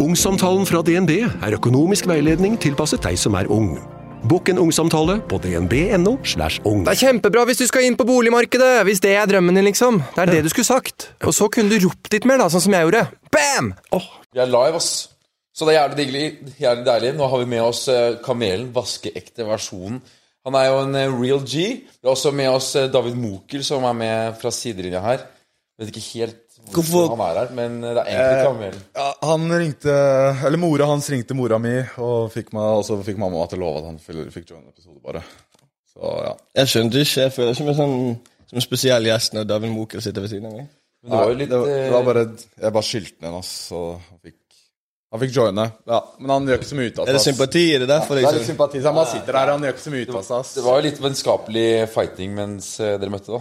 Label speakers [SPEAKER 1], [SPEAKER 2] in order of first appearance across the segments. [SPEAKER 1] Ungsamtalen fra DNB er økonomisk veiledning tilpasset deg som er ung. Bokk en ungsamtale på dnb.no. slash ung.
[SPEAKER 2] Det er kjempebra hvis du skal inn på boligmarkedet! Hvis det er drømmen din, liksom. Det er det du skulle sagt. Og så kunne du ropt litt mer, da, sånn som jeg gjorde. Bam!
[SPEAKER 3] Vi er live, ass. Så det er jævlig digg. Jævlig deilig. Nå har vi med oss eh, Kamelen, vaskeekte versjonen. Han er jo en eh, real G. Vi har også med oss eh, David Mokel, som er med fra sidelinja her. Vet ikke helt hvorfor
[SPEAKER 4] Hvorfor-
[SPEAKER 3] han er her, men eh, det er egentlig Kamelen.
[SPEAKER 4] Ja, han ringte Eller mora hans ringte mora mi, og fikk meg, og så fikk mamma til å love at han fyll- fikk joine en episode, bare. Så ja.
[SPEAKER 5] Jeg skjønte ikke. Jeg føler ikke meg sånn som en spesiell gjest når David Mokel sitter ved siden av meg.
[SPEAKER 3] Men det var jo litt
[SPEAKER 4] det,
[SPEAKER 3] eh,
[SPEAKER 4] det var bare Jeg bare skyldte den, ass. Så han fikk, han fikk joine. Ja, men han gjør ikke så mye ut av
[SPEAKER 5] Er det
[SPEAKER 4] ass.
[SPEAKER 5] sympati? Er det derfor?
[SPEAKER 4] Det er litt
[SPEAKER 5] Liksom?
[SPEAKER 4] sympati. så Han bare sitter der, han gjør ikke så mye ut av seg, ass.
[SPEAKER 3] Det var jo litt vennskapelig fighting mens eh, dere møtte da,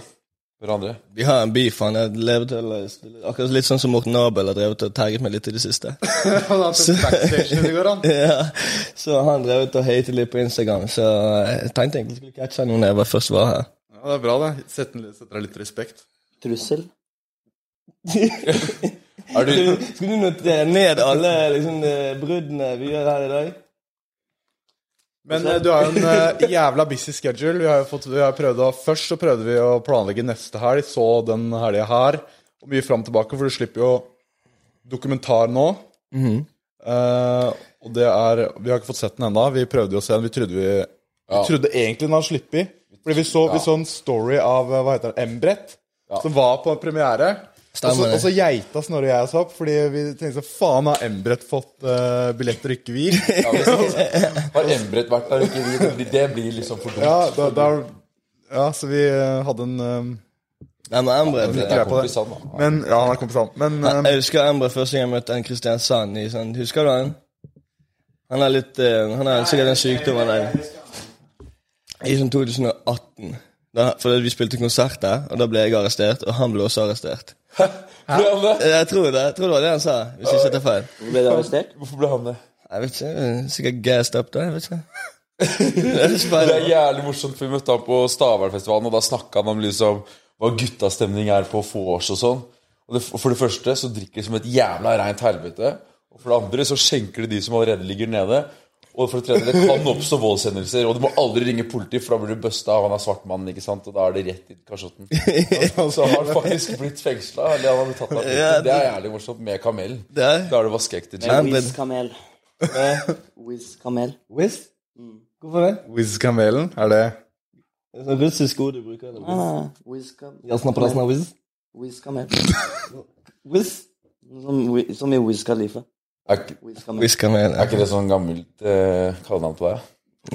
[SPEAKER 3] hverandre.
[SPEAKER 5] Vi har en beef. Han har levet til Akkurat litt sånn som Morten Abel har drevet og tagget meg litt i det siste.
[SPEAKER 4] Han hadde en backstation i går, han.
[SPEAKER 5] ja. Så han drevet og hatet litt på Instagram. Så jeg tenkte egentlig jeg skulle catche han nå når jeg var- først var her.
[SPEAKER 4] Ja, det er bra, det. Sett den- Setter deg litt respekt.
[SPEAKER 6] Trussel?
[SPEAKER 3] Er du,
[SPEAKER 5] Skal du- Skal du notere ned alle liksom, eh, bruddene vi gjør her i dag?
[SPEAKER 4] Men eh, du har jo en eh, jævla busy schedule. Vi har jo fått, vi har prøvd å, først så prøvde vi å planlegge neste helg, så den helga her. Og mye fram og tilbake, for du slipper jo dokumentar nå.
[SPEAKER 5] Mhm.
[SPEAKER 4] Eh, og det er Vi har ikke fått sett den ennå. Vi prøvde jo å se den. Vi trodde, vi, vi trodde egentlig den hadde sluppet. Fordi vi så, vi så en story av eh, hva heter det, Embret, som var på premiere. Og så,
[SPEAKER 5] Stemmer det.
[SPEAKER 4] og så geita Snorre og jeg oss opp, fordi vi tenkte så faen, har Embret fått eh, billetter og ikke vi?
[SPEAKER 3] har Embret vært der? Ikke? vi? Det blir- Det blir liksom for dumt.
[SPEAKER 4] Ja, da, da, ja så vi eh, hadde en eh,
[SPEAKER 5] Nei, men Embre
[SPEAKER 4] litt
[SPEAKER 3] det
[SPEAKER 4] greie
[SPEAKER 3] er
[SPEAKER 4] på
[SPEAKER 3] kompis
[SPEAKER 4] det.
[SPEAKER 3] han, da.
[SPEAKER 4] Men, ja, han er kompis han. Men eh,
[SPEAKER 5] Jeg husker Embre første gang jeg møtte han Kristiansand. I sånn, husker du han? Han har litt eh, Han har sikkert en sykdom han der. I sånn 2018. Da, for vi spilte konsert der, og da ble jeg arrestert. Og han ble også arrestert.
[SPEAKER 3] Ble han det?
[SPEAKER 5] Jeg tror det jeg tror det var det han sa, hvis jeg ikke tar feil.
[SPEAKER 6] Ble du arrestert?
[SPEAKER 3] Hvorfor ble han det?
[SPEAKER 5] Jeg vet ikke, Sikkert gassed up da. jeg vet ikke. Det er så
[SPEAKER 3] Det er
[SPEAKER 5] feil.
[SPEAKER 3] jævlig morsomt, for vi møtte han på Stavernfestivalen, og da snakka han om liksom hva guttastemning er på vors og sånn. Og det, for det første så drikker de som et jævla reint helvete. Og for det andre så skjenker de de som allerede ligger nede. Og for det tredje, det kan oppstå voldshendelser, og du må aldri ringe politiet, for da blir du busta, og han er svart mann, ikke sant, og da er det rett i kasjotten. Og Så har han faktisk blitt fengsla, eller han har blitt tatt av politiet. Det er jævlig morsomt med kamelen.
[SPEAKER 5] Det er-
[SPEAKER 3] Da er det vaskeekte G.
[SPEAKER 5] Ja, men-
[SPEAKER 6] Wiz Kamel. Wiz Kamel.
[SPEAKER 5] Wiz? Hvorfor
[SPEAKER 4] eh,
[SPEAKER 5] det?
[SPEAKER 4] Wiz-kamelen, er det
[SPEAKER 5] Det er sånn russisk ord du bruker. eller?
[SPEAKER 6] Ah, Wiz Kam-
[SPEAKER 5] Jeg snakker resten av Wiz.
[SPEAKER 6] Wiz Kamel.
[SPEAKER 5] Wiz?
[SPEAKER 6] Som, Wi- som i Wiz Khalifa.
[SPEAKER 3] Er, ikke-
[SPEAKER 6] Wiz Kamel.
[SPEAKER 5] Wiz kan jeg
[SPEAKER 3] er ikke det sånn gammelt eh, kallenavn på deg?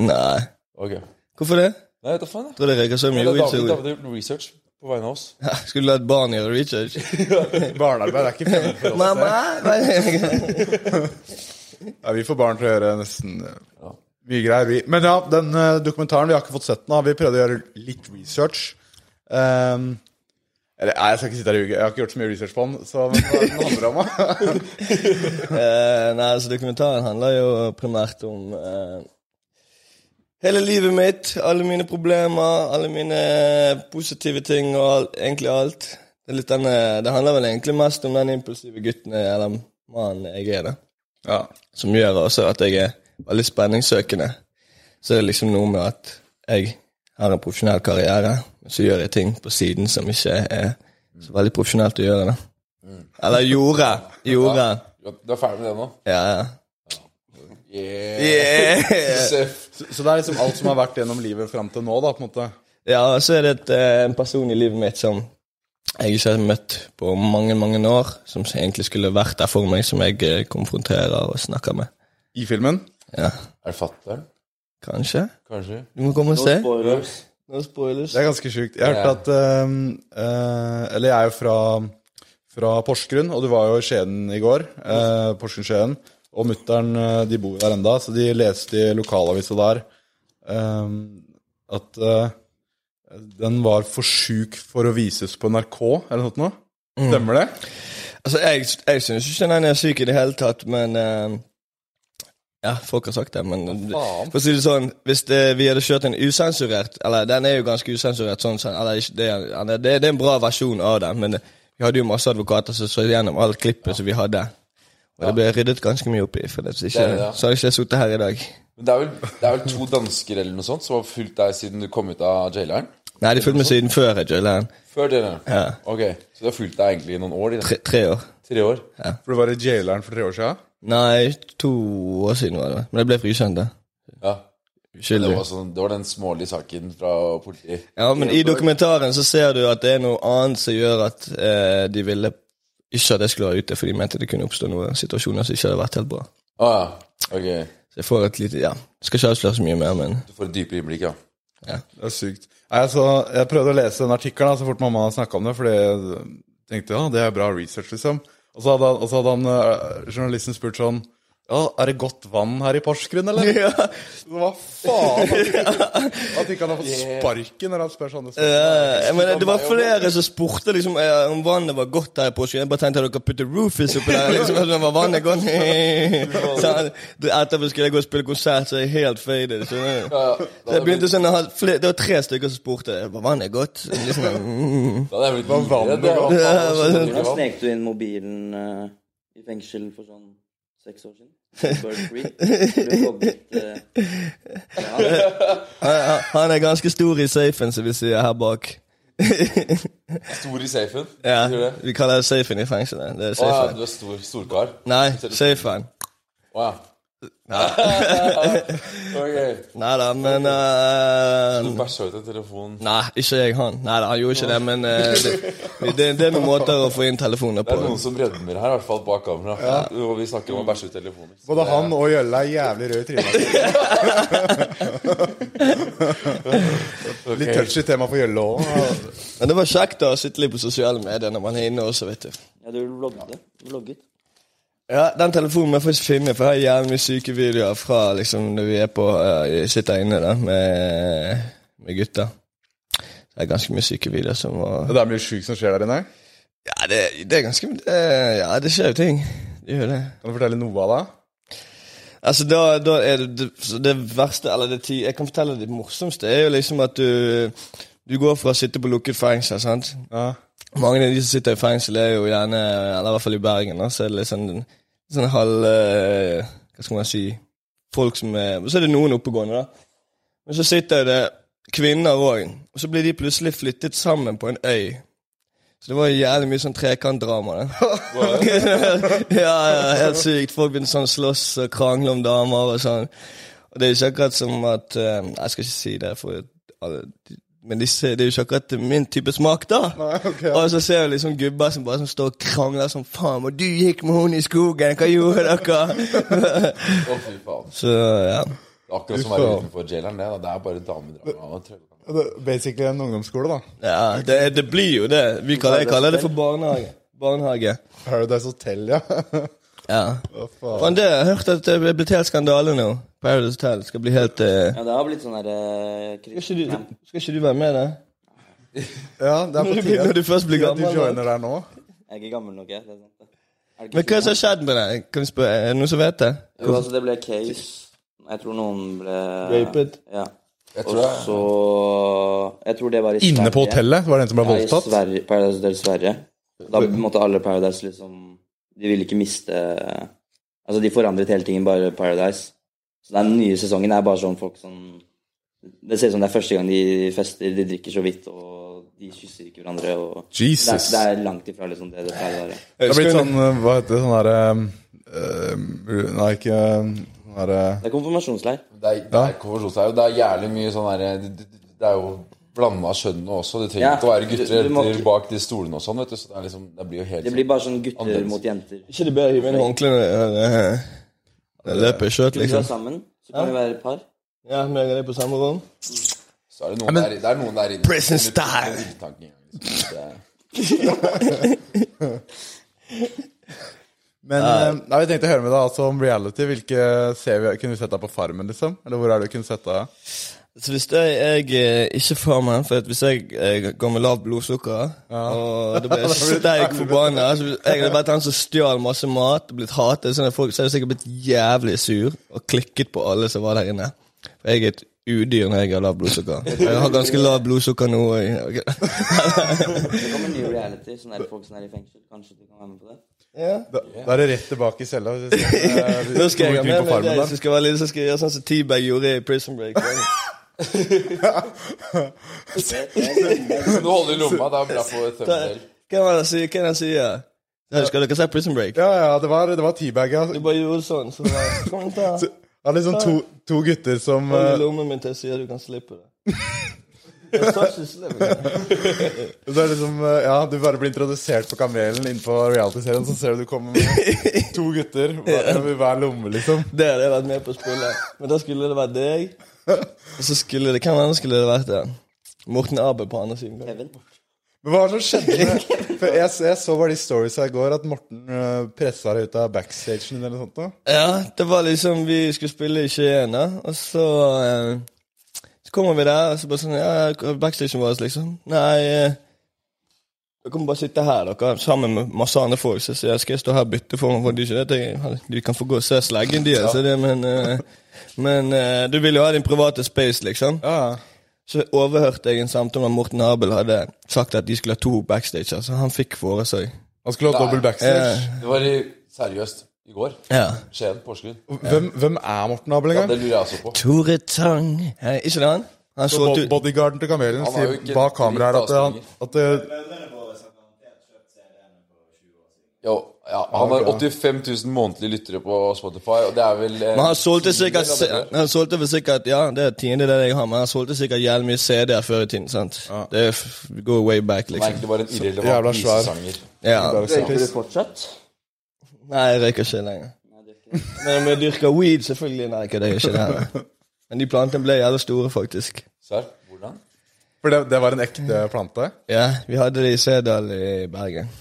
[SPEAKER 5] Nei.
[SPEAKER 3] Ok.
[SPEAKER 5] Hvorfor det? Jeg
[SPEAKER 3] Nei, vet du faen, jeg.
[SPEAKER 5] tror det røyker så mye
[SPEAKER 3] Eller
[SPEAKER 5] weed.
[SPEAKER 3] David,
[SPEAKER 5] så-
[SPEAKER 3] David har gjort research på vegne av oss.
[SPEAKER 5] Skulle du la et barn gjøre research?
[SPEAKER 4] Barnearbeid er ikke fremmed for oss.
[SPEAKER 5] Mamma!
[SPEAKER 4] Ja, vi får barn til å gjøre nesten eh, mye greier, vi. Men ja, den eh, dokumentaren, vi har ikke fått sett den. da. Vi prøvde å gjøre litt research. Ehm, eller nei, jeg skal ikke sitte her og ljuge. Jeg har ikke gjort så mye research på den. Så men hva er det den handler om, da?
[SPEAKER 5] Eh, nei, altså Dokumentaren handler jo primært om eh, hele livet mitt. Alle mine problemer, alle mine positive ting og al- egentlig alt. Det, er litt den, eh, det handler vel egentlig mest om den impulsive gutten jeg- eller mannen jeg er, da.
[SPEAKER 4] Ja.
[SPEAKER 5] Som gjør også at jeg er veldig spenningssøkende. Så det er liksom noe med at jeg har en profesjonell karriere, men så gjør jeg ting på siden som ikke er så veldig profesjonelt å gjøre, da. Eller gjorde. Gjorde.
[SPEAKER 3] Ja, Du er ferdig med det nå?
[SPEAKER 5] Ja, ja.
[SPEAKER 3] Seff.
[SPEAKER 4] Så, så det er liksom alt som har vært gjennom livet fram til nå, da, på en måte.
[SPEAKER 5] Ja, og så er det et, eh, en person i livet mitt som jeg ikke har møtt på mange, mange år, som egentlig skulle vært der for meg, som jeg eh, konfronterer og snakker med.
[SPEAKER 4] I filmen.
[SPEAKER 5] Ja,
[SPEAKER 3] Er det fatteren?
[SPEAKER 5] kanskje?
[SPEAKER 3] Kanskje?
[SPEAKER 5] Du må komme og
[SPEAKER 6] No
[SPEAKER 5] se.
[SPEAKER 6] spoilers.
[SPEAKER 5] No spoilers.
[SPEAKER 4] Det er ganske sjukt. Jeg hørte
[SPEAKER 3] Ja.
[SPEAKER 4] at eh, eh, Eller jeg er jo fra, fra Porsgrunn, og du var jo i Skien i går. eh, Porsgrunn-Skien. Og mutter'n, eh, de bor jo der enda, så de leste i lokalavisa der eh, at eh, den var for sjuk for å vises på NRK, eller noe sånt. noe. Stemmer det?
[SPEAKER 5] Altså, jeg, jeg syns ikke den er syk i det hele tatt, men eh, Ja, folk har sagt det, men
[SPEAKER 4] faen?
[SPEAKER 5] For å si det sånn, hvis det, vi hadde kjørt en usensurert Eller den er jo ganske usensurert, sånn sett. Eller ikke- det, er- eller det, det er en bra versjon av den, men vi hadde jo masse advokater som så gjennom alt klippet som vi hadde. Og det ble ryddet ganske mye opp i, for det, så, ikke,
[SPEAKER 3] Det er det, ja.
[SPEAKER 5] så hadde ikke jeg sittet her i dag.
[SPEAKER 3] Men det er, vel, det er vel to dansker eller noe sånt som har fulgt deg siden du kom ut av jaileren?
[SPEAKER 5] Nei, de fulgte meg siden før jeg joila den.
[SPEAKER 3] Før jaileren? Ok, Så du har fulgt deg egentlig i noen år? De
[SPEAKER 5] Tre, tre år.
[SPEAKER 3] tre år?
[SPEAKER 4] For du var i jaileren for tre år siden?
[SPEAKER 5] Nei, to år siden var det. vel. Men jeg ble frikjent, da.
[SPEAKER 3] Ja. Det
[SPEAKER 5] Uskyldig.
[SPEAKER 3] var, sånn, det var den smålige saken fra politiet.
[SPEAKER 5] Ja, men i dokumentaren så ser du at det er noe annet som gjør at eh, de ville ikke at jeg skulle være ute, for de mente det kunne oppstå noen situasjoner som ikke hadde vært helt bra.
[SPEAKER 3] Å ah, ja. Ok.
[SPEAKER 5] Så jeg får et lite Ja, skal ikke avsløre så mye mer, men
[SPEAKER 3] Du får et dypere innblikk, ja.
[SPEAKER 4] Det er sykt. Nei, altså, jeg prøvde å lese den artikkelen da, så fort mamma snakka om det, fordi jeg tenkte ja, det er bra research, liksom. Og så hadde han, og så hadde han eh, journalisten spurt sånn ja, er det godt vann her i Porsgrunn, eller? Ja. Hva faen? At ikke han har fått sparken når han spør sånne spørsmål.
[SPEAKER 5] Eh, jeg mener, Det var flere som spurte liksom, eh, om vannet var godt her i Porsgrunn. Jeg bare tenkte at dere putte Rufus oppi der. Liksom, at det var vannet godt Så han- det- Etterpå skulle jeg gå og spille konsert, så jeg er helt faded. Så, så jeg begynte sånn, å ha fle- Det var tre stykker som spurte var vannet godt. Liksom, mm.
[SPEAKER 3] Da hadde jeg blitt
[SPEAKER 4] vanlig,
[SPEAKER 3] livredd. jeg. Hva
[SPEAKER 5] ja.
[SPEAKER 3] faen, hva skjedde?
[SPEAKER 6] Hvordan snek du inn mobilen eh, i fengsel for sånn seks år siden? Burberry. Ble koblet, eh,
[SPEAKER 5] han, han er ganske stor i safen, som vi sier her bak.
[SPEAKER 3] Stor i safen?
[SPEAKER 5] Ja,
[SPEAKER 3] Sier du det?
[SPEAKER 5] Vi kaller det safen i fengselet. Det er
[SPEAKER 3] Å ja,
[SPEAKER 5] safen.
[SPEAKER 3] du er stor storkar?
[SPEAKER 5] Nei, safen.
[SPEAKER 3] Å ja. ok.
[SPEAKER 5] Nei da, men eh,
[SPEAKER 3] Du bæsja ut en telefon.
[SPEAKER 5] Nei, ikke jeg han. Nei, han gjorde ikke det, men eh, det, det, det er noen måter å få inn telefoner
[SPEAKER 3] Det
[SPEAKER 5] på.
[SPEAKER 3] er noen som rødmer her, i hvert fall bak kamera. Og vi snakker om å bæsje ut telefoner.
[SPEAKER 4] Både han og Gjølle er jævlig røde i trynet. Litt touchy tema for Gjølle òg.
[SPEAKER 5] Men det var kjekt da, å sitte litt på sosiale medier når man er inne også, vet du.
[SPEAKER 6] Ja, du vlogget. vlogget.
[SPEAKER 5] Ja, Den telefonen må jeg faktisk finne, for jeg har jævlig mye syke videoer fra liksom når vi er på eh, sitter inne da, med, med gutta. Det er ganske mye syke videoer som var
[SPEAKER 4] Det er mye sjukt som skjer der inne.
[SPEAKER 5] Ja, det, det er ganske eh, Ja, det skjer jo ting. Det gjør det.
[SPEAKER 4] Kan du fortelle noe av det?
[SPEAKER 5] Altså, da, da er det, det så det verste Eller det ti, jeg kan fortelle det morsomste er jo liksom at du Du går fra å sitte på lukket fengsel, sant
[SPEAKER 4] Ja.
[SPEAKER 5] Mange av de som sitter i fengsel, er jo gjerne Eller i hvert fall i Bergen, da, så er det litt sånn Sånn halv eh, Hva skal man si Folk som er Så er det noen oppegående, da. Men så sitter det kvinner òg, og så blir de plutselig flyttet sammen på en øy. Så det var jævlig mye sånn trekantdrama. det. ja, ja, helt sykt. Folk begynte sånn slåss og krangle om damer og sånn. Og det er jo ikke akkurat som at eh, Jeg skal ikke si det, for alle, men de ser, det er jo ikke akkurat min type smak, da. Og så ser du liksom gubber som bare sånn står og krangler som faen. Og du gikk med hun i skogen, hva gjorde dere?
[SPEAKER 3] Å, fy faen.
[SPEAKER 5] så ja.
[SPEAKER 3] Det er akkurat som å være utenfor jaileren, det. da. Det er bare damedrama. og trøbbel.
[SPEAKER 4] Det er Basically en ungdomsskole, da.
[SPEAKER 5] ja det, det blir jo det. Vi kaller, jeg kaller det for barnehage. Barnehage.
[SPEAKER 4] Paradise Hotel, ja.
[SPEAKER 5] Ja.
[SPEAKER 4] Hva faen?
[SPEAKER 5] Faen, det, jeg har hørt at det er blitt helt skandale nå. Paradise Hotel skal bli helt eh,
[SPEAKER 6] Ja, det har blitt sånn derre
[SPEAKER 5] skal, ikke du, skal ikke du være med, da?
[SPEAKER 4] Ja, det er
[SPEAKER 5] Når
[SPEAKER 4] på
[SPEAKER 5] du, blir-
[SPEAKER 4] tide.
[SPEAKER 5] når du først blir
[SPEAKER 4] Ja, du
[SPEAKER 5] gammel. da.
[SPEAKER 4] joiner der nå?
[SPEAKER 6] Jeg er ikke gammel nok, jeg. Det er sant, det. Er det ikke
[SPEAKER 5] Men hva er det som
[SPEAKER 6] sånn?
[SPEAKER 5] har skjedd med deg? Kan vi spørre, Er det noen som vet det?
[SPEAKER 6] Jo, altså, det ble case. Jeg tror noen ble
[SPEAKER 5] Rapet?
[SPEAKER 6] Ja.
[SPEAKER 3] Jeg
[SPEAKER 6] Og
[SPEAKER 3] tror jeg
[SPEAKER 6] så Jeg tror det var i
[SPEAKER 4] Inne på
[SPEAKER 6] Sverige.
[SPEAKER 4] hotellet? Var det en som ble
[SPEAKER 6] Ja, i
[SPEAKER 4] voldtatt?
[SPEAKER 6] Sverige, Paradise Hotel Sverige. Da måtte alle Paradise liksom De ville ikke miste Altså, de forandret hele tingen, bare Paradise. Så den nye sesongen er bare sånn folk som Det ser ut som det er første gang de fester, de drikker så vidt, og de kysser ikke hverandre, og det er,
[SPEAKER 4] Jesus.
[SPEAKER 6] det er langt ifra liksom det det pleier å være.
[SPEAKER 4] Det har blitt sånn eh, Hva heter det sånn derre eh, Nei, ikke eh, sånn derre
[SPEAKER 6] Det er konfirmasjonsleir.
[SPEAKER 3] Det er, det er konversjonsleir, og det er jævlig mye sånn derre det- det- Det er jo blanda kjønnene også. Det trenger
[SPEAKER 6] Ja,
[SPEAKER 3] ikke å være
[SPEAKER 6] du- du må
[SPEAKER 3] gutter
[SPEAKER 6] ikke-
[SPEAKER 3] etter bak de stolene og sånn, vet du. Så det, er liksom, det blir jo helt
[SPEAKER 6] Det blir bare sånn gutter
[SPEAKER 3] Annerledes.
[SPEAKER 6] mot jenter.
[SPEAKER 5] Ikke det bedre å hive inn håndklærne eller løpe i skjøt,
[SPEAKER 6] Hvis vi er
[SPEAKER 5] liksom?
[SPEAKER 6] sammen, så kan vi være et par.
[SPEAKER 5] Ja, meg og deg på samme rom?
[SPEAKER 3] Så er det noen, der, det er noen der inne
[SPEAKER 5] Prison
[SPEAKER 3] som kommer
[SPEAKER 5] style.
[SPEAKER 3] med ildtanken, liksom. Det er-
[SPEAKER 4] Men eh, nei, jeg tenkte å høre med deg altså, om reality. Hvilke serier kunne du sett deg på Farmen, liksom? Eller hvor er det du kunne sett deg?
[SPEAKER 5] Så hvis jeg, jeg eh, ikke får meg For at hvis jeg, eh, går med lavt blodsukker, og da blir jeg sterk forbanna altså, hvis- Jeg hadde vært han som stjal masse mat og blitt hatet, sånn at folk, så hadde jeg sikkert blitt jævlig sur og klikket på alle som var der inne. For jeg er et udyr når jeg har lavt blodsukker. Jeg har ganske lavt blodsukker nå. og jeg- ok.
[SPEAKER 6] Det kommer ny reality, sånn der folk som er i fengsel. Kanskje du kan være med på det?
[SPEAKER 5] Ja.
[SPEAKER 4] Da, da er det rett tilbake i cella. hvis jeg sier, eh, hvis-
[SPEAKER 5] Nå skal jeg
[SPEAKER 4] går vi
[SPEAKER 5] gjøre
[SPEAKER 4] på
[SPEAKER 5] mer med
[SPEAKER 4] farmen
[SPEAKER 5] deg.
[SPEAKER 4] der.
[SPEAKER 5] Så skal jeg være litt, så skal jeg gjøre sånn som T-Bag gjorde i Prison Break.
[SPEAKER 3] Du holder i lomma, det er bra på et
[SPEAKER 5] Da,
[SPEAKER 3] tømmerdel.
[SPEAKER 5] hva er det han sier? Hva er det han sier? Da Husker dere se Prison Break?
[SPEAKER 4] Ja, ja, det var, det var teabaga.
[SPEAKER 5] Du bare gjorde sånn, så bare Kom hit, da.
[SPEAKER 4] Det er liksom to, to gutter som
[SPEAKER 5] Kom i
[SPEAKER 4] eh,
[SPEAKER 5] lommen min til jeg sier du kan slippe det. Jeg sa ikke slipp det.
[SPEAKER 4] det er liksom, eh, Ja, du bare blir introdusert på Kamelen innenfor reality-serien, så ser du du kommer med to gutter hver- i hver lomme, liksom.
[SPEAKER 5] Det hadde jeg vært med på å spille. Men da skulle det vært deg. Og så skulle det Hvem andre skulle det vært? Ja. Morten Abel på andre siden. kanskje?
[SPEAKER 6] Kevin.
[SPEAKER 4] Men hva er det som skjedde? med- For jeg, jeg så bare de stories her i går, at Morten uh, pressa deg ut av backstagen eller noe sånt. Da.
[SPEAKER 5] Ja, det var liksom Vi skulle spille i Skien, da. Og så eh, Så kommer vi der, og så bare sånn Ja, backstagen vår, liksom. Nei eh, Dere kommer bare sitte her, dere, sammen med masse andre folk. Så sier jeg skal jeg stå her og bytte for meg, for de, ikke det, de kan få gå og se sleggen de, altså, det, men eh, Men eh, du vil jo ha din private space, liksom.
[SPEAKER 4] Ja,
[SPEAKER 5] Så overhørte jeg en samtale med Morten Abel hadde sagt at de skulle ha to backstager, så han fikk fore seg.
[SPEAKER 4] Han skulle ha dobbel backstage.
[SPEAKER 5] Eh,
[SPEAKER 3] Det var i, seriøst i går.
[SPEAKER 5] ja.
[SPEAKER 3] Skien, Porsgrunn.
[SPEAKER 4] Hvem, hvem er Morten Abel
[SPEAKER 3] eh. Ja,
[SPEAKER 4] engang?
[SPEAKER 3] det lurer jeg også på.
[SPEAKER 5] Tore Tang Hei, Ikke det han? Han
[SPEAKER 4] Så
[SPEAKER 5] solgte
[SPEAKER 4] bo-
[SPEAKER 5] ut
[SPEAKER 4] Bodyguarden til Kamelen
[SPEAKER 3] Han har jo
[SPEAKER 4] sier
[SPEAKER 3] ikke
[SPEAKER 4] bak kameraet her at,
[SPEAKER 3] dritt
[SPEAKER 4] han, at eh, det,
[SPEAKER 3] Jo, ja, han har 85 000 månedlige lyttere på Spotify, og det er vel eh,
[SPEAKER 5] Men han solgte sikkert
[SPEAKER 3] tiendedel av det.
[SPEAKER 5] Han solgte vel sikkert Ja, det er tiende det jeg har, men han solgte sikkert jævlig mye CD-er før i tiden, sant? Det er f- go way back,
[SPEAKER 3] Han er
[SPEAKER 5] liksom.
[SPEAKER 3] egentlig bare en
[SPEAKER 4] jævla
[SPEAKER 3] irrelevant
[SPEAKER 4] svær.
[SPEAKER 3] visesanger.
[SPEAKER 5] Ja.
[SPEAKER 6] Røyker du fortsatt?
[SPEAKER 5] Nei, jeg røyker ikke lenger. Men jeg dyrker weed, selvfølgelig. Nei, ikke det. jeg Gjør ikke det. Men de plantene ble jævlig store, faktisk.
[SPEAKER 3] Serr, hvordan?
[SPEAKER 4] for det, det var en ekte plante?
[SPEAKER 5] Ja, vi hadde det i Sædal i Bergen.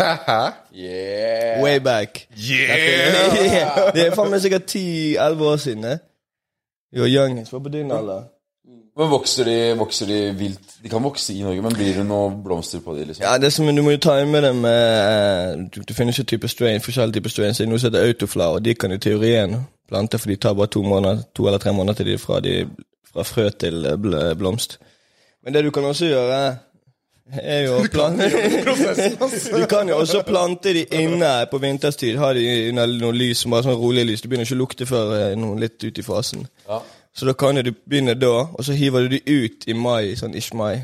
[SPEAKER 3] Yeah!
[SPEAKER 5] Way back. Yeah! det er faen meg sikkert 10-11 år siden. eh? Vi var young. Vi var på din alder.
[SPEAKER 3] Men vokser de, vokser de vilt? De kan vokse i Norge, men blir det noe blomster på de, liksom?
[SPEAKER 5] Ja, det som Du må jo time det med eh, Du, du finner ikke type strain, forskjellige typer strain. Så det er noe som heter autoflower. De kan i teorien plante, for de tar bare to, måneder, to eller tre måneder til de er fra, de, fra frø til eh, bl blomst. Men det du kan også gjøre, er jo å plante Du kan jo også plante de inne på vinterstid. Ha de under noe lys, bare sånn rolig lys. Det begynner ikke å lukte før eh, noen litt ut i fasen.
[SPEAKER 3] Ja.
[SPEAKER 5] Så da kan jo du begynne da, og så hiver du de ut i mai, sånn ish mai.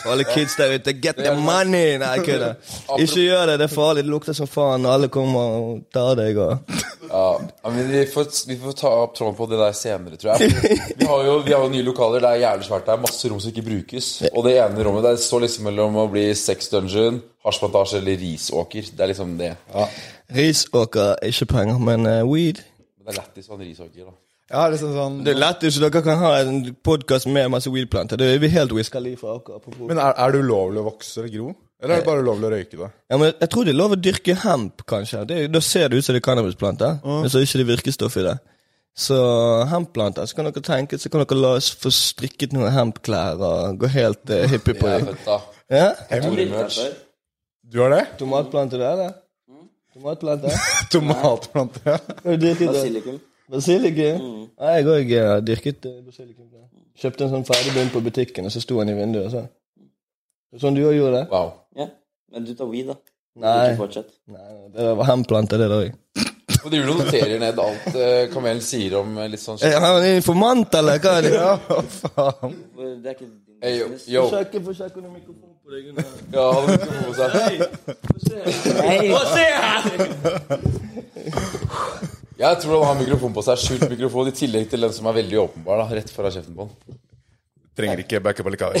[SPEAKER 5] Og alle kids der ute, get the money! Nei, jeg kødder. Ikke gjør det, det er farlig. Det lukter som faen. Alle kommer og tar deg og
[SPEAKER 3] Ja, ja, men vi får, vi får ta opp tråden på det der senere, tror jeg. Vi har jo, vi har jo nye lokaler. Det er jævlig svært der. Masse rom som ikke brukes. Og det ene rommet der står liksom mellom å bli sex dungeon, hasjplantasje eller risåker. Det er liksom det.
[SPEAKER 5] Risåker er ikke penger, men eh, weed
[SPEAKER 3] Men det er lættis å ha en risåker, da.
[SPEAKER 4] Ja, liksom sånn
[SPEAKER 5] Det er lett, så dere kan ha en podkast med masse weedplanter. Det er vi helt Wiz Khalifa akkurat. apropos.
[SPEAKER 4] Men er, er det ulovlig å vokse eller gro? Eller
[SPEAKER 3] Eh.
[SPEAKER 4] er det bare ulovlig å røyke det?
[SPEAKER 5] Ja, men jeg tror det er lov å dyrke hemp, kanskje. Det, da ser det ut som det er cannabisplanter, men så er det ikke det virkestoff i det. Så hempplanter, så kan dere tenke, så kan dere la oss få strikket noen hempklær og gå helt eh, hippie på
[SPEAKER 3] Jeg er
[SPEAKER 5] det.
[SPEAKER 3] født da.
[SPEAKER 5] Ja?
[SPEAKER 3] Tore Merch.
[SPEAKER 4] Du har det?
[SPEAKER 5] Tomatplanter du er, da? Tomatplanter?
[SPEAKER 4] Tomatplante. ja.
[SPEAKER 5] Har du dyrket det?
[SPEAKER 6] Basilikum.
[SPEAKER 5] Basilikum? Nei, jeg òg har dyrket eh, basilikum. ja. Kjøpte en sånn ferdig bunn på butikken, og så sto han i vinduet og sånn. Sånn du òg gjorde det?
[SPEAKER 3] Wow.
[SPEAKER 6] Ja. Men du tar weed, da.
[SPEAKER 5] Nei.
[SPEAKER 6] Ikke fortsatt.
[SPEAKER 5] Nei, det var hempplanter, det der òg.
[SPEAKER 3] Og du noterer ned alt eh, Kamelen sier om eh, litt sånn shit.
[SPEAKER 5] Er han informant, eller hva er det?
[SPEAKER 6] Det er ikke din
[SPEAKER 3] Hey, yo,
[SPEAKER 6] business.
[SPEAKER 3] yo.
[SPEAKER 5] Forsøker, forsøker noen mikrofon på deg under
[SPEAKER 3] Ja, han har ikke på seg.
[SPEAKER 6] Nei,
[SPEAKER 3] Jeg tror han har mikrofon på seg. Skjult mikrofon i tillegg til den som er veldig åpenbar. da, Rett foran kjeften på han.
[SPEAKER 4] Trenger ikke backup allikevel.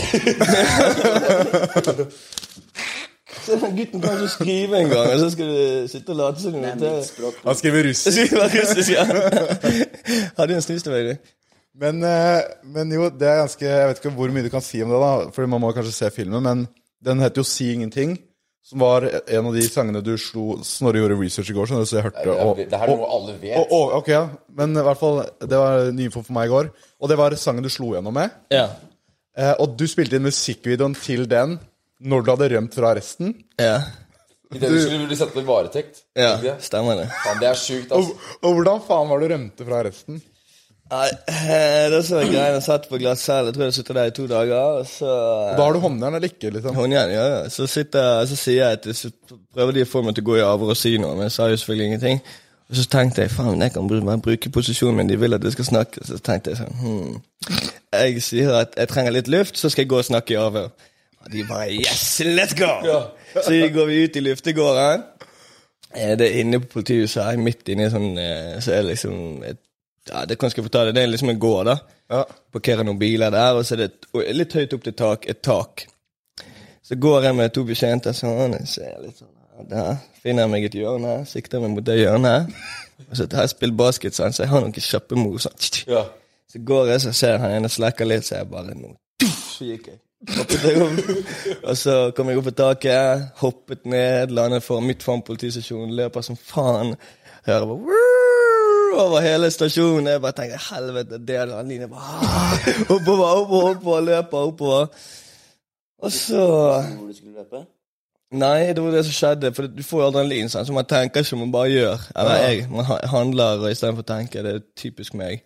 [SPEAKER 5] Se, den gutten kan ikke skrive engang, og så skal du eh, sitte og late som du
[SPEAKER 6] det er
[SPEAKER 5] noterer.
[SPEAKER 6] mitt språk.
[SPEAKER 4] Han skriver russisk.
[SPEAKER 5] Skriver russisk, ja. Hadde en snus til meg, du.
[SPEAKER 4] Men, eh, men jo, det er ganske Jeg vet ikke hvor mye du kan si om det, da. Fordi man må kanskje se filmen, men den heter jo Si ingenting. Som var en av de sangene du slo Snorre gjorde research i går, skjønner du, så jeg hørte og,
[SPEAKER 3] Det her er noe alle
[SPEAKER 4] og,
[SPEAKER 3] vet.
[SPEAKER 4] og, Ok, ja. Men i hvert fall, det var ny info for meg i går. Og det var sangen du slo gjennom med.
[SPEAKER 5] Ja.
[SPEAKER 4] Eh, og du spilte inn musikkvideoen til den når du hadde rømt fra arresten.
[SPEAKER 5] Ja.
[SPEAKER 3] I det du skulle bli satt i varetekt.
[SPEAKER 5] ja.
[SPEAKER 3] Ikke det?
[SPEAKER 5] Stemmer det.
[SPEAKER 3] Faen, det er sjukt,
[SPEAKER 4] Og,
[SPEAKER 3] altså.
[SPEAKER 4] og hvordan faen var det du rømte fra arresten?
[SPEAKER 5] Nei, eh, det som er greia, jeg satt på glattcelle, jeg tror jeg sitter der i to dager, og så
[SPEAKER 4] Da har du håndjern eller ikke, liksom.
[SPEAKER 5] Håndjern, ja, ja. Så, sitter, så sier jeg at så prøver de å få meg til å gå i avhør og si noe, men jeg sa jo selvfølgelig ingenting. Og så tenkte jeg faen, jeg kan bru- bare bruke posisjonen min, de vil at jeg skal snakke. Så tenkte jeg sånn hmm. Jeg sier at jeg trenger litt luft, så skal jeg gå og snakke i avhør. Og de bare yes, let's go! så går vi ut i luftegården. Eh, Det er inne på politihuset her, midt inne i sånn eh, Så er det liksom et, ja, Det kan jeg få ta det, det er liksom en gård, da.
[SPEAKER 4] Ja.
[SPEAKER 5] Parkerer noen biler der, og så er det et, og litt høyt opp til tak, et tak. Så går jeg med to betjenter sånn, jeg ser litt sånn her, der. Finner jeg meg et hjørne, sikter meg mot det hjørnet. Og så har jeg spilt basket, sånn, så jeg har noen kjappe mor. Sånn.
[SPEAKER 3] Ja.
[SPEAKER 5] Så går jeg, så ser jeg han ene slakker litt, så jeg bare nå, Så gikk jeg. Hoppet jeg opp. Og så kom jeg opp på taket, hoppet ned, landet for midt foran politistasjonen, løper som faen. Hører bare «Woo!» over hele stasjonen. Jeg bare tenker helvete, det er Line bare «Ah!» Oppover, oppover, oppover, løper oppover. Og så
[SPEAKER 6] Hvor du skulle løpe?
[SPEAKER 5] Nei, det var det som skjedde. For du får jo adrenalin, sant? så man tenker ikke, man bare gjør. Eller jeg. Man ha- handler og istedenfor å tenke. Det er typisk meg.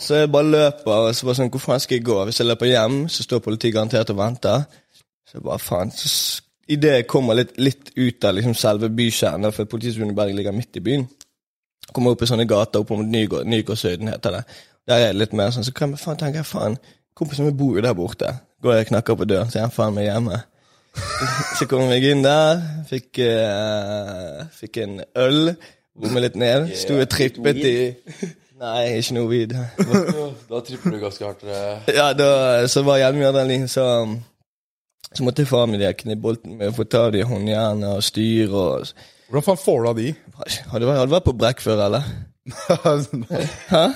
[SPEAKER 5] Så jeg bare løper, og så bare sånn, hvor faen skal jeg gå? Hvis jeg løper hjem, så står politiet garantert og venter. Så jeg bare faen. Så s- idet jeg kommer litt, litt ut av liksom selve bykjernen, for Politihøgskolen i Bergen ligger midt i byen, kommer jeg opp i sånne gater opp mot Nygård, Nygårdshøyden, heter det. Der er det litt mer sånn, så kan jeg faen tenker jeg, faen, kompisen min bor jo der borte. Går jeg og knakker på døren, så er han faen meg hjemme. Så kom jeg inn der, fikk, eh, fikk en øl, bommet litt ned, sto og trippet i Nei, ikke noe weed.
[SPEAKER 3] Da tripper du ganske hardt. eh.
[SPEAKER 5] Ja, da, så var jeg hjemme i adrenalin, så, så måtte far min leke i bolten med å få ta det i håndjernet og styr og
[SPEAKER 4] Hvordan faen får du av de?
[SPEAKER 5] Har du vært, har du vært på brekk før, eller?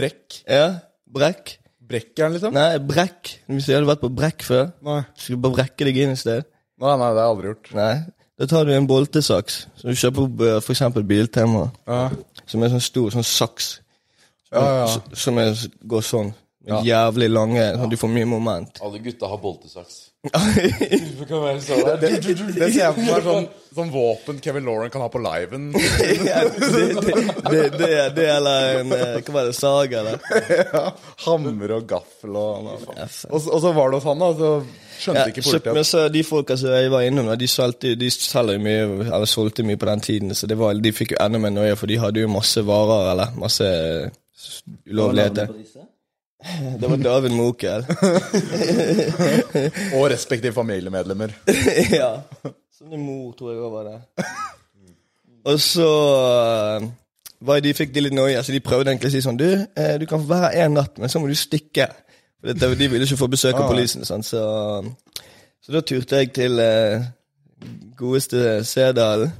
[SPEAKER 4] Brekk.
[SPEAKER 5] Ja? Brekk?
[SPEAKER 4] Brekkjern, liksom?
[SPEAKER 5] Nei, brekk. Hvis du hadde vært på brekk før,
[SPEAKER 4] Nei.
[SPEAKER 5] skulle du bare brekke deg inn et sted.
[SPEAKER 4] Nei, nei, det har jeg aldri gjort.
[SPEAKER 5] Nei. Da tar du en boltesaks, som du kjøper på eh, for eksempel Biltema,
[SPEAKER 4] Ja,
[SPEAKER 5] som er sånn stor sånn saks.
[SPEAKER 4] ja. ja.
[SPEAKER 5] S- Som er, går sånn. Med Jævlig lange sånn, Du får mye moment.
[SPEAKER 3] Alle gutta har boltesaks.
[SPEAKER 5] ja,
[SPEAKER 3] Du kan være sånn der.
[SPEAKER 4] Det, det ser jeg for meg er sånn, sånn våpen Kevin Lauren kan ha på liven.
[SPEAKER 5] det, det, det, det, det eller en eh, Hva var det? Sag, eller?
[SPEAKER 4] Hammer og gaffel og
[SPEAKER 5] Ja,
[SPEAKER 4] Og,
[SPEAKER 5] faen.
[SPEAKER 4] så- og så var det hos han, da. Så skjønte
[SPEAKER 5] Ja,
[SPEAKER 4] ikke
[SPEAKER 5] så, men
[SPEAKER 4] politiet at
[SPEAKER 5] så de folka som jeg var innom, da, de, solgte, de selger jo mye, eller solgte mye på den tiden, så det var, de fikk jo enda mer nøye, for de hadde jo masse varer, eller masse eh, s- ulovligheter. Det var David Mokel.
[SPEAKER 4] Og respektive familiemedlemmer.
[SPEAKER 5] ja. Sånn din mor, tror jeg òg var det. Og så eh, var de, fikk de litt noia, så de prøvde egentlig å si sånn Du, eh, du kan få være her én natt, men så må du stikke. For dette, de ville ikke få besøk av politiet. sant, Så, så da turte jeg til eh, godeste Sædalen.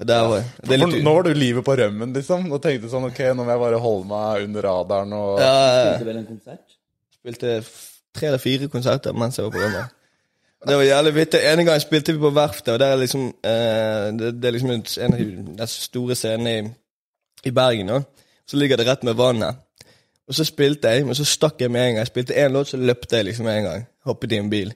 [SPEAKER 5] Og der var det er
[SPEAKER 4] For
[SPEAKER 5] litt,
[SPEAKER 4] nå var du livet på rømmen, liksom. Og tenkte sånn Ok, nå må jeg bare holde meg under radaren og
[SPEAKER 5] ja,
[SPEAKER 6] Spilte vel en konsert?
[SPEAKER 5] spilte f- tre eller fire konserter mens jeg var på rommet. Det var jævlig vittig. En gang spilte vi på Verftet, og der er liksom, eh, det, det er liksom en en av de de store scenene i, i Bergen. Da. Så ligger det rett med vannet. Og så spilte jeg, men så stakk jeg med en gang. Jeg spilte én låt, så løpte jeg liksom med en gang. Hoppet i en bil.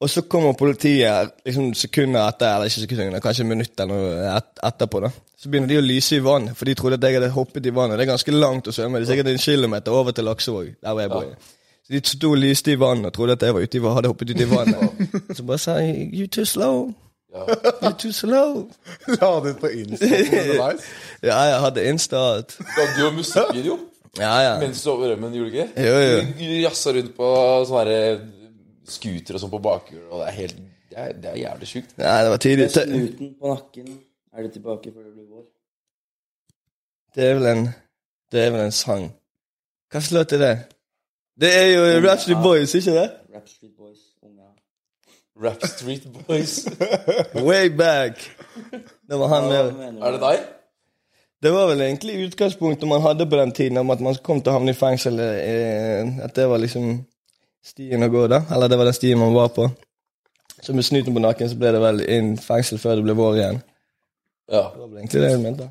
[SPEAKER 5] Og så kommer politiet liksom sekunder etter, eller ikke sekunder, kanskje minutter eller noe et, etterpå. da. Så begynner de å lyse i vann, for de trodde at jeg hadde hoppet i vannet. Det er ganske langt å svømme, det er sikkert en kilometer over til Laksevåg, der hvor jeg bor. Så de sto og lyste i vann og trodde at jeg var ute i, vann- hadde hoppet ut i vannet. Så bare sa jeg 'you too slow'. You too slow.
[SPEAKER 4] la det ut på Insta underveis.
[SPEAKER 5] Ja, jeg hadde insta og alt.
[SPEAKER 3] Du hadde jo musikkvideo
[SPEAKER 5] Ja, ja.
[SPEAKER 3] mens du var på rømmen, gjorde du ikke?
[SPEAKER 5] Jo, jo.
[SPEAKER 3] Du jazza rundt på sånne her, eh, scooter og sånn på bakhjul, og det er helt Det er, det er jævlig sjukt.
[SPEAKER 5] Nei, det var tidlig. Det
[SPEAKER 6] Snuten på nakken. Er det tilbake før det blir vår?
[SPEAKER 5] det er vel en Det er vel en sang. Hva slags låt er det? Det er jo Ratchet Boys, ikke det?
[SPEAKER 6] Rap Street Boys, unga.
[SPEAKER 3] Rap Street Boys.
[SPEAKER 5] Way back. Det var han
[SPEAKER 6] Hva
[SPEAKER 5] med.
[SPEAKER 6] mener
[SPEAKER 3] Er
[SPEAKER 6] du?
[SPEAKER 3] det deg?
[SPEAKER 5] Det var vel egentlig utgangspunktet man hadde på den tiden, om at man kom til å havne i fengsel. eh, At det var liksom stien å gå, da. Eller det var den stien man var på. Så med snuten på nakken så ble det vel inn fengsel før det ble vår igjen.
[SPEAKER 3] Ja.
[SPEAKER 5] Det var vel egentlig det jeg mente.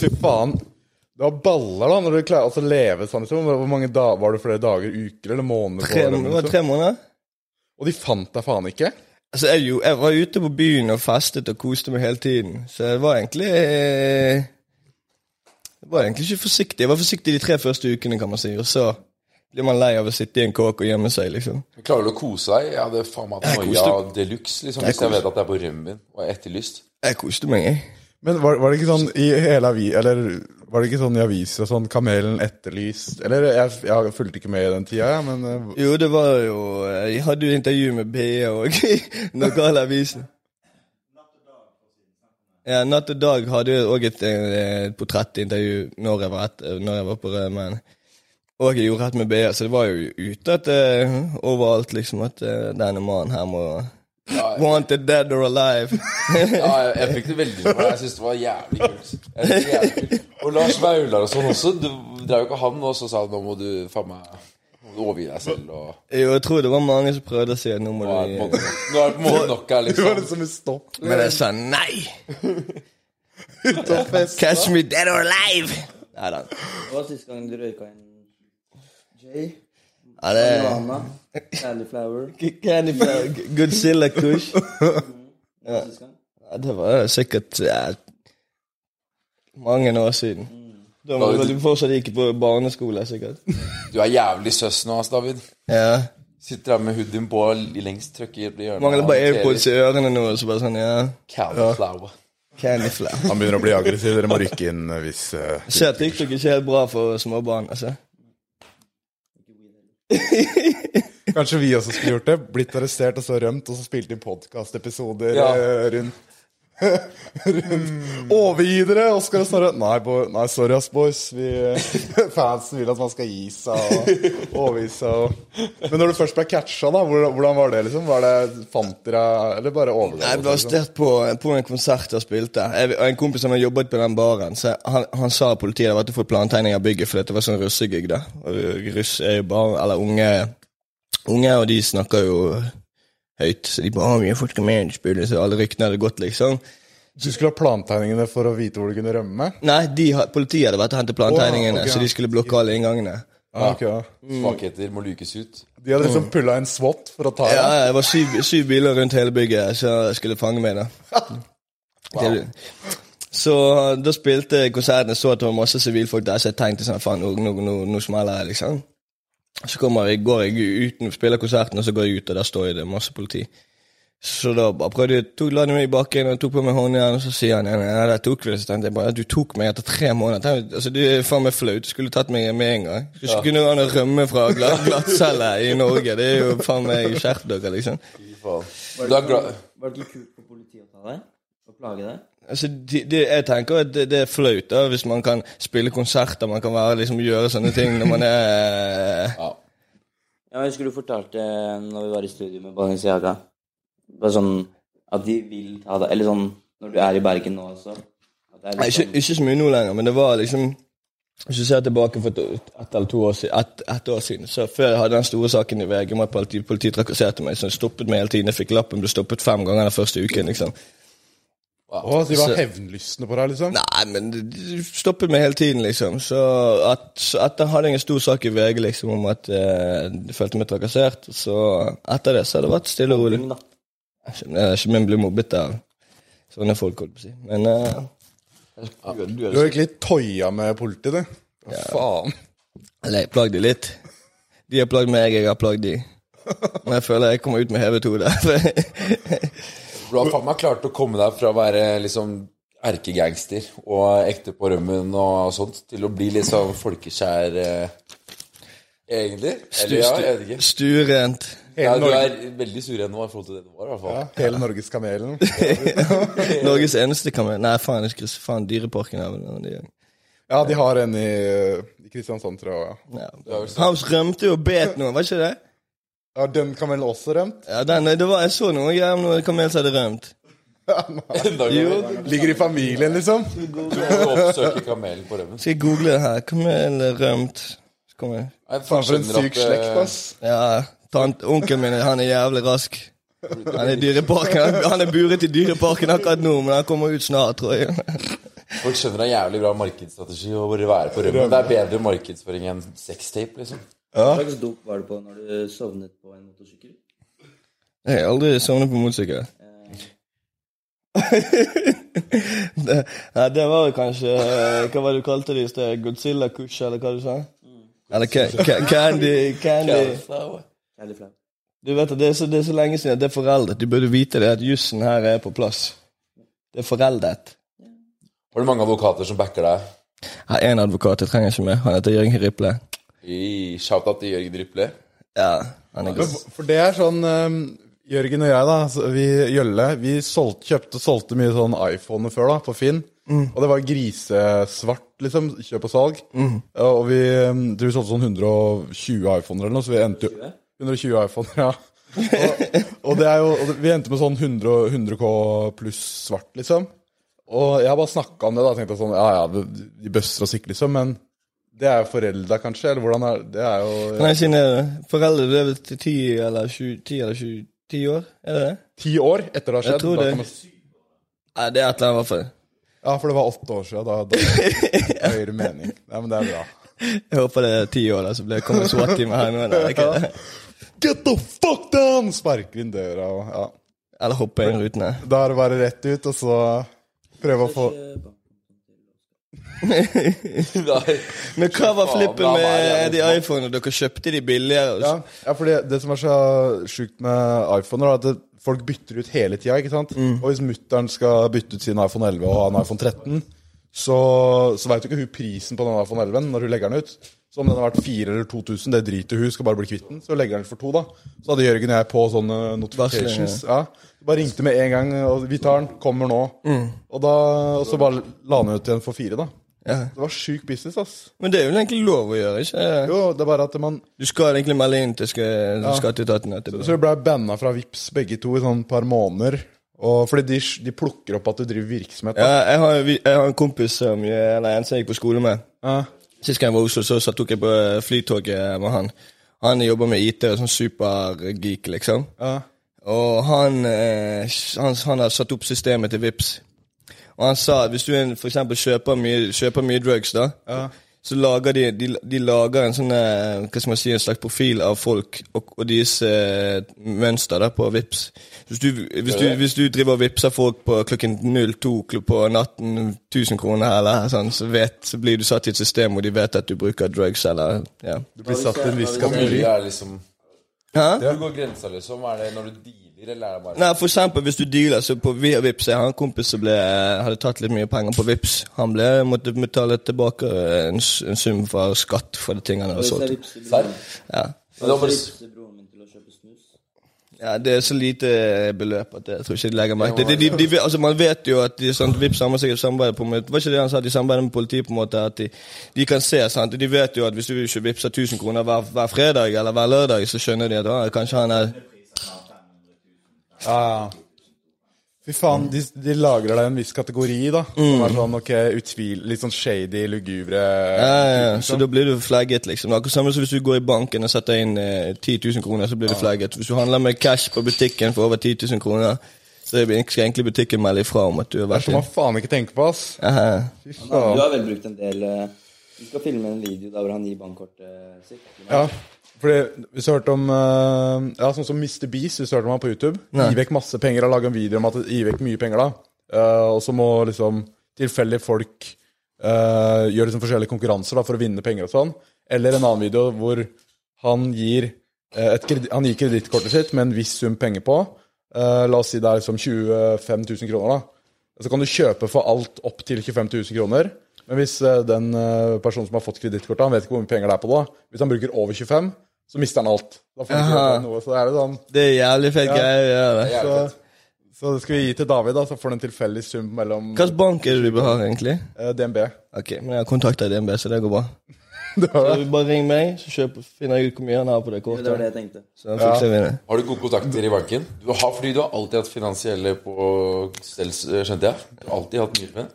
[SPEAKER 4] Fy faen. Du har baller da når du klarer altså, å leve sånn. Liksom. Hvor mange da, Var det flere dager, uker eller måneder? på
[SPEAKER 5] Tre,
[SPEAKER 4] rømmen,
[SPEAKER 5] det var
[SPEAKER 4] liksom?
[SPEAKER 5] tre måneder.
[SPEAKER 4] Og de fant deg faen ikke?
[SPEAKER 5] Altså, jeg, jo, jeg var ute på byen og festet og koste meg hele tiden. Så det var egentlig eh, var egentlig ikke forsiktig. Jeg var forsiktig de tre første ukene, kan man si. Og så blir man lei av å sitte i en kåk og gjemme seg, liksom.
[SPEAKER 3] Men Klarer du å kose deg? Jeg hadde faen meg
[SPEAKER 5] Jeg
[SPEAKER 3] hatt
[SPEAKER 5] koste-
[SPEAKER 3] noia de luxe liksom, hvis jeg
[SPEAKER 5] koste-
[SPEAKER 3] vet at det er på rømmen og er etterlyst.
[SPEAKER 5] Jeg koste meg, jeg.
[SPEAKER 4] Men var, var det ikke sånn i hele avi, Eller var det ikke sånn i aviser og sånn 'Kamelen etterlyst' Eller jeg, jeg fulgte ikke med i den tida, jeg, men eh,
[SPEAKER 5] Jo, det var jo Jeg hadde jo intervju med BA og lokalavisen. Ja, Natt og Dag hadde jo òg et, eh, portrettintervju når jeg var, etter, når jeg var på Rødmen. Og jeg gjorde et med BA, så det var jo ute at, eh, overalt liksom at eh, denne mannen her må Wanted dead or alive.
[SPEAKER 3] Ja, jeg, jeg fikk det veldig med meg. Jeg syns det var jævlig kult. Jeg synes det var jævlig kult. Og Lars Vaular og sånn også. Du drev jo ikke han og så sa han, nå må du faen meg nå må du overgi deg selv og
[SPEAKER 5] Jo, jeg tror det var mange som prøvde å si at nå må
[SPEAKER 3] Nå er det på en
[SPEAKER 5] du
[SPEAKER 3] måte- nå er det på en måte nok her,
[SPEAKER 4] det
[SPEAKER 3] liksom.
[SPEAKER 4] var liksom et stopp.
[SPEAKER 5] Men jeg sa nei!
[SPEAKER 4] Ute og fest.
[SPEAKER 5] Catch me dead or alive! Nei da.
[SPEAKER 6] Det var siste gang du røyka en
[SPEAKER 3] Eh.
[SPEAKER 6] Jay.
[SPEAKER 5] Ja, det
[SPEAKER 6] Marihuana. Calyflower.
[SPEAKER 5] Candy Flow, Godzilla Kush.
[SPEAKER 6] Det var siste gang.
[SPEAKER 5] Ja, det var sikkert ja, mange år siden. Da var
[SPEAKER 3] Da-
[SPEAKER 5] vel du fortsatt ikke på barneskole, sikkert.
[SPEAKER 3] Du er jævlig søs nå, ass, David.
[SPEAKER 5] Ja.
[SPEAKER 3] Sitter der med hoodien på i lengst trøkk i hjørnet.
[SPEAKER 5] Mangler bare
[SPEAKER 3] Noterer
[SPEAKER 5] airpods i ørene nå, og så bare sånn, ja.
[SPEAKER 3] Calyflower.
[SPEAKER 5] Candy Flow.
[SPEAKER 4] Han begynner å bli aggressiv. Dere må rykke inn hvis eh,
[SPEAKER 5] Jeg ser at TikTok ikke er helt bra for små barn, altså.
[SPEAKER 4] Kanskje vi også skulle gjort det. Blitt arrestert og så rømt, og så spilt inn podkastepisoder
[SPEAKER 3] Ja.
[SPEAKER 4] eh, rundt. rundt Overgi dere, Oskar og Snorre. Nei, bo, nei, sorry, ass, boys. Vi, fansen vil at man skal gi seg og overgi seg. Og. Men når du først ble catcha, da, hvordan, hvordan var det? liksom? Var det Fant dere Eller bare overlevde?
[SPEAKER 5] Jeg ble arrestert på, på en konsert jeg spilte. Jeg, og en kompis som hadde jobbet på den baren, så han, han sa at politiet hadde vært og fått plantegning av bygget, for dette var sånn russegig, da. Og russ er jo barn, eller unge, unge, og de snakker jo høyt. Så de bare «Å, vi har fått komme inn og spille», så alle ryktene hadde gått, liksom.
[SPEAKER 4] Du skulle ha plantegningene for å vite hvor du kunne rømme?
[SPEAKER 5] Nei, de, ha- politiet hadde vært og hentet
[SPEAKER 4] Å,
[SPEAKER 5] plantegningene,
[SPEAKER 4] ok,
[SPEAKER 5] så de
[SPEAKER 4] ja.
[SPEAKER 5] skulle blokke alle inngangene.
[SPEAKER 4] Ja. ok, ja.
[SPEAKER 3] Svakheter må lukes ut.
[SPEAKER 4] De hadde liksom pulla en SWAT for å ta
[SPEAKER 5] Ja,
[SPEAKER 4] deg?
[SPEAKER 5] ja, det var syv, syv biler rundt hele bygget som skulle fange meg, da. Det- Så da spilte konserten, jeg så at det var masse sivilfolk der, så jeg tenkte sånn faen, nå, nå, nå, nå smeller det, liksom. Så kommer jeg, går jeg ut, spiller konserten, og så går jeg ut, og der står det masse politi. Så da bare prøvde jeg, tok, la de meg i bakken og tok på meg håndjern, og så sier han ja, ja, der tok vi det. Så tenkte jeg bare, ja, du tok meg etter tre måneder. Tenkte, altså, Det er faen meg flaut. Du skulle tatt meg med en gang. Du skulle kunne gå an å rømme fra gla- glattcelle i Norge. Det er jo faen meg skjerp dere, liksom.
[SPEAKER 3] Fy faen. Du er glad
[SPEAKER 6] Var det ikke kult for politiet å ta deg? Å plage deg?
[SPEAKER 5] Altså, de, de, jeg tenker at det, det er flaut da, hvis man kan spille konserter, man kan være, liksom, gjøre sånne ting når man er
[SPEAKER 3] ja.
[SPEAKER 6] Ja, jeg husker du fortalte eh, når vi var i studio med Balenciaga Bare sånn at de vil ta deg Eller sånn når du er i Bergen nå også. At det er
[SPEAKER 5] Nei,
[SPEAKER 6] litt
[SPEAKER 5] ikke,
[SPEAKER 6] sånn-
[SPEAKER 5] ikke så mye nå lenger, men det var liksom Hvis du ser tilbake for ett et eller to år siden, et, ett år siden så Før jeg hadde den store saken i VG om at politi, politiet trakasserte meg, så stoppet meg hele tiden. Jeg fikk lappen, ble stoppet fem ganger den første uken, liksom.
[SPEAKER 4] Å, de var
[SPEAKER 5] Så-
[SPEAKER 4] hevnlystne på deg, liksom?
[SPEAKER 5] Nei, men det- det stoppet meg hele tiden, liksom. Så, at, så etter hadde jeg en stor sak i VG liksom om at eh, jeg følte meg trakassert. Så etter det så har det vært stille og rolig.
[SPEAKER 6] Mobbing, da.
[SPEAKER 5] Jeg er ikke min blir mobbet av sånne folk, holdt på å si. Men eh, du er
[SPEAKER 4] Du har egentlig toya med politiet, du. Hva faen?
[SPEAKER 5] Eller jeg plagde de litt. De har plagd meg, jeg har plagd de. Men jeg føler jeg kommer ut med hevet hode.
[SPEAKER 3] Du har faen meg klart å komme deg fra å være liksom erkegangster og ekte på rømmen og sånt, til å bli litt sånn folkeskjær eh, egentlig. Eller ja, jeg vet ikke.
[SPEAKER 5] Sturent.
[SPEAKER 3] Ja, du er veldig sur ennå i forhold til det du var, i hvert fall.
[SPEAKER 4] Ja, hele Norgeskamelen.
[SPEAKER 5] Norges eneste kamel... Nei, faen, jeg skulle faen Dyreparken er vel noe av de
[SPEAKER 4] Ja, de har en i eh, i Kristiansand, tror jeg. ja.
[SPEAKER 5] ja.
[SPEAKER 3] Du er vel sånn-
[SPEAKER 5] Han rømte jo og bet noen, var ikke det?
[SPEAKER 4] Ja, den kamelen også rømt?
[SPEAKER 5] Ja, den, det var, Jeg så noen greier om noen kamel som hadde rømt.
[SPEAKER 3] Enda en gang.
[SPEAKER 4] Ligger i familien, liksom.
[SPEAKER 3] Du må oppsøke kamelen på rømmen.
[SPEAKER 5] Skal jeg google det her? Kamel rømt. Så kommer jeg.
[SPEAKER 3] Nei, folk
[SPEAKER 4] Faen, for en
[SPEAKER 3] skjønner
[SPEAKER 4] syk
[SPEAKER 3] at, eh,
[SPEAKER 4] slekt, ass.
[SPEAKER 5] Ja, tant, Onkelen min han er jævlig rask. Han er i dyreparken. Han- Han er buret i Dyreparken akkurat nå, men han kommer ut snart, tror jeg.
[SPEAKER 3] Folk skjønner det er en jævlig bra markedsstrategi å bare være på rømmen. Det er bedre markedsføring enn sextape, liksom.
[SPEAKER 6] Hva slags dop var det på når du sovnet på en motorsykkel?
[SPEAKER 5] Jeg har aldri sovnet på motorsykkel. det, nei, det var jo kanskje eh, Hva var det du kalte det i sted? Godzilla Kush, eller hva du sa? Mm. Eller ca ca Candy Candy
[SPEAKER 6] Veldig flaut.
[SPEAKER 5] Du vet at det er, så, det er så lenge siden at det er foreldet. Du burde vite det at jussen her er på plass. Det er foreldet.
[SPEAKER 3] Har du mange advokater som backer deg?
[SPEAKER 5] Her er en advokat jeg trenger ikke med. Han heter Jørgen Riple.
[SPEAKER 3] I shout-out til Jørgen Riple.
[SPEAKER 5] Ja, han er
[SPEAKER 4] Men
[SPEAKER 5] god.
[SPEAKER 4] for- For det er sånn ehm, Jørgen og jeg, da, så vi Jølle, vi solgte, kjøpte og solgte mye sånn iPhone før, da, på Finn.
[SPEAKER 5] Mm.
[SPEAKER 4] Og det var grisesvart, liksom. Kjøp og salg.
[SPEAKER 5] Mm.
[SPEAKER 4] Ja, Og vi, ehm, tror vi solgte sånn 120 iPhoner eller noe, så vi endte jo 120 iPhoner, ja. Og, og det er jo, og det- vi endte med sånn 100, 100K pluss svart, liksom. Og jeg har bare snakka om det, da. Tenkte jeg sånn, ja ja, de- de bøsser oss ikke, liksom. Men det er jo forelda, kanskje? Eller hvordan er Det er jo
[SPEAKER 5] Nei, siden er det foreldre det er vel til 10 eller 20, 10 eller 20, 10 år? Er det det?
[SPEAKER 4] ti år etter det har skjedd.
[SPEAKER 5] Jeg tror
[SPEAKER 4] da
[SPEAKER 5] det.
[SPEAKER 4] kan man-
[SPEAKER 5] Nei, det er et eller annet i hvert fall.
[SPEAKER 4] Ja, for det var åtte år siden. Da, da høyere mening. Nei, men det er bra.
[SPEAKER 5] Jeg håper det er 10 år, da, så blir det kommet SWAT-time her nå. Eller, ikke? det?
[SPEAKER 4] Get the fuck down! Sparker inn døra og ja.
[SPEAKER 5] eller hoppe inn rutene.
[SPEAKER 4] Da er det bare rett ut, og så prøve å få
[SPEAKER 3] Nei.
[SPEAKER 5] Men hva var flippen
[SPEAKER 3] Faen, da var jeg
[SPEAKER 5] med de
[SPEAKER 3] liksom-
[SPEAKER 5] iPhonene? Dere kjøpte de billigere? og
[SPEAKER 4] Ja,
[SPEAKER 5] så-
[SPEAKER 4] ja for det, det som er så sjukt med iPhoner, er at det, folk bytter ut hele tida, ikke sant? Og hvis mutter'n skal bytte ut sin iPhone 11 og ha en iPhone 13, så, så veit jo ikke hun prisen på den iPhone 11 når hun legger den ut. Så om den har vært 4000 eller 2000, det driter hun, skal bare bli kvitt den. Så legger den for to, da. Så hadde Jørgen og jeg på sånne notifications. Ja. Bare ringte med en gang, og vi tar den, kommer nå. Og, da, og så bare la han ut igjen for fire, da.
[SPEAKER 5] Ja.
[SPEAKER 4] Det var sjuk business, ass.
[SPEAKER 5] Men det er jo egentlig lov å gjøre, ikke?
[SPEAKER 4] Jo, det er bare at man
[SPEAKER 5] Du skal egentlig melde inn til sk- skatteetaten etterpå.
[SPEAKER 4] Så vi ble banna fra Vips begge to i sånn et par måneder. Og, fordi de, de plukker opp at du driver virksomhet. Da.
[SPEAKER 5] Ja, jeg, har, vi- jeg har en kompis som, eller en som jeg gikk på skole med.
[SPEAKER 4] Ja.
[SPEAKER 5] Sist gang jeg var i Oslo, så, så tok jeg på eh, flytoget med han. Han jobber med IT, og sånn supergeek, liksom.
[SPEAKER 4] Ja.
[SPEAKER 5] Og han, eh, han, han har satt opp systemet til Vips. Og han sa at hvis du er en- for eksempel kjøper mye, kjøper mye drugs, da, så lager de, de, de lager en sånn eh, hva skal man si, en slags profil av folk og, og deres eh, mønster da, på Vips. Hvis du, hvis, du, hvis du driver og vipser folk på klokken 02 kl- på natten 1000 kroner, eller sånn, så, vet, så blir du satt i et system hvor de vet at du bruker drugs, eller ja.
[SPEAKER 4] Du
[SPEAKER 6] Eh,
[SPEAKER 4] blir satt i en viss
[SPEAKER 3] Hvor
[SPEAKER 4] kategori.
[SPEAKER 3] mye er liksom
[SPEAKER 5] Hæ?
[SPEAKER 3] Hvor går grensa, liksom? Er det når du dealer, eller er det bare
[SPEAKER 5] Nei, for eksempel hvis du dealer så på via Vips Jeg har en kompis som ble, eh, hadde tatt litt mye penger på Vips Han ble, måtte betale tilbake eh, en, s- en sum for skatt for de tingene han hadde
[SPEAKER 6] Jeg
[SPEAKER 5] solgt.
[SPEAKER 6] vipser
[SPEAKER 3] Serr?
[SPEAKER 6] broren-
[SPEAKER 5] Ja.
[SPEAKER 3] Men det var bare-
[SPEAKER 6] vipser broren min til å kjøpe snus.
[SPEAKER 5] ja, det er så lite beløp at jeg tror ikke de legger merke til det. De, de, de, altså, man vet jo at de, sant, Vips har sikkert samarbeid på med, Var ikke det han sa? De samarbeider med politiet på en måte at de, de kan se, sant? De vet jo at hvis du ikke vipser 1000 kroner hver, hver fredag eller hver lørdag, så skjønner de at ah, kanskje han er
[SPEAKER 4] Ja, ja. Fy faen, de, de lagrer deg i en viss kategori, da.
[SPEAKER 5] Mm.
[SPEAKER 4] Som er sånn ok, utvil, litt sånn shady, lugubre sånn.
[SPEAKER 5] Ja, ja, ja. Så da blir du flagget, liksom. Det er Akkurat samme som hvis du går i banken og setter inn eh, 10 000 kroner, så blir du flagget. Hvis du handler med cash på butikken for over 10 000 kroner, så er- skal egentlig butikken melde ifra om at du har
[SPEAKER 4] Det er
[SPEAKER 5] vært
[SPEAKER 4] som
[SPEAKER 5] inn.
[SPEAKER 4] man faen ikke tenker på, ass.
[SPEAKER 5] Ja,
[SPEAKER 4] Fy
[SPEAKER 6] Men han- Du
[SPEAKER 4] faen.
[SPEAKER 6] har vel brukt en del eh, Du skal filme en video der hvor han gir bankkortet eh, sitt.
[SPEAKER 4] Ja, fordi hvis du har hørt om eh, Ja, sånn som Mr. Beast, hvis du har hørt om han på YouTube. Gi vekk masse penger og lage en video om at gi vekk mye penger, da. Eh, og så må liksom tilfeldige folk eh, gjøre liksom forskjellige konkurranser da, for å vinne penger og sånn. Eller en annen video hvor han gir eh, et kredi- Han gir kredittkortet sitt med en viss sum penger på. Eh, la oss si det er liksom 25 000 kroner, da. Så kan du kjøpe for alt opp til 25 000 kroner. Men hvis eh, den eh, personen som har fått kredittkortet, han vet ikke hvor mye penger det er på det, da. hvis han bruker over 25, så mister han alt. Da får han ikke
[SPEAKER 5] Aha.
[SPEAKER 4] gjøre noe, så det er jo sånn.
[SPEAKER 5] Det er jævlig fett greie. Ja, det.
[SPEAKER 4] Så, så det skal vi gi til David, da, så får han en tilfeldig sum mellom
[SPEAKER 5] Hvilken bank er det du har, egentlig?
[SPEAKER 4] eh, DNB.
[SPEAKER 5] Ok, men jeg har kontakta DNB, så det går bra.
[SPEAKER 4] Det var
[SPEAKER 5] Så
[SPEAKER 4] det.
[SPEAKER 5] du bare ring meg, så kjøper, finner jeg ut hvor mye han har på det
[SPEAKER 6] Det var
[SPEAKER 5] kortet.
[SPEAKER 6] det jeg tenkte.
[SPEAKER 5] Så fikser vi det.
[SPEAKER 3] Har du gode kontakter i banken? Du har, fordi du har alltid hatt finansielle på stell, skjønte jeg. Du har alltid hatt mye menn.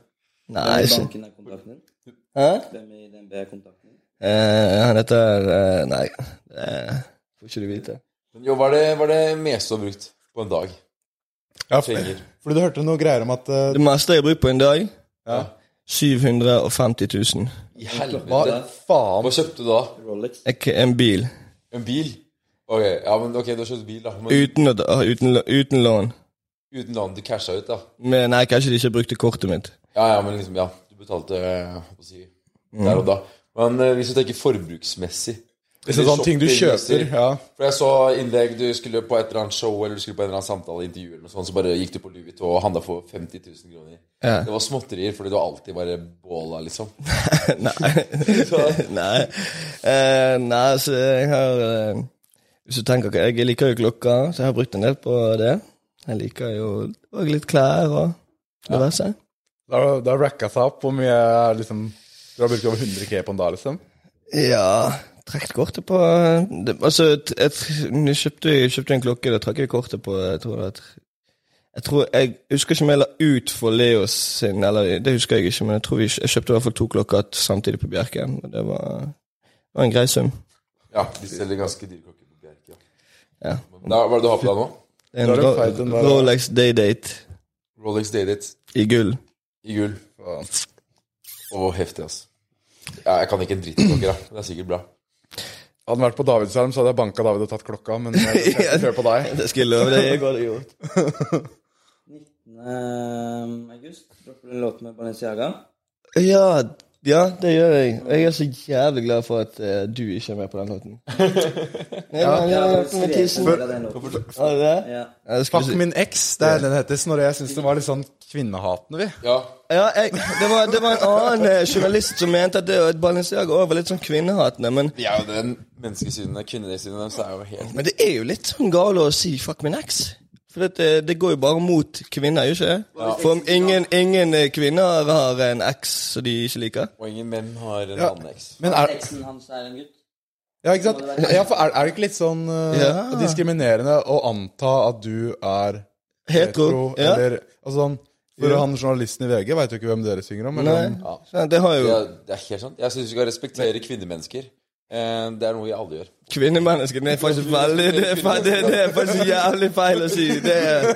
[SPEAKER 5] Nei,
[SPEAKER 6] I
[SPEAKER 5] så.
[SPEAKER 6] banken er kontakten din?
[SPEAKER 5] Hæ?
[SPEAKER 6] Hvem i DNB er kontakten din?
[SPEAKER 5] Eh, han heter eh, Nei, eh, får ikke du vite.
[SPEAKER 3] Men jo, hva er det, hva er det meste du har brukt på en dag?
[SPEAKER 4] Ja,
[SPEAKER 3] Penger.
[SPEAKER 4] fordi du hørte noe greier om at eh,
[SPEAKER 5] Det meste jeg bruker på en dag,
[SPEAKER 4] ja.
[SPEAKER 5] 750 000.
[SPEAKER 3] I
[SPEAKER 4] Hva
[SPEAKER 3] helvete.
[SPEAKER 4] faen?
[SPEAKER 3] Hva kjøpte du da?
[SPEAKER 6] Rolex?
[SPEAKER 5] Ek- En bil.
[SPEAKER 3] En bil? Ok, ja, men ok, du har kjøpt bil, da. Men
[SPEAKER 5] Uten, å- ah, uten, lå- uten lån.
[SPEAKER 3] Uten at de casha ut, da.
[SPEAKER 5] Men nei, kanskje de ikke brukte kortet mitt.
[SPEAKER 3] Ja, ja, men liksom, ja. Du betalte eh, hva skal jeg si, der og da. Men eh, hvis du tenker forbruksmessig
[SPEAKER 4] Hvis det er sånn ting du kjøper,
[SPEAKER 3] shoppingmessig.
[SPEAKER 4] ja.
[SPEAKER 3] For jeg så innlegg du skulle på et eller annet show eller du skulle på en eller annen samtale, intervju eller noe sånt, så bare gikk du på Louis Vuitton og handla for 50 000 kroner.
[SPEAKER 5] Ja.
[SPEAKER 3] Det var småtterier fordi du alltid bare båla, liksom.
[SPEAKER 5] nei. nei. Eh, nei, så jeg har eh, Hvis du tenker Jeg liker jo klokka, så jeg har brukt en del på det. Jeg liker jo og litt klær og diverse.
[SPEAKER 4] Da har da har racka seg opp hvor mye liksom Du har brukt over 100 K på en dag, liksom.
[SPEAKER 5] Ja Trekt kortet på det, Altså, et- jeg, tr- nå kjøpte, jeg kjøpte en klokke, da trakk jeg kortet på Jeg tror det var tr- Jeg tror, jeg husker ikke om jeg la ut for Leos sin, eller det husker jeg ikke, men jeg tror vi, jeg kjøpte i hvert fall to klokker samtidig på Bjerken. og Det var, det var en grei sum.
[SPEAKER 3] Ja, de selger ganske dyre klokker på Bjerke.
[SPEAKER 5] Ja.
[SPEAKER 3] Da, hva er det du har på deg nå?
[SPEAKER 5] Det er
[SPEAKER 4] Da
[SPEAKER 5] En
[SPEAKER 4] er det feil, den
[SPEAKER 5] Ro
[SPEAKER 4] der.
[SPEAKER 5] Rolex Day-Date
[SPEAKER 3] Rolex Dated
[SPEAKER 5] i gull.
[SPEAKER 3] i gull. Og heftig, ass. Ja, jeg kan ikke en dritt om klokker, da. men Det er sikkert bra.
[SPEAKER 4] Hadde den vært på Davidsarm, så hadde jeg banka David og tatt klokka, men jeg skal ikke høre på deg.
[SPEAKER 5] Det skal jeg love deg, jeg hadde gjort.
[SPEAKER 6] 19. um, august dropper du en låt med Balenciaga.
[SPEAKER 5] Ja, ja, det gjør jeg. Og jeg er så jævlig glad for at eh, du ikke er med på den låten. Ja, men, ja,
[SPEAKER 6] Jeg
[SPEAKER 5] men,
[SPEAKER 6] har
[SPEAKER 5] tissen.
[SPEAKER 6] skrevet den låten.
[SPEAKER 5] Har du det?
[SPEAKER 6] Ja.
[SPEAKER 5] Ja, det skulle
[SPEAKER 4] Fuck
[SPEAKER 5] si-
[SPEAKER 4] min eks, det er den heter. Snorre, jeg syns den var litt sånn kvinnehatende, vi.
[SPEAKER 3] Ja,
[SPEAKER 5] Ja, jeg, det, var, det var en annen eh, journalist som mente at det at Balenciaga også var litt sånn kvinnehatende, men,
[SPEAKER 3] de er jo den menneskesynet, kvinnesynet deres er jo helt
[SPEAKER 5] men det er jo litt sånn gale å si 'fuck min eks'. For det, det går jo bare mot kvinner, gjør ikke det? For om ingen, ingen eh, kvinner har en eks som de ikke liker.
[SPEAKER 3] Og ingen menn har en annen eks.
[SPEAKER 4] Men er,
[SPEAKER 6] Eksen hans er en gutt.
[SPEAKER 4] ja, ikke sant? Ja, for er, er det ikke litt sånn eh,
[SPEAKER 5] Ja.
[SPEAKER 4] diskriminerende å anta at du er
[SPEAKER 5] Hetero. ja.
[SPEAKER 4] eller altså sånn For han journalisten i VG veit jo ikke hvem dere synger om.
[SPEAKER 5] Nei,
[SPEAKER 4] Eller?
[SPEAKER 5] sant, det har jo
[SPEAKER 3] Det er, det er helt sant. Jeg syns vi skal respektere kvinnemennesker. Eh, Det er noe vi alle gjør.
[SPEAKER 5] Kvinnemennesket det er faktisk veldig det er, fa- det, det er faktisk jævlig feil å si. Det er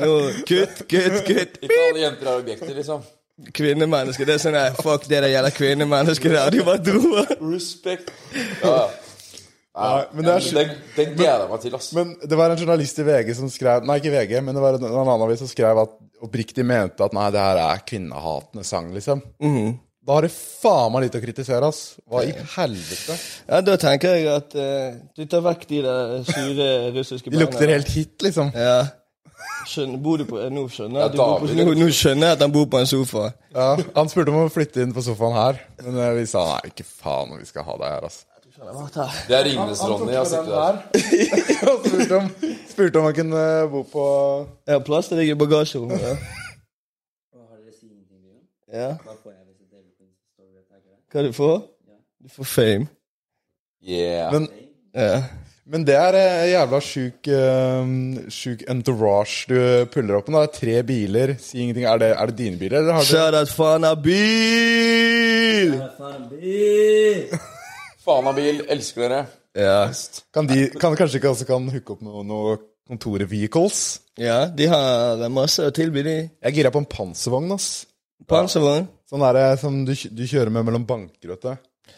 [SPEAKER 5] no, Kutt, kutt, kutt.
[SPEAKER 3] Ikke alle jenter er objekter, liksom.
[SPEAKER 5] Kvinnemennesket, det er sånn der, Fuck det der gjelder kvinnemennesket der. De bare dro.
[SPEAKER 3] Respect. Ja, ja.
[SPEAKER 4] Nei, men det er sj-
[SPEAKER 3] Den, den gleder jeg meg til, ass.
[SPEAKER 4] Men det var en journalist i VG som skrev Nei, ikke VG, men det var en, en annen avis som skrev at oppriktig mente at nei, det her er kvinnehatende sang, liksom.
[SPEAKER 5] Mhm.
[SPEAKER 4] Da har det faen meg lite å kritisere, ass. Hva i helvete?
[SPEAKER 5] Ja, da tenker jeg at eh, du tar vekk de der sure russiske
[SPEAKER 4] De lukter helt hit, liksom.
[SPEAKER 5] Ja. Skjønner, bor du på, eh, nå, skjønner jeg at du
[SPEAKER 3] Ja,
[SPEAKER 5] bor på,
[SPEAKER 3] David.
[SPEAKER 5] nå, nå skjønner jeg at han bor på en sofa.
[SPEAKER 4] Ja, han spurte om å flytte inn på sofaen her, men eh, vi sa nei, ikke faen om vi skal ha deg her, ass.
[SPEAKER 3] Det er Ringenes Ronny. Jeg har sett det der.
[SPEAKER 4] Og spurte om, spurte om han kunne bo på
[SPEAKER 5] Jeg har plass til deg i bagasjerommet. Ja.
[SPEAKER 6] Og har dere siden til bilen?
[SPEAKER 5] Ja.
[SPEAKER 6] Da får jeg visst et delpris.
[SPEAKER 5] Hva du får? Du får fame.
[SPEAKER 3] Yeah.
[SPEAKER 4] Men,
[SPEAKER 5] Ja.
[SPEAKER 4] men det er eh, jævla sjuk, eh, sjuk entourage du puller opp med. da. Det er tre biler, si ingenting. Er det, er det dine biler, eller har du
[SPEAKER 5] Shout out Fana Bil!
[SPEAKER 3] Faen av bil. Elsker dere.
[SPEAKER 5] Ja.
[SPEAKER 4] Kan de kan, kanskje ikke også kan hooke opp noe, noe kontorvehicles?
[SPEAKER 5] ja, de har eh, masse å tilby, de.
[SPEAKER 4] Jeg gira på en panservogn, ass.
[SPEAKER 5] Panservogn.
[SPEAKER 4] Sånn er det som du, kj- du kjører med mellom banker, vet du.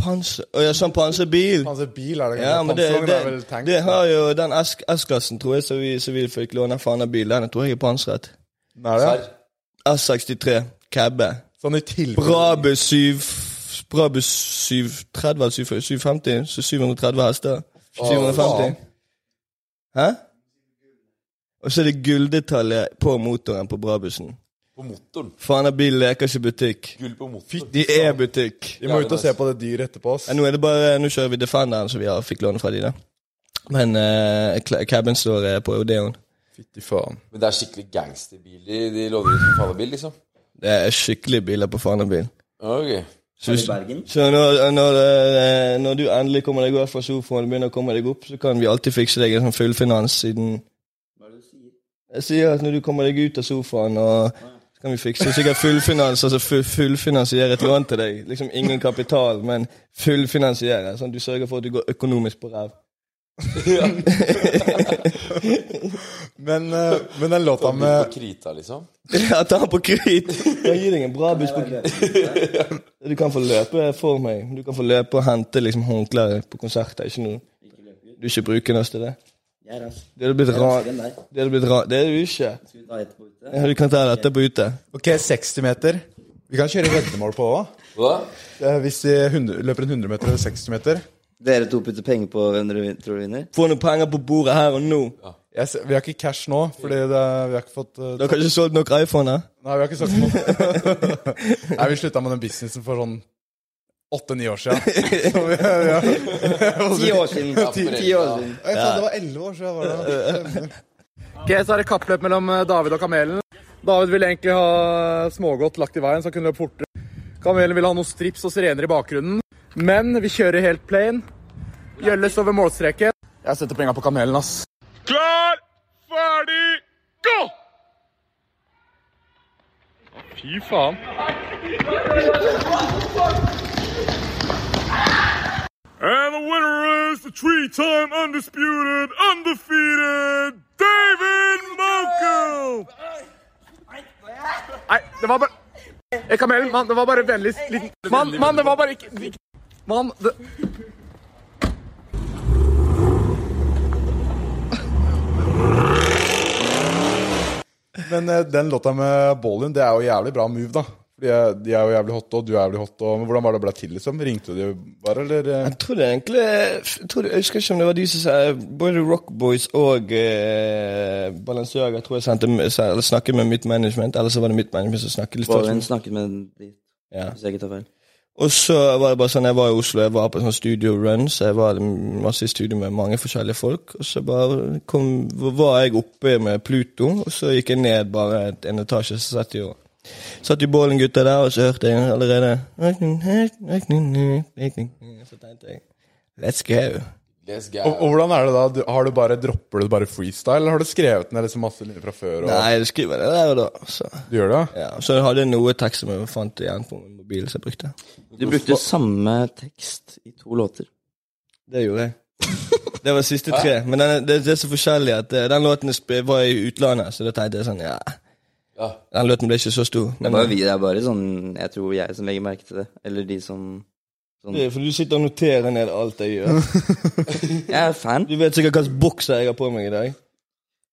[SPEAKER 5] Panser... Å ja, sånn panserbil.
[SPEAKER 4] Panserbil er det kanskje.
[SPEAKER 5] Ja, men det,
[SPEAKER 4] panservogn
[SPEAKER 5] det,
[SPEAKER 4] er vel tank.
[SPEAKER 5] det har jo den S- S-klassen, tror jeg, som vi, som vi fikk låne av Fana Bil. Den tror jeg er pansret.
[SPEAKER 4] Nei, det er.
[SPEAKER 3] Der.
[SPEAKER 5] S63 Cabbe.
[SPEAKER 4] Sånn i tilfelle
[SPEAKER 5] Brabus 7 Brabus 730 eller 740, 750, så 730 hester. 750. Hæ? Og så er det gulldetaljer på motoren på Brabusen.
[SPEAKER 3] På motoren.
[SPEAKER 5] Faen, den bilen leker ikke butikk.
[SPEAKER 3] Gull på motoren.
[SPEAKER 5] De er butikk.
[SPEAKER 4] Vi må ut
[SPEAKER 2] altså-
[SPEAKER 4] og se på det dyret etterpå, ass.
[SPEAKER 5] Ja, nå er det bare, nå kjører vi Defenderen som vi har fikk låne fra de da. Men eh, cla- caben står eh, på Odeon.
[SPEAKER 4] Fytti faen.
[SPEAKER 3] Men det er skikkelig gangsterbil. De, de låner ut som faen av bil, liksom.
[SPEAKER 5] Det er skikkelige biler på faen av bil.
[SPEAKER 3] Ok.
[SPEAKER 5] Så hvis-
[SPEAKER 6] I Bergen.
[SPEAKER 5] Så når, når, eh, når du endelig kommer deg opp fra sofaen og begynner å komme deg opp, så kan vi alltid fikse deg en sånn fullfinans siden
[SPEAKER 6] Hva er det du sier?
[SPEAKER 5] Jeg sier at når du kommer deg ut av sofaen, og så kan vi fikse sikkert fullfinans, altså full, fullfinansiere et lån til deg. Liksom ingen kapital, men fullfinansiere. Sånn at du sørger for at du går økonomisk på ræv.
[SPEAKER 4] Men, eh, men den låta
[SPEAKER 3] Bil på
[SPEAKER 4] med
[SPEAKER 3] krita, liksom.
[SPEAKER 5] Ja, ta den på kritt! Jeg gir deg en bra buss på
[SPEAKER 6] Hva er det?
[SPEAKER 5] Du kan få løpe for meg. Du kan få løpe og hente liksom håndklær på konserter. Ikke noe
[SPEAKER 6] Ikke løpe ut.
[SPEAKER 5] du ikke bruker noe til det.
[SPEAKER 6] Jeg er rask.
[SPEAKER 5] Det hadde blitt
[SPEAKER 6] Jeg er
[SPEAKER 5] rart.
[SPEAKER 6] raskere enn deg.
[SPEAKER 5] Det hadde blitt rart. Det er du ikke.
[SPEAKER 6] Skal vi ta etterpå ute?
[SPEAKER 5] Ja, Du kan ta dette på ute.
[SPEAKER 4] Ok, 60 meter. Vi kan kjøre veddemål på òg.
[SPEAKER 3] Hva da?
[SPEAKER 4] Hvis de hundre- løper en 100 meter eller 60 meter.
[SPEAKER 6] Dere to putter penger på hvem dere vin- tror vinner?
[SPEAKER 5] Få noen penger på bordet her og nå.
[SPEAKER 4] Jeg, ser- vi har ikke cash nå, fordi det, vi har ikke fått eh,
[SPEAKER 5] Dere har ikke solgt nok iPhoner.
[SPEAKER 4] Nei, vi har ikke sagt noe. Nei, vi slutta med den businessen for sånn åtte-ni år siden. Så vi, vi har,
[SPEAKER 6] Ti år siden.
[SPEAKER 3] Ti-
[SPEAKER 6] Ti år siden.
[SPEAKER 4] jeg trodde det var elleve år siden. Var
[SPEAKER 2] Eh,
[SPEAKER 4] det.
[SPEAKER 2] Ok, så er det kappløp mellom eh, David og kamelen. David ville egentlig ha smågodt lagt i veien, så han kunne løpe fortere. Kamelen ville ha noen strips og sirener i bakgrunnen. Men vi kjører helt plain. Gjølles over målstreken. Jeg setter penga på kamelen, ass.
[SPEAKER 7] And the winner is the three-time undisputed, undefeated David Mokel!
[SPEAKER 2] Nei, det var bare Eh, Kamelen, mann, det var bare vennlig liten Mann, mann, det var bare ikke ikke- Mann, det
[SPEAKER 4] Men eh, den låta med Ballin, det er jo jævlig bra move, da. Fordi eh, de er jo jævlig hot, og du er jævlig hot. Og, men hvordan var det det ble til, liksom? Ringte de bare, eller? eh?
[SPEAKER 5] Jeg tror det egentlig jeg, tror det, jeg husker ikke om det var de som sa Både Rock Boys og eh, Balenciaga tror jeg sendte, sa- eller snakket med mitt management. Eller så var det mitt management som snakket litt
[SPEAKER 6] Hun
[SPEAKER 5] først.
[SPEAKER 6] snakket med den dit,
[SPEAKER 5] Ja.
[SPEAKER 6] hvis jeg ikke tar feil.
[SPEAKER 5] Og så var det bare sånn Jeg var i Oslo, jeg var på sånn studio run, så jeg var masse i studio med mange forskjellige folk. Og så bare kom, var jeg oppe med Pluto, og så gikk jeg ned bare et- en etasje, så satt jo Satt jo Bålen-gutta der, og så hørte jeg allerede Så tenkte jeg Let's go.
[SPEAKER 3] Let's go.
[SPEAKER 4] Og, og hvordan er det da? Du, har du bare, dropper du bare freestyle, eller har du skrevet ned liksom masse linjer fra før? Og,
[SPEAKER 5] Nei, jeg skriver det der og da. Så,
[SPEAKER 4] Du gjør det?
[SPEAKER 5] ja. så jeg hadde noe tekst som jeg fant igjen på min mobil, som jeg brukte.
[SPEAKER 6] Du brukte samme tekst i to låter.
[SPEAKER 5] Det gjorde jeg. Det var siste tre. Men den, det, det er så forskjellig at eh, den låten sp- var i utlandet, så da tenkte jeg sånn ja.
[SPEAKER 3] Ja.
[SPEAKER 5] Den låten ble ikke så stor.
[SPEAKER 6] Det er
[SPEAKER 5] Men,
[SPEAKER 6] bare, vi, det er bare sånn Jeg tror jeg som legger merke til det. Eller de som sånn.
[SPEAKER 5] Det er For du sitter og noterer ned alt jeg gjør.
[SPEAKER 6] Jeg er fan.
[SPEAKER 5] Du vet sikkert hvilken bokser jeg har på meg i dag.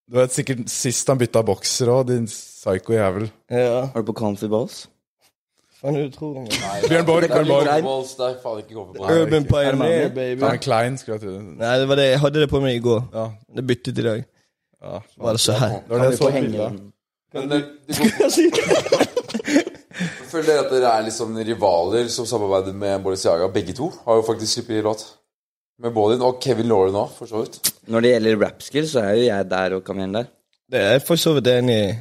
[SPEAKER 4] Du vet sikkert sist han bytta bokser òg, din psycho jævel.
[SPEAKER 5] Ja.
[SPEAKER 6] Har du på Comfy Balls?
[SPEAKER 5] Faen, du tror meg.
[SPEAKER 4] Bjørn Borg,
[SPEAKER 3] Det er
[SPEAKER 4] Bjørn Borg.
[SPEAKER 3] ikke balls, det er faen ikke kåpe på.
[SPEAKER 5] Urban Pioneer, baby.
[SPEAKER 4] Han er klein, skulle jeg tro.
[SPEAKER 5] Nei, det var det. Jeg hadde det på meg i går.
[SPEAKER 4] Ja.
[SPEAKER 5] Det byttet i dag.
[SPEAKER 4] Ja.
[SPEAKER 5] Var det så her?
[SPEAKER 4] Det var det jeg så
[SPEAKER 6] På
[SPEAKER 4] bildet.
[SPEAKER 6] hengeren.
[SPEAKER 3] Men det, det går Føler dere at dere er liksom rivaler som samarbeider med Balenciaga? Begge to har jo faktisk sluppet låt. Med Ballin og Kevin Lauren òg, for så vidt.
[SPEAKER 6] Når det gjelder rapskill, så er jo jeg der og kamelen der.
[SPEAKER 5] Det er jeg for så vidt enig i.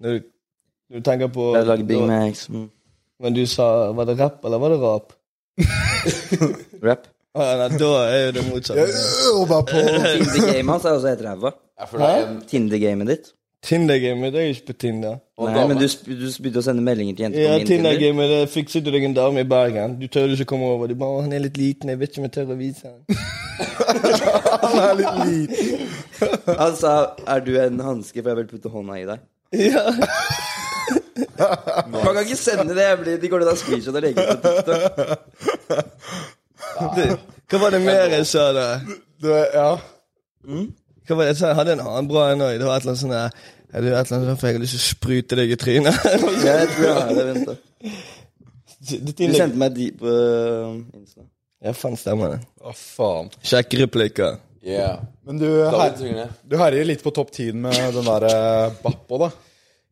[SPEAKER 5] Når du, når du tenker på
[SPEAKER 6] Jeg lager Big Macs mm.
[SPEAKER 5] Men du sa Var det rapp, eller var det rap?
[SPEAKER 6] rap.
[SPEAKER 5] Å, ja, nei, da er jo det motsatt.
[SPEAKER 4] Øh, og bare på-
[SPEAKER 6] Tinder-gamet hans altså, er også helt ræva.
[SPEAKER 3] Jeg føler det er en
[SPEAKER 6] Tinder-gamet ditt.
[SPEAKER 5] Tinder-gamet, det er jo ikke på Tinder.
[SPEAKER 3] og en
[SPEAKER 6] Nei, men
[SPEAKER 3] dame.
[SPEAKER 6] du, sp- du begynte å sende meldinger til jenter
[SPEAKER 5] Ja,
[SPEAKER 6] på min Tinder.
[SPEAKER 5] Tinder-gamet, det fikset du deg en dame i Bergen. Du tør ikke komme over. Du bare, «Å, han er litt liten, jeg vet ikke om jeg tør å vise han.
[SPEAKER 6] Han sa 'er du en hanske, for jeg vil putte hånda i deg'.
[SPEAKER 5] Ja,
[SPEAKER 6] Man kan ikke sende det. Jeg blir, de går ned og screenshot og legger ut på TikTok.
[SPEAKER 5] det. Hva var det mer jeg sa da?
[SPEAKER 4] Ah. Du, ja.
[SPEAKER 6] Mm.
[SPEAKER 5] Hva var det jeg sa? Jeg hadde en annen bra en òg. Det var et eller annet sånn der «Ja, du, et eller annet sånn, for jeg har lyst til å sprute deg i trynet.
[SPEAKER 6] Ja, jeg tror jeg har det. Vent, da.
[SPEAKER 5] Det
[SPEAKER 6] Du
[SPEAKER 5] Tinder-
[SPEAKER 6] sendte meg de på øh, Insta.
[SPEAKER 5] Ja, faen stemmer det.
[SPEAKER 4] Å, faen.
[SPEAKER 5] Kjekke replikker.
[SPEAKER 3] Yeah.
[SPEAKER 4] Men du,
[SPEAKER 3] David
[SPEAKER 4] her,
[SPEAKER 3] trenger det.
[SPEAKER 4] du herjer litt på topp 10 med den derre Bappo, da.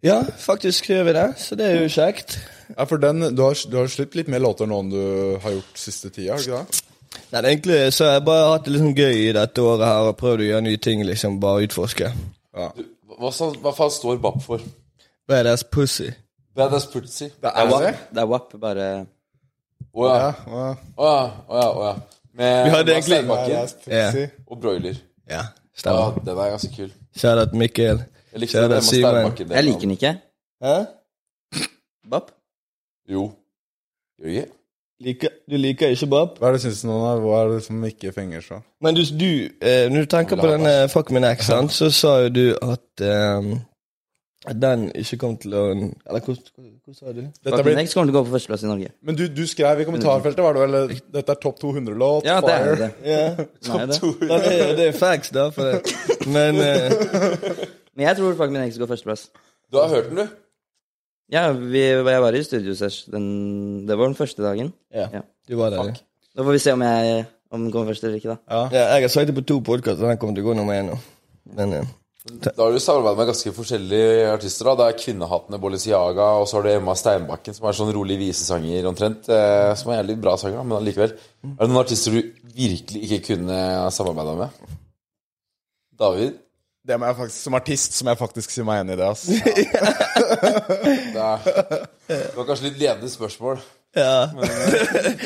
[SPEAKER 5] Ja, faktisk gjør vi det, så det er jo kjekt.
[SPEAKER 4] Ja, for den, du har, du har sluppet litt mer låter nå enn du har gjort siste tida, har du ikke det?
[SPEAKER 5] Nei, det er egentlig så har jeg bare hatt det litt sånn gøy i dette året her og prøvd å gjøre nye ting, liksom. Bare utforske.
[SPEAKER 3] Hva, sa- hva faen står BAP for?
[SPEAKER 5] Badass pussy.
[SPEAKER 3] Badass Putzy.
[SPEAKER 4] Det er det?
[SPEAKER 6] Det er WAP, bare
[SPEAKER 3] Å ja.
[SPEAKER 4] Ja, ja.
[SPEAKER 3] Å ja. Å ja. Å ja. Med
[SPEAKER 5] Vi hadde egentlig-
[SPEAKER 4] Det er
[SPEAKER 3] Steinbakken
[SPEAKER 4] pussy.
[SPEAKER 3] og Broiler.
[SPEAKER 5] Ja,
[SPEAKER 3] Ja,
[SPEAKER 5] stemmer.
[SPEAKER 3] den er ganske kul.
[SPEAKER 5] Kjære at Mikkel.
[SPEAKER 3] Jeg likte
[SPEAKER 5] Kjære
[SPEAKER 3] den
[SPEAKER 5] at
[SPEAKER 3] med
[SPEAKER 5] Simen.
[SPEAKER 3] Steinbakken.
[SPEAKER 6] Jeg liker den ikke.
[SPEAKER 5] Hæ?
[SPEAKER 6] BAP.
[SPEAKER 3] Jo. Gjør du ikke?
[SPEAKER 5] Liker, du liker ikke Bab?
[SPEAKER 4] Hva er det du syns nå, da? Hva er det som ikke fenger så?
[SPEAKER 5] Men du, du eh, når du tenker på denne Fuck min ex, sant, så sa jo du at eh, at den ikke kom til å Eller hva, hva, hva sa du?
[SPEAKER 4] Dette blir,
[SPEAKER 6] Next kommer til å gå på førsteplass i Norge.
[SPEAKER 4] men du, du skrev i kommentarfeltet var det vel eh, 'Dette er topp 200-låt'?
[SPEAKER 6] Ja, det er det.
[SPEAKER 5] Ja,
[SPEAKER 6] Nei, det.
[SPEAKER 5] det er, det er facts, da. For det. Men eh,
[SPEAKER 6] Men jeg tror faktisk min Next går førsteplass.
[SPEAKER 3] Du har hørt den, du?
[SPEAKER 6] Ja, vi, jeg var i studiosesh. Den, det var den første dagen.
[SPEAKER 5] ja, du var der, du.
[SPEAKER 6] Da får vi se om, jeg, om den kommer først eller ikke, da.
[SPEAKER 5] Ja, jeg har sagt det på to podkaster, den kommer til å gå nummer én nå. Men eh,
[SPEAKER 3] Da har du samarbeidet med ganske forskjellige artister. da. Det er Kvinnehattene, Bollesiaga, og så har du Emma Steinbakken, som er sånn rolig visesanger omtrent. eh, Som er jævlig bra sanger, da, men allikevel.
[SPEAKER 4] Mm.
[SPEAKER 3] Er det noen artister du virkelig ikke kunne samarbeida med? David?
[SPEAKER 4] Det må jeg faktisk, Som artist så må jeg faktisk si meg enig i det. ass.
[SPEAKER 3] Det, er, det var kanskje litt ledende spørsmål.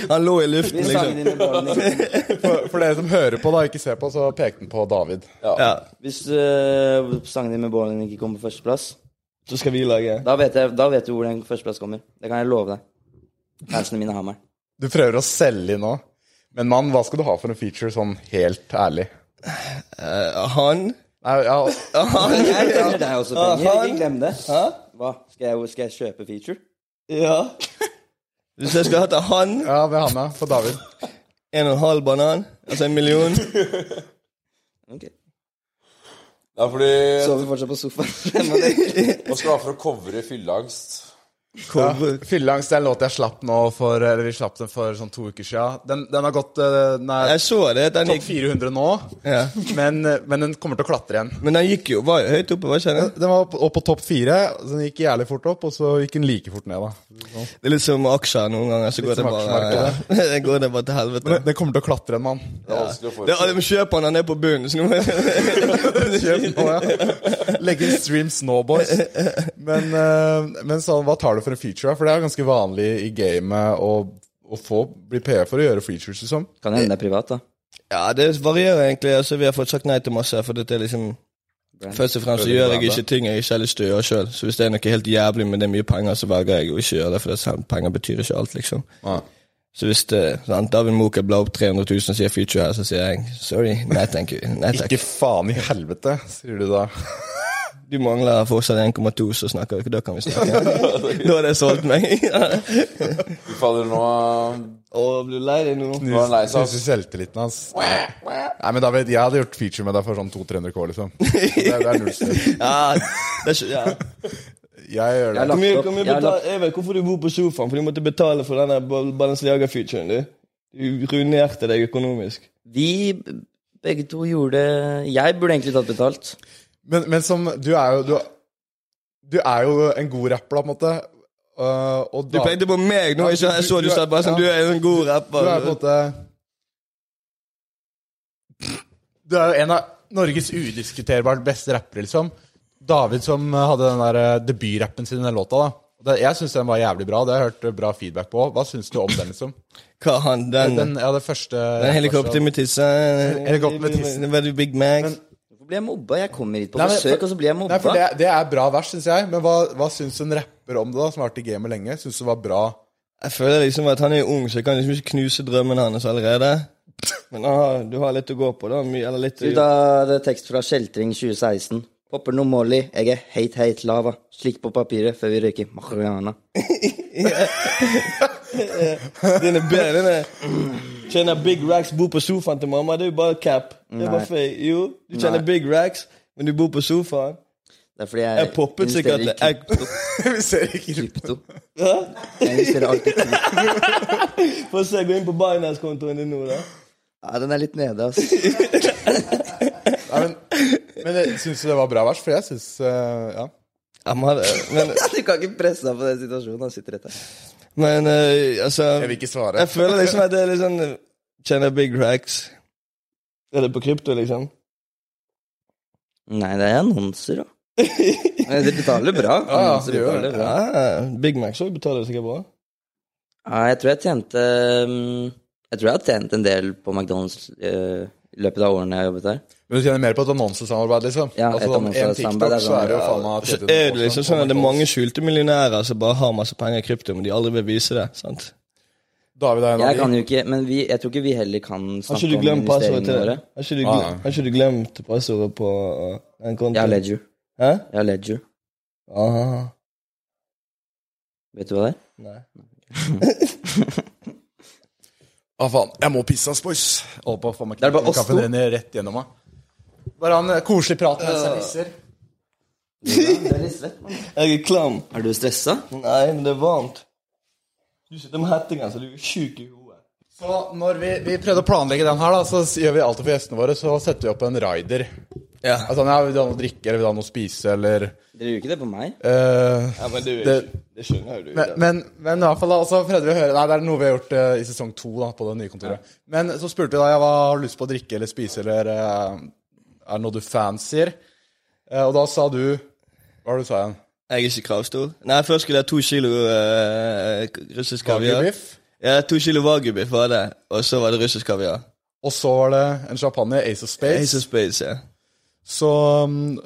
[SPEAKER 5] han lå i luften, liksom.
[SPEAKER 4] For, for dere som hører på, da, ikke ser på, så pekte den på David.
[SPEAKER 5] Ja,
[SPEAKER 6] Hvis øh, sangen din med bålen din ikke kommer på førsteplass,
[SPEAKER 5] så skal vi lage
[SPEAKER 6] da vet, jeg, da vet du hvor den førsteplass kommer. Det kan jeg love deg. Fansene mine har meg.
[SPEAKER 4] Du prøver å selge inn nå. Men mann, hva skal du ha for en feature, sånn helt ærlig?
[SPEAKER 5] eh, Han
[SPEAKER 4] Nei, ja,
[SPEAKER 6] Jeg tjener deg også penger,
[SPEAKER 5] faen.
[SPEAKER 6] ikke glem det. Hva? Skal jeg, skal jeg kjøpe feature?
[SPEAKER 5] Ja. Hvis jeg skulle hatt av han,
[SPEAKER 4] ja ved handa på David.
[SPEAKER 5] en og en halv banan, altså en million
[SPEAKER 6] Ok.
[SPEAKER 3] Det er fordi
[SPEAKER 6] Sover fortsatt på sofaen.
[SPEAKER 3] Hva skal du ha for å covre fylleangst?
[SPEAKER 5] Hvor-
[SPEAKER 4] Fylleangst det er en låt jeg slapp nå for Eller vi slapp den for sånn to uker sia. Den, den har gått eh, Den er
[SPEAKER 5] Jeg så det. Den
[SPEAKER 4] topp
[SPEAKER 5] gikk,
[SPEAKER 4] 400 nå,
[SPEAKER 5] ja.
[SPEAKER 4] men, men den kommer til å klatre igjen.
[SPEAKER 5] Men den gikk jo var, høyt oppe, var ikke den?
[SPEAKER 4] Den var opp, opp på topp fire, så den gikk jævlig fort opp, og så gikk den like fort ned, da.
[SPEAKER 5] Det er litt som aksjer noen ganger. Så går det
[SPEAKER 4] som
[SPEAKER 5] bare, ja. går det bare til helvete.
[SPEAKER 4] Men den kommer til å klatre igjen, mann.
[SPEAKER 3] Det er vanskelig å
[SPEAKER 5] Det,
[SPEAKER 3] forutse.
[SPEAKER 5] de kjøper den, han er på bunnen. Så nå
[SPEAKER 4] Kjøp nå, ja. Legge inn streams nå, boys. Men, eh, men sånn, hva tar du for en feature? da? For det er ganske vanlig i gamet å, å få, bli PA for å gjøre features, liksom.
[SPEAKER 6] Kan hende det er privat, da.
[SPEAKER 5] Ja, det varierer egentlig. Altså, vi har fått sagt nei til masse. For dette er liksom Først og fremst så gjør jeg ikke ting jeg ikke har lyst til å gjøre sjøl. Så hvis det er noe helt jævlig, men det er mye penger, så velger jeg å ikke gjøre det. For det er sant, penger betyr ikke alt, liksom. Så hvis det, sant, David Moker blar opp 300 000 og sier 'future' her, så sier jeg sorry, nei thank you. Nei takk.
[SPEAKER 4] Ikke faen i helvete, sier du da.
[SPEAKER 5] Du mangler fortsatt 1,2, så snakker vi ikke. Da kan vi snakke. da har det solgt meg.
[SPEAKER 3] Fy Fader, nå
[SPEAKER 5] Å, blir du lei deg nå?
[SPEAKER 4] Knus-
[SPEAKER 3] Nå er han lei seg, ass.
[SPEAKER 4] Knuser selvtilliten hans. Nei, men David, jeg hadde gjort feature med deg for sånn 200-300 K, liksom. Det, det er null stress.
[SPEAKER 5] Ja, det er ikke, ja.
[SPEAKER 4] Jeg gjør det.
[SPEAKER 5] Hvor mye,
[SPEAKER 6] opp-
[SPEAKER 5] hvor mye
[SPEAKER 6] jeg har
[SPEAKER 5] betal, jeg vet hvorfor du bor på sofaen, for du måtte betale for denne Bal- Balenciaga-featuren, du. Du ruinerte deg økonomisk.
[SPEAKER 6] Vi begge to gjorde Jeg burde egentlig tatt betalt.
[SPEAKER 4] Men, men som Du er jo du, du er jo en god rapper, da, på en måte. Uh, og
[SPEAKER 5] Du
[SPEAKER 4] da-
[SPEAKER 5] pekte på meg nå,
[SPEAKER 4] Ja,
[SPEAKER 5] ikke jeg
[SPEAKER 4] du-
[SPEAKER 5] så du
[SPEAKER 4] du er-
[SPEAKER 5] sa bare sånn,
[SPEAKER 4] ja.
[SPEAKER 5] du er en god
[SPEAKER 4] Du er på
[SPEAKER 5] rapper.
[SPEAKER 4] en måte Du er jo en av Norges udiskuterbart beste rappere, liksom. David som hadde den der eh, debutrappen sin i den låta, da. Og det- Jeg syns den var jævlig bra. Det har jeg hørt eh, bra feedback på. Hva syns du om den, liksom?
[SPEAKER 5] Hva han, den, den,
[SPEAKER 4] Den, ja, det første
[SPEAKER 5] helikopter med tissen.
[SPEAKER 4] Helikopter med tissen.
[SPEAKER 5] Var du Big Mac?
[SPEAKER 6] Hvorfor blir jeg mobba? Jeg kommer hit på
[SPEAKER 4] Nei, men-
[SPEAKER 6] besøk, og så blir jeg
[SPEAKER 4] Nei,
[SPEAKER 6] mobba.
[SPEAKER 4] for det, det er bra vers, syns jeg. Men hva, hva syns en rapper om det, da, som har vært i gamet lenge? Syns du det var bra?
[SPEAKER 5] Jeg føler liksom at han er ung, så jeg kan liksom ikke knuse drømmen hans allerede. Men han har- du har litt å gå på, da. Mye, eller litt å
[SPEAKER 6] Du,
[SPEAKER 5] gjøre.
[SPEAKER 6] da, det er tekst fra Kjeltring 2016. Popper noe Molly, jeg er heit, heit lava. Slikk på papiret før vi røyker marihuana.
[SPEAKER 5] Den er bedre, den er Tjener big racks, bor på sofaen til mamma. Det er jo bare cap. Det er bare
[SPEAKER 6] Nei.
[SPEAKER 5] fake. Jo, du tjener
[SPEAKER 6] Nei.
[SPEAKER 5] big racks, men du bor på sofaen.
[SPEAKER 6] Det er fordi jeg,
[SPEAKER 5] Jeg poppet sikkert
[SPEAKER 6] investerer
[SPEAKER 5] jeg,
[SPEAKER 6] i
[SPEAKER 4] Vi ser ikke
[SPEAKER 6] krypto. Jeg investerer alltid i krypto.
[SPEAKER 5] Få se, gå inn på Binance-kontoen din nå, da.
[SPEAKER 6] Ja, den er litt nede, ass.
[SPEAKER 4] Nei, men men eh, syns du det var bra vers? For jeg syns eh, Ja.
[SPEAKER 5] Ja, men, men,
[SPEAKER 6] Du kan ikke presse deg på den situasjonen. Han sitter rett der.
[SPEAKER 5] men eh, altså
[SPEAKER 4] Jeg vil ikke svare.
[SPEAKER 5] Jeg føler liksom at det er litt sånn eh, Tjener big racks. Er det på krypto, liksom?
[SPEAKER 6] Nei, det er annonser, da. Men de betaler bra.
[SPEAKER 4] ja,
[SPEAKER 6] Annonser
[SPEAKER 4] det gjør
[SPEAKER 6] betaler bra.
[SPEAKER 5] Ja, Big Mac så betaler sikkert bra.
[SPEAKER 6] Ja, jeg tror jeg tjente mm, Jeg tror jeg har tjent en del på McDonald's eh, i løpet av årene jeg har jobbet der.
[SPEAKER 4] Men du tjener mer på et annonsesamarbeid, liksom?
[SPEAKER 6] Ja, et
[SPEAKER 4] altså, sånn, en
[SPEAKER 6] annonsesamarbeid
[SPEAKER 4] TikTok,
[SPEAKER 6] er
[SPEAKER 4] så
[SPEAKER 6] sånn,
[SPEAKER 4] er det jo
[SPEAKER 6] ja.
[SPEAKER 4] faen meg
[SPEAKER 5] Så
[SPEAKER 4] 30 000
[SPEAKER 5] er det
[SPEAKER 4] på
[SPEAKER 5] liksom sånn at det er
[SPEAKER 4] McDonald's.
[SPEAKER 5] mange skjulte millionærer som bare har masse penger i krypto, men de aldri vil vise det. sant?
[SPEAKER 4] David er en av
[SPEAKER 6] Jeg kan
[SPEAKER 4] de.
[SPEAKER 6] jo ikke, men vi, jeg tror ikke vi heller kan
[SPEAKER 5] Har
[SPEAKER 6] snakke
[SPEAKER 5] ikke du
[SPEAKER 6] om
[SPEAKER 5] glemt passordet til
[SPEAKER 6] investeringene våre.
[SPEAKER 4] Ah, ja.
[SPEAKER 5] Har ikke du glemt, har ikke du glemt passordet på uh, den kontoen?
[SPEAKER 6] Jeg har ledger.
[SPEAKER 5] Hæ?
[SPEAKER 6] Jeg har ledger.
[SPEAKER 5] Aha.
[SPEAKER 6] Vet du hva det er?
[SPEAKER 5] Nei.
[SPEAKER 4] Å, faen. Jeg må pisse, ass, boys. Holder på å få meg
[SPEAKER 2] er bare oss
[SPEAKER 4] kaffen
[SPEAKER 2] to.
[SPEAKER 4] renner rett gjennom meg. Bare han eh, koselig prat mens jeg pisser.
[SPEAKER 6] Du er litt svett, mann.
[SPEAKER 5] Jeg er klam.
[SPEAKER 6] Er du stressa?
[SPEAKER 5] Nei, men det er varmt. Du sitter med hettingen, så du er sjuk i hodet.
[SPEAKER 4] Så når vi, vi prøvde å planlegge den her, da, så s- gjør vi alltid for gjestene våre, så setter vi opp en rider.
[SPEAKER 5] Ja.
[SPEAKER 4] Altså, ja, vil du ha noe å drikke, eller vil du ha noe å spise, eller
[SPEAKER 6] Dere gjør ikke det på meg?
[SPEAKER 4] eh,
[SPEAKER 5] ja men du, det,
[SPEAKER 4] Det-
[SPEAKER 5] det skjønner jo du.
[SPEAKER 4] Men, men, men i hvert fall da, så prøvde vi å høre Nei, det er noe vi har gjort eh, i sesong to da, på det nye kontoret. Men så spurte vi da jeg hva har du lyst på å drikke eller spise, eller eh, er det noe du fansier? Eh, og da sa du Hva var det du sa igjen?
[SPEAKER 5] Jeg er ikke kravstor. Nei, først skulle jeg ha to kilo eh, russisk kaviar.
[SPEAKER 4] Wagyu-biff.
[SPEAKER 5] Ja, to kilo wagyubiff var det. Og så var det russisk kaviar.
[SPEAKER 4] Og så var det en champagne, Ace of Spades.
[SPEAKER 5] Ace of Spades, ja.
[SPEAKER 4] Så mm,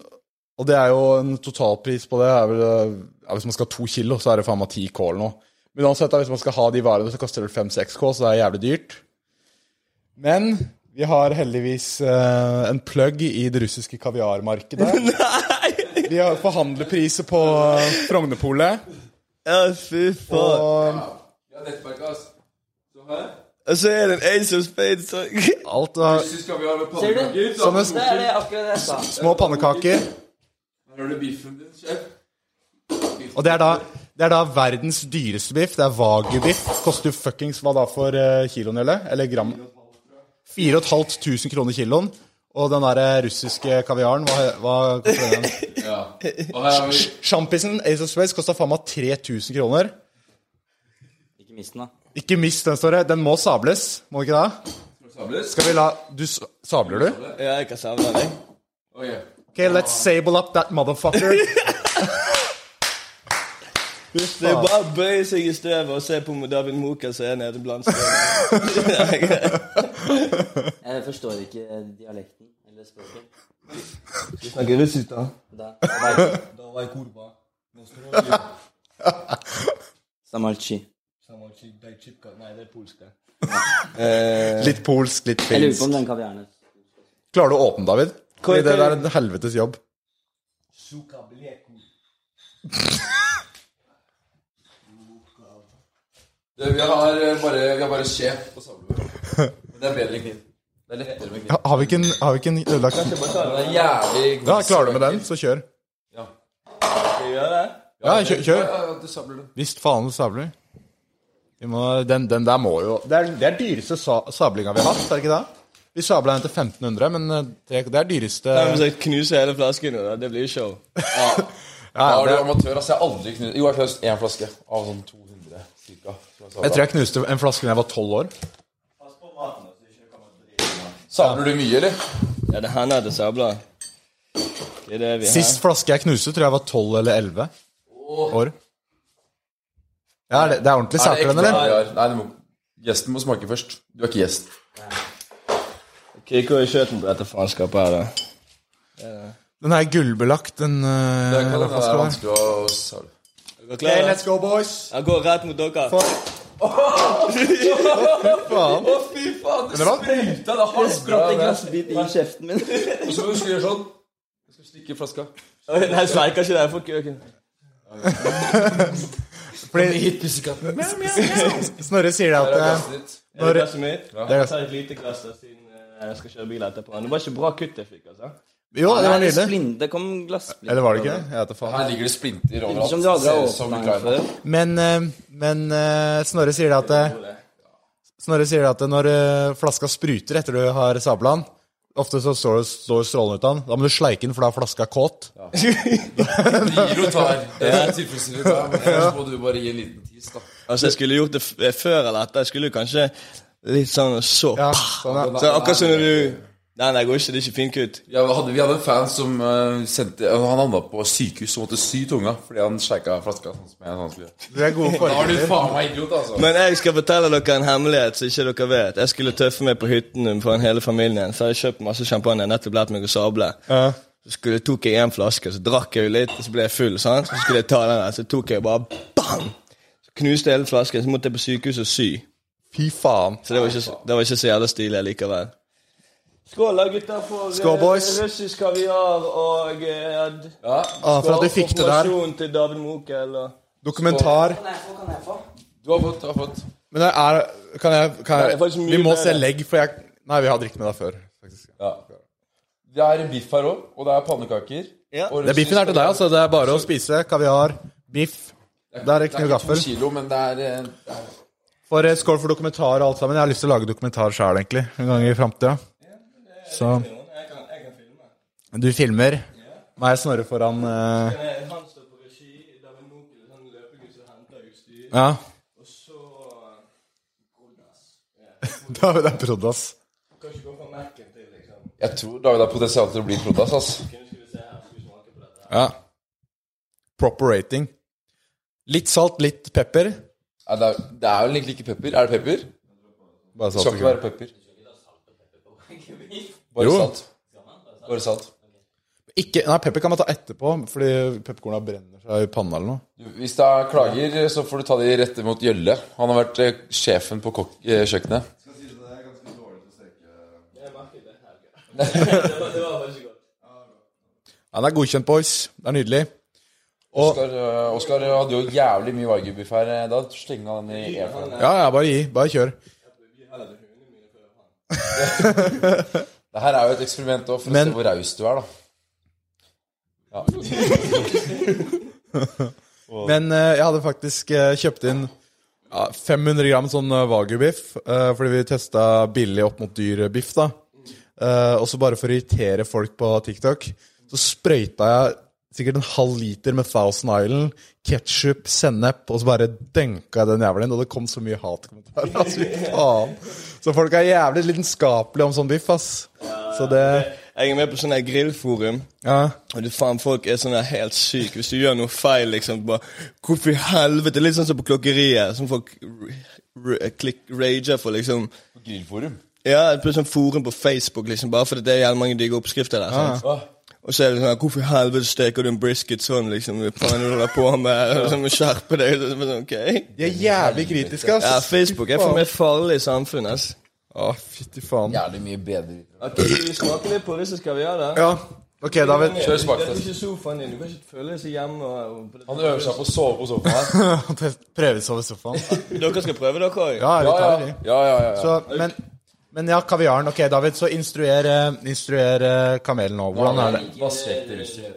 [SPEAKER 4] Og det er jo en totalpris på det er vel, eh, ja, Hvis man skal ha to kilo, så er det faen meg 10 K eller noe. Men uansett, da, hvis man skal ha de varene, så koster det 5-6 K, så det er jævlig dyrt. Men vi har heldigvis eh, en plug i det russiske kaviarmarkedet. Vi har forhandlerpriser på eh, Frognerpolet.
[SPEAKER 5] Ja, fy faen.
[SPEAKER 4] Og
[SPEAKER 3] Ja, nettverk, ass. Så her.
[SPEAKER 5] Og så er det en Ace of Spades. så-
[SPEAKER 4] alt var
[SPEAKER 3] Russisk kaviar med pannekaker.
[SPEAKER 4] Sånne
[SPEAKER 3] Sånne
[SPEAKER 6] Det er det akkurat det jeg sa.
[SPEAKER 4] små pannekaker.
[SPEAKER 3] Her har du biffen din, sjef.
[SPEAKER 4] Og det er da, det er da verdens dyreste biff. Det er Wagyu-biff. Koster jo fuckings hva da for eh, kiloen, eller? Eller gram? 4500 kroner kiloen. Og den der eh, russiske kaviaren, hva, hva koster den?
[SPEAKER 3] Ja. Og her har vi
[SPEAKER 4] Sjampisen Ace of Space kosta faen meg 3000 kroner.
[SPEAKER 6] Ikke mist den, da.
[SPEAKER 4] Ikke mist den, står det. Den må sables, må den ikke det?
[SPEAKER 3] Samles.
[SPEAKER 4] Skal vi la Du s- sabler, du?
[SPEAKER 5] Ja, jeg kan savne deg.
[SPEAKER 3] Ok.
[SPEAKER 4] Ok, let's sable up that motherfucker.
[SPEAKER 5] Det er bare å bøye seg i støvet og se på David Moka som er nede blant støvene.
[SPEAKER 6] Jeg forstår ikke dialekten eller språket.
[SPEAKER 5] Du snakker russisk, da?
[SPEAKER 6] Da, da-
[SPEAKER 5] Da var jeg kurba.
[SPEAKER 6] Samalchi.
[SPEAKER 5] Nei, det er polsk, det.
[SPEAKER 4] Litt polsk, litt
[SPEAKER 6] Jeg lurer på
[SPEAKER 4] finsk.
[SPEAKER 6] om den kaviaren er
[SPEAKER 4] Klarer du å åpne, David? Fordi det der er en helvetes jobb.
[SPEAKER 3] Du, Vi har eh, bare, vi har bare sjef på samlebord. Men det er bedre med kniv. Det er lettere med kniv.
[SPEAKER 4] Ha- Har vi ikke en, har vi ikke en ødelagt
[SPEAKER 3] Det er jævlig god.
[SPEAKER 4] Ja, klarer du med den, så kjør.
[SPEAKER 5] Skal jeg gjøre det?
[SPEAKER 4] Ja, kjør. kjør.
[SPEAKER 3] Ja, ja, du samler den.
[SPEAKER 4] Visst faen, så sabler vi. vi. Må, den, den der må jo Det er, det er dyreste sa, sablinga vi har hatt, er det ikke det? Vi sabla den til 1500, men eh, det, det er dyreste
[SPEAKER 5] Jeg må sagt, knuse hele flasken nå, da. Det blir jo show.
[SPEAKER 4] ja,
[SPEAKER 3] Da er
[SPEAKER 4] det,
[SPEAKER 3] du amatør, ass. Jeg har aldri knust Jo, jeg har knust én flaske av sånn 200 cirka. som
[SPEAKER 4] Jeg
[SPEAKER 3] Jeg
[SPEAKER 4] tror jeg knuste en flaske da jeg var tolv år.
[SPEAKER 3] sabla. Samler du mye, eller?
[SPEAKER 5] Ja, det hender det sabler. Det er det vi har.
[SPEAKER 4] Sist flaske jeg knuste, tror jeg var tolv eller elleve år. Ja, det, det er ordentlig
[SPEAKER 3] Er det
[SPEAKER 4] saker, den,
[SPEAKER 3] ekte
[SPEAKER 4] eller? Eh,
[SPEAKER 3] kaviar? Nei, du må Gjesten må smake først. Du er ikke gjest.
[SPEAKER 5] Kikk i kjøten på dette faenskapet her, da.
[SPEAKER 4] Den er gullbelagt, den
[SPEAKER 3] Det er,
[SPEAKER 4] eh,
[SPEAKER 3] ikke- det er
[SPEAKER 4] flaska der.
[SPEAKER 3] vanskelig å sable.
[SPEAKER 5] Er dere klare?
[SPEAKER 4] go, boys!
[SPEAKER 5] Jeg går rett mot dere.
[SPEAKER 4] Faen.
[SPEAKER 3] Å, fy faen! Du
[SPEAKER 4] det var-
[SPEAKER 3] spruta! Det har spratt en
[SPEAKER 6] glassbit i kjeften min.
[SPEAKER 3] Og så skal du gjøre sånn. Jeg skal stikke i flaska.
[SPEAKER 4] Eh.
[SPEAKER 5] Oi, Nei, jeg sverker ikke det. Jeg får køken.
[SPEAKER 4] Fordi Snorre sier det at eh,
[SPEAKER 5] Er det
[SPEAKER 4] Når-
[SPEAKER 5] glasset mitt?
[SPEAKER 4] det er
[SPEAKER 5] Jeg tar et lite glass da, siden eh, jeg skal kjøre bil etterpå. Det var ikke bra kutt jeg fikk, altså.
[SPEAKER 4] Jo, det var nydelig.
[SPEAKER 6] Splint, det kom glassplint.
[SPEAKER 4] Eller var det ikke? Jeg vet da faen.
[SPEAKER 3] Her ligger det splinter overalt.
[SPEAKER 6] Som du aldri har
[SPEAKER 3] Ser ut som
[SPEAKER 6] åpnet
[SPEAKER 3] Ukraina.
[SPEAKER 6] den før.
[SPEAKER 4] Men, eh, men eh, Snorre sier det at eh, Snorre sier det at når eh, flaska spruter etter du har sabla den Ofte så står, står strålen ut av den. Da må du sleike den, for da er flaska kåt.
[SPEAKER 3] Giro tar. Det er tilfredsstillende. tar, men Først må du bare gi en liten tis, da.
[SPEAKER 5] Altså, jeg skulle gjort det f eh, før eller etter. Jeg skulle jo kanskje litt sånn og så.
[SPEAKER 4] Ja, sånn ja.
[SPEAKER 5] Så akkurat som når du Nei, nei, det går ikke. Det er ikke finkutt.
[SPEAKER 3] Ja, vi, hadde, vi hadde en fan som eh, sendte Han havna på sykehus og måtte sy tunga fordi han sjeika flaska. sånn som jeg sånn skulle gjøre.
[SPEAKER 4] Du er gode
[SPEAKER 3] Da var du
[SPEAKER 4] forbilder.
[SPEAKER 3] faen meg idiot, altså.
[SPEAKER 5] Men jeg skal fortelle dere en hemmelighet som ikke dere vet. Jeg skulle tøffe meg på hytten foran hele familien. Så hadde jeg kjøpt masse champagne. Nettopp lært meg å sable.
[SPEAKER 4] Ja.
[SPEAKER 5] Så skulle, tok jeg en flaske, så drakk jeg jo litt, og så ble jeg full. sant? Så skulle jeg ta den der, så tok jeg bare bang! Så knuste hele flasken, så måtte jeg på sykehuset og sy.
[SPEAKER 4] Fy faen.
[SPEAKER 5] Så det var ikke, så- det var ikke så jævla stilig likevel. Skål, da, gutter, for eh,
[SPEAKER 4] Skål, boys.
[SPEAKER 5] russisk kaviar og eh, ad-
[SPEAKER 3] Ja.
[SPEAKER 4] Ah, for at vi fikk det der.
[SPEAKER 5] Gratulasjon til David Mokel. Og...
[SPEAKER 4] Dokumentar.
[SPEAKER 6] Kan jeg få, kan jeg få?
[SPEAKER 3] Du har fått. Du har fått.
[SPEAKER 4] Men det er Kan jeg, kan
[SPEAKER 5] Det er faktisk
[SPEAKER 4] jeg
[SPEAKER 5] mye
[SPEAKER 4] Vi må
[SPEAKER 5] bedre.
[SPEAKER 4] se legg, for jeg Nei, vi har drukket med deg før. faktisk.
[SPEAKER 3] Ja. Det er biff her òg, og det er pannekaker.
[SPEAKER 5] Ja.
[SPEAKER 3] Og
[SPEAKER 4] Det er Biffen er til deg, altså. Det er bare å spise kaviar, biff. Der er
[SPEAKER 3] Det er ikke to
[SPEAKER 4] kniv og gaffel.
[SPEAKER 3] kilo, men det er eh,
[SPEAKER 4] For eh, skål for dokumentar og alt sammen. Jeg har lyst til å lage dokumentar sjøl, egentlig. En gang i framtida. Så
[SPEAKER 5] Jeg kan, jeg kan filme.
[SPEAKER 4] du filmer meg og Snorre foran eh,
[SPEAKER 5] Eh, Han står på regi, David Mokel, han løpegutt som henter utstyr,
[SPEAKER 4] Ja.
[SPEAKER 5] og så
[SPEAKER 4] David er prodd, ass.
[SPEAKER 5] Kan ikke gå fra Mac-en til, liksom.
[SPEAKER 3] Jeg tror David har potensial til å bli Prodas. ass.
[SPEAKER 4] Ja. Proper rating. Litt salt, litt pepper.
[SPEAKER 3] Nei, det, er, det er vel egentlig ikke pepper. Er det pepper?
[SPEAKER 4] Bare
[SPEAKER 3] Det
[SPEAKER 4] salt.
[SPEAKER 3] skal
[SPEAKER 4] og
[SPEAKER 3] ikke være
[SPEAKER 4] pepper.
[SPEAKER 3] pepper. Bare
[SPEAKER 4] Jo.
[SPEAKER 3] salt. Bare salt.
[SPEAKER 4] Ikke, nei, pepper kan man ta etterpå, fordi pepperkorna brenner seg i panna eller noe.
[SPEAKER 3] Hvis det er klager, så får du ta de rette mot Gjølle. Han har vært eh, sjefen på kokk- eh, kjøkkenet.
[SPEAKER 4] Ja, Den er godkjent, boys. Det er nydelig. Og
[SPEAKER 3] Oskar, eh, Oskar hadde jo jævlig mye vargebiff her. eh, Da slenga han den i airfaren.
[SPEAKER 4] Ja, ja, bare gi. Bare kjør.
[SPEAKER 3] Det her er jo et eksperiment også, for
[SPEAKER 4] Men-
[SPEAKER 3] å se hvor raus du er, da.
[SPEAKER 4] Men eh, jeg hadde faktisk eh, kjøpt inn ja, 500 gram sånn uh, wagyu-biff, eh, fordi vi testa billig opp mot dyr biff, da. Eh, og så bare for å irritere folk på TikTok, så sprøyta jeg sikkert en halv liter med Thousand Island, ketsjup, sennep, og så bare denka jeg den jævelen inn, og det kom så mye hatkommentarer. Altså, fy faen. Så folk er jævlig lidenskapelige om sånn biff, ass. Så det
[SPEAKER 5] Jeg er med på sånne her grillforum.
[SPEAKER 4] Ja.
[SPEAKER 5] Og du faen, Folk er sånn her helt syke. Hvis du gjør noe feil, liksom bare, Hvorfor i helvete? Litt sånn som på klokkeriet. Som folk r- r- klikk rager for, liksom.
[SPEAKER 3] På grillforum.
[SPEAKER 5] Ja, på sånn forum på Facebook, liksom, bare fordi det er jævlig mange digge oppskrifter der. sant?
[SPEAKER 3] Ah,
[SPEAKER 5] Og så er det sånn her, Hvorfor i helvete steker du en brisket sånn, liksom? Hva faen er det du holder på med? Liksom, Skjerpe deg. Så, sånn, ok.
[SPEAKER 4] De er jævlig kritiske, ass.
[SPEAKER 5] Ja, Facebook er for meg farlig samfunn, ass.
[SPEAKER 4] Å, fytti faen.
[SPEAKER 3] Jævlig mye bedre.
[SPEAKER 5] Ok, vi smaker litt på russisk kaviar, da.
[SPEAKER 4] Ja. Ok, David.
[SPEAKER 3] Kjør
[SPEAKER 5] Det er
[SPEAKER 3] smakstest.
[SPEAKER 5] ikke sofaen din. Du kan ikke føle deg så hjemme. Og, og,
[SPEAKER 3] Han øver seg på å sove på sofaen her.
[SPEAKER 4] Prøvesove i sofaen.
[SPEAKER 5] dere skal prøve, dere òg?
[SPEAKER 4] Ja, vi
[SPEAKER 3] Ja,
[SPEAKER 4] tar
[SPEAKER 3] ja,
[SPEAKER 4] det. vi.
[SPEAKER 3] ja. ja, ja.
[SPEAKER 4] Så, men, men ja, kaviaren. Ok, David, så instruer, eh, instruer eh, kamelen nå. Hvordan er det?
[SPEAKER 3] Vassvekter russer.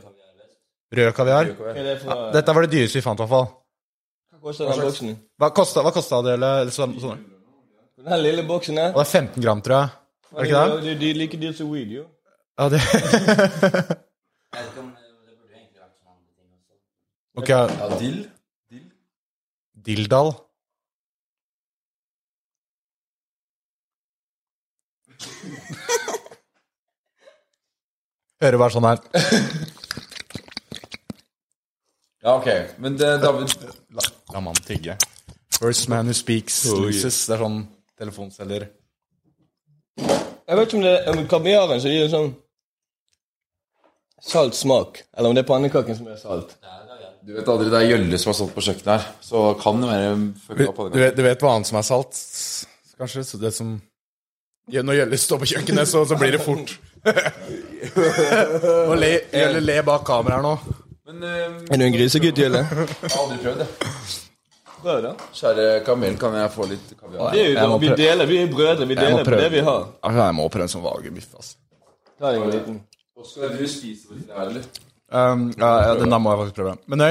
[SPEAKER 4] Rød kaviar?
[SPEAKER 5] Hva er det for Hva
[SPEAKER 4] Dette var det dyreste vi fant, i hvert fall.
[SPEAKER 5] koster den boksen?
[SPEAKER 4] Hva kosta hva kosta det? Eller, eller sånn, sånn.
[SPEAKER 5] Den lille boksen her?
[SPEAKER 4] Og det er 15 gram, tror jeg. Er det ikke det?
[SPEAKER 5] Det er like dyrt som weed, jo.
[SPEAKER 4] Ja, det
[SPEAKER 6] Jeg vet ikke om det det burde egentlig vært sånn andre ting også.
[SPEAKER 4] Ok,
[SPEAKER 3] Ja, dill.
[SPEAKER 4] dilldall. Hører bare sånn her.
[SPEAKER 3] Ja, ok. Men det, David
[SPEAKER 4] La, la mannen tigge. First man who speaks loses. Det er sånn telefonselger.
[SPEAKER 5] Jeg vet ikke om det er om kaviaren som gir en sånn salt smak, eller om det er pannekaken som er salt.
[SPEAKER 3] Du vet aldri, det er Gjølle som har stått på kjøkkenet her. Så kan det være fucka på
[SPEAKER 4] Du,
[SPEAKER 3] den.
[SPEAKER 4] vet, du vet hva annet som er salt, kanskje? Så det som ja, Når Gjølle står på kjøkkenet, så, så blir det fort. Nå le, Gjølle le bak kameraet her nå.
[SPEAKER 3] Men eh,
[SPEAKER 5] Er du en grisegutt, Jelle?
[SPEAKER 3] jeg har aldri prøvd det.
[SPEAKER 5] Prøv, da.
[SPEAKER 3] Kjære kamel, kan jeg få litt kaviar?
[SPEAKER 5] Det er jo, vi deler, vi er brødre. Vi
[SPEAKER 4] må
[SPEAKER 5] deler på
[SPEAKER 4] prøve.
[SPEAKER 5] det vi har.
[SPEAKER 4] Altså, jeg må prøve en sånn vagebiff. Altså.
[SPEAKER 5] Ta deg en liten.
[SPEAKER 3] Oskar, du spiser vel ikke det her, eller?
[SPEAKER 4] Um, ja, ja, den der må jeg faktisk prøve. Men nei,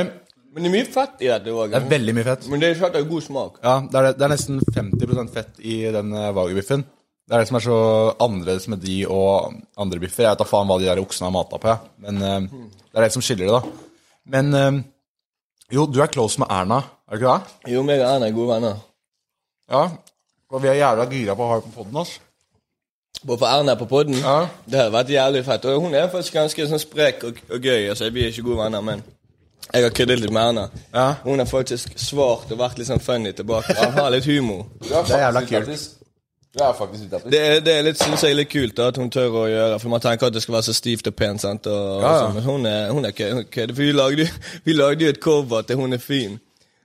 [SPEAKER 5] Men det er mye fett i dette òg.
[SPEAKER 4] det er veldig mye fett.
[SPEAKER 5] Men det er fett av god smak.
[SPEAKER 4] Ja, det er, det er nesten 50 fett i den eh, vagebiffen. Det er det som er så annerledes med de og andre biffer. Jeg vet da faen hva de der oksene har mata på, jeg. Men eh, det er det som skiller det, da. Men eh, jo, du er close med Erna, er du ikke det?
[SPEAKER 5] Jo, meg og Erna er gode venner.
[SPEAKER 4] Ja. Og vi er jævla gira på å ha deg på poden, ass.
[SPEAKER 5] Bare for Erna er på podden.
[SPEAKER 4] Ja.
[SPEAKER 5] Det har vært jævlig fett. Og hun er faktisk ganske sånn sprek og, og gøy. Altså, vi er ikke gode venner, men jeg har køddet litt med henne.
[SPEAKER 4] Ja.
[SPEAKER 5] Hun har faktisk svart og vært litt sånn funny tilbake. Så hun har litt humor.
[SPEAKER 3] Du er
[SPEAKER 4] er jævla
[SPEAKER 3] faktisk
[SPEAKER 4] kult.
[SPEAKER 3] utdattis. Du er faktisk utdattis.
[SPEAKER 5] Det er, det er litt, synes jeg, litt kult da, at hun tør å gjøre For man tenker at det skal være så stivt og pent. sant? Og,
[SPEAKER 4] Ja, ja.
[SPEAKER 5] sånn, men hun er, hun er kø- hun er kødd. For vi lagde, jo- vi lagde jo et cover til 'Hun er fin'.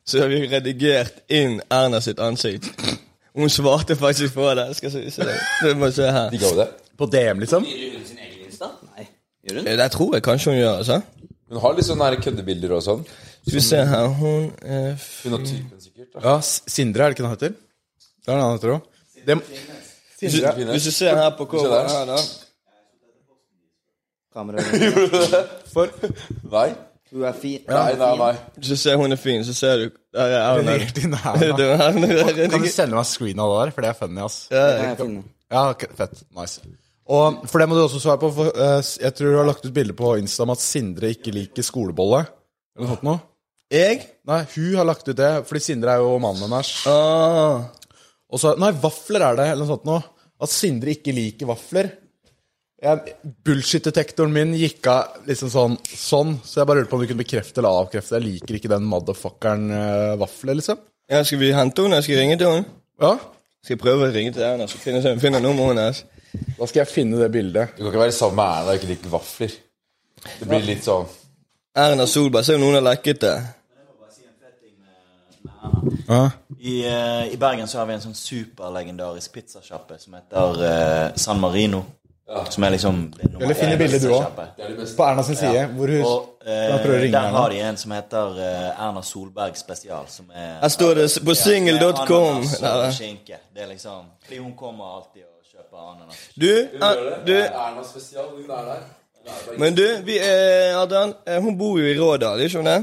[SPEAKER 5] Så har vi redigert inn Erna sitt ansikt. Hun svarte faktisk på det. Skal vi se. Du må se her.
[SPEAKER 3] Digga du det?
[SPEAKER 5] På
[SPEAKER 4] på DM, liksom?
[SPEAKER 6] Gjør hun sin egen Insta? Nei. Gjør hun?
[SPEAKER 5] Eh, Det tror jeg kanskje hun gjør. altså.
[SPEAKER 3] Hun har litt sånne her køddebilder og sånn.
[SPEAKER 5] Skal vi se her Hun er f-
[SPEAKER 3] Hun har typen sikkert. da.
[SPEAKER 4] Ja, S- Sindre, er det ikke han heter? Det er en annen, tror jeg. Det, Sindre.
[SPEAKER 5] Hvis du ser her på coveret her, da
[SPEAKER 6] Kamera.
[SPEAKER 3] Nei,
[SPEAKER 6] Hun er fin.
[SPEAKER 3] nei, nei. nei.
[SPEAKER 5] Hvis du ser hun er fin, så ser du Der
[SPEAKER 4] Den
[SPEAKER 5] er Erna.
[SPEAKER 4] er helt i nærheten.
[SPEAKER 5] Det var Erna.
[SPEAKER 4] Kan du sende meg screen av det der, for det er funny, ass.
[SPEAKER 6] Nei, jeg finner.
[SPEAKER 4] Ja, ok, fett, nice. Og for det må du også svare på, for eh, jeg tror du har lagt ut bilde på Insta om at Sindre ikke liker skolebolle. Har du fått noe?
[SPEAKER 5] Jeg?
[SPEAKER 4] Nei, hun har lagt ut det, fordi Sindre er jo mannen hennes.
[SPEAKER 5] Ah.
[SPEAKER 4] Og så, nei, vafler er det, eller noe sånt nå. At Sindre ikke liker vafler. Jeg- Bullshit-detektoren min gikk av liksom sånn, sånn, så jeg bare lurte på om du kunne bekrefte eller avkrefte. Jeg liker ikke den motherfuckeren uh, vafler, liksom.
[SPEAKER 5] Ja, skal vi hente henne? Skal vi ringe til henne?
[SPEAKER 4] Ja,
[SPEAKER 5] Skal jeg prøve å ringe til Erna, så finner jeg finner nummeret hennes?
[SPEAKER 4] da skal jeg finne det bildet.
[SPEAKER 3] Du kan ikke være sammen med Erna og ikke like vafler. Det blir litt sånn
[SPEAKER 5] Erna Solberg. Se om noen har lekket det.
[SPEAKER 8] I, eh, I Bergen så har vi en sånn superlegendarisk pizzasjappe som heter eh, San Marino. Som er liksom det nummer
[SPEAKER 4] Eller finne
[SPEAKER 8] én
[SPEAKER 4] bildet du òg.
[SPEAKER 8] pizzasjappe.
[SPEAKER 4] På Erna sin side, hvor hun
[SPEAKER 8] Og
[SPEAKER 4] Da prøver jeg å
[SPEAKER 8] eh,
[SPEAKER 4] ringe
[SPEAKER 8] der
[SPEAKER 4] henne.
[SPEAKER 8] har de en som heter eh, Erna Solberg spesial, som er
[SPEAKER 5] Her står det s- på single.com.
[SPEAKER 8] Med ananas
[SPEAKER 5] Nei,
[SPEAKER 8] og
[SPEAKER 5] nei.
[SPEAKER 8] skinke. Det er liksom Fordi hun kommer alltid og kjøper ananas.
[SPEAKER 5] Du, er, du,
[SPEAKER 3] Erna spesial, hun er der.
[SPEAKER 5] men du, vi, eh, Adrian, eh, hun bor jo i Rådal, ikke hun det?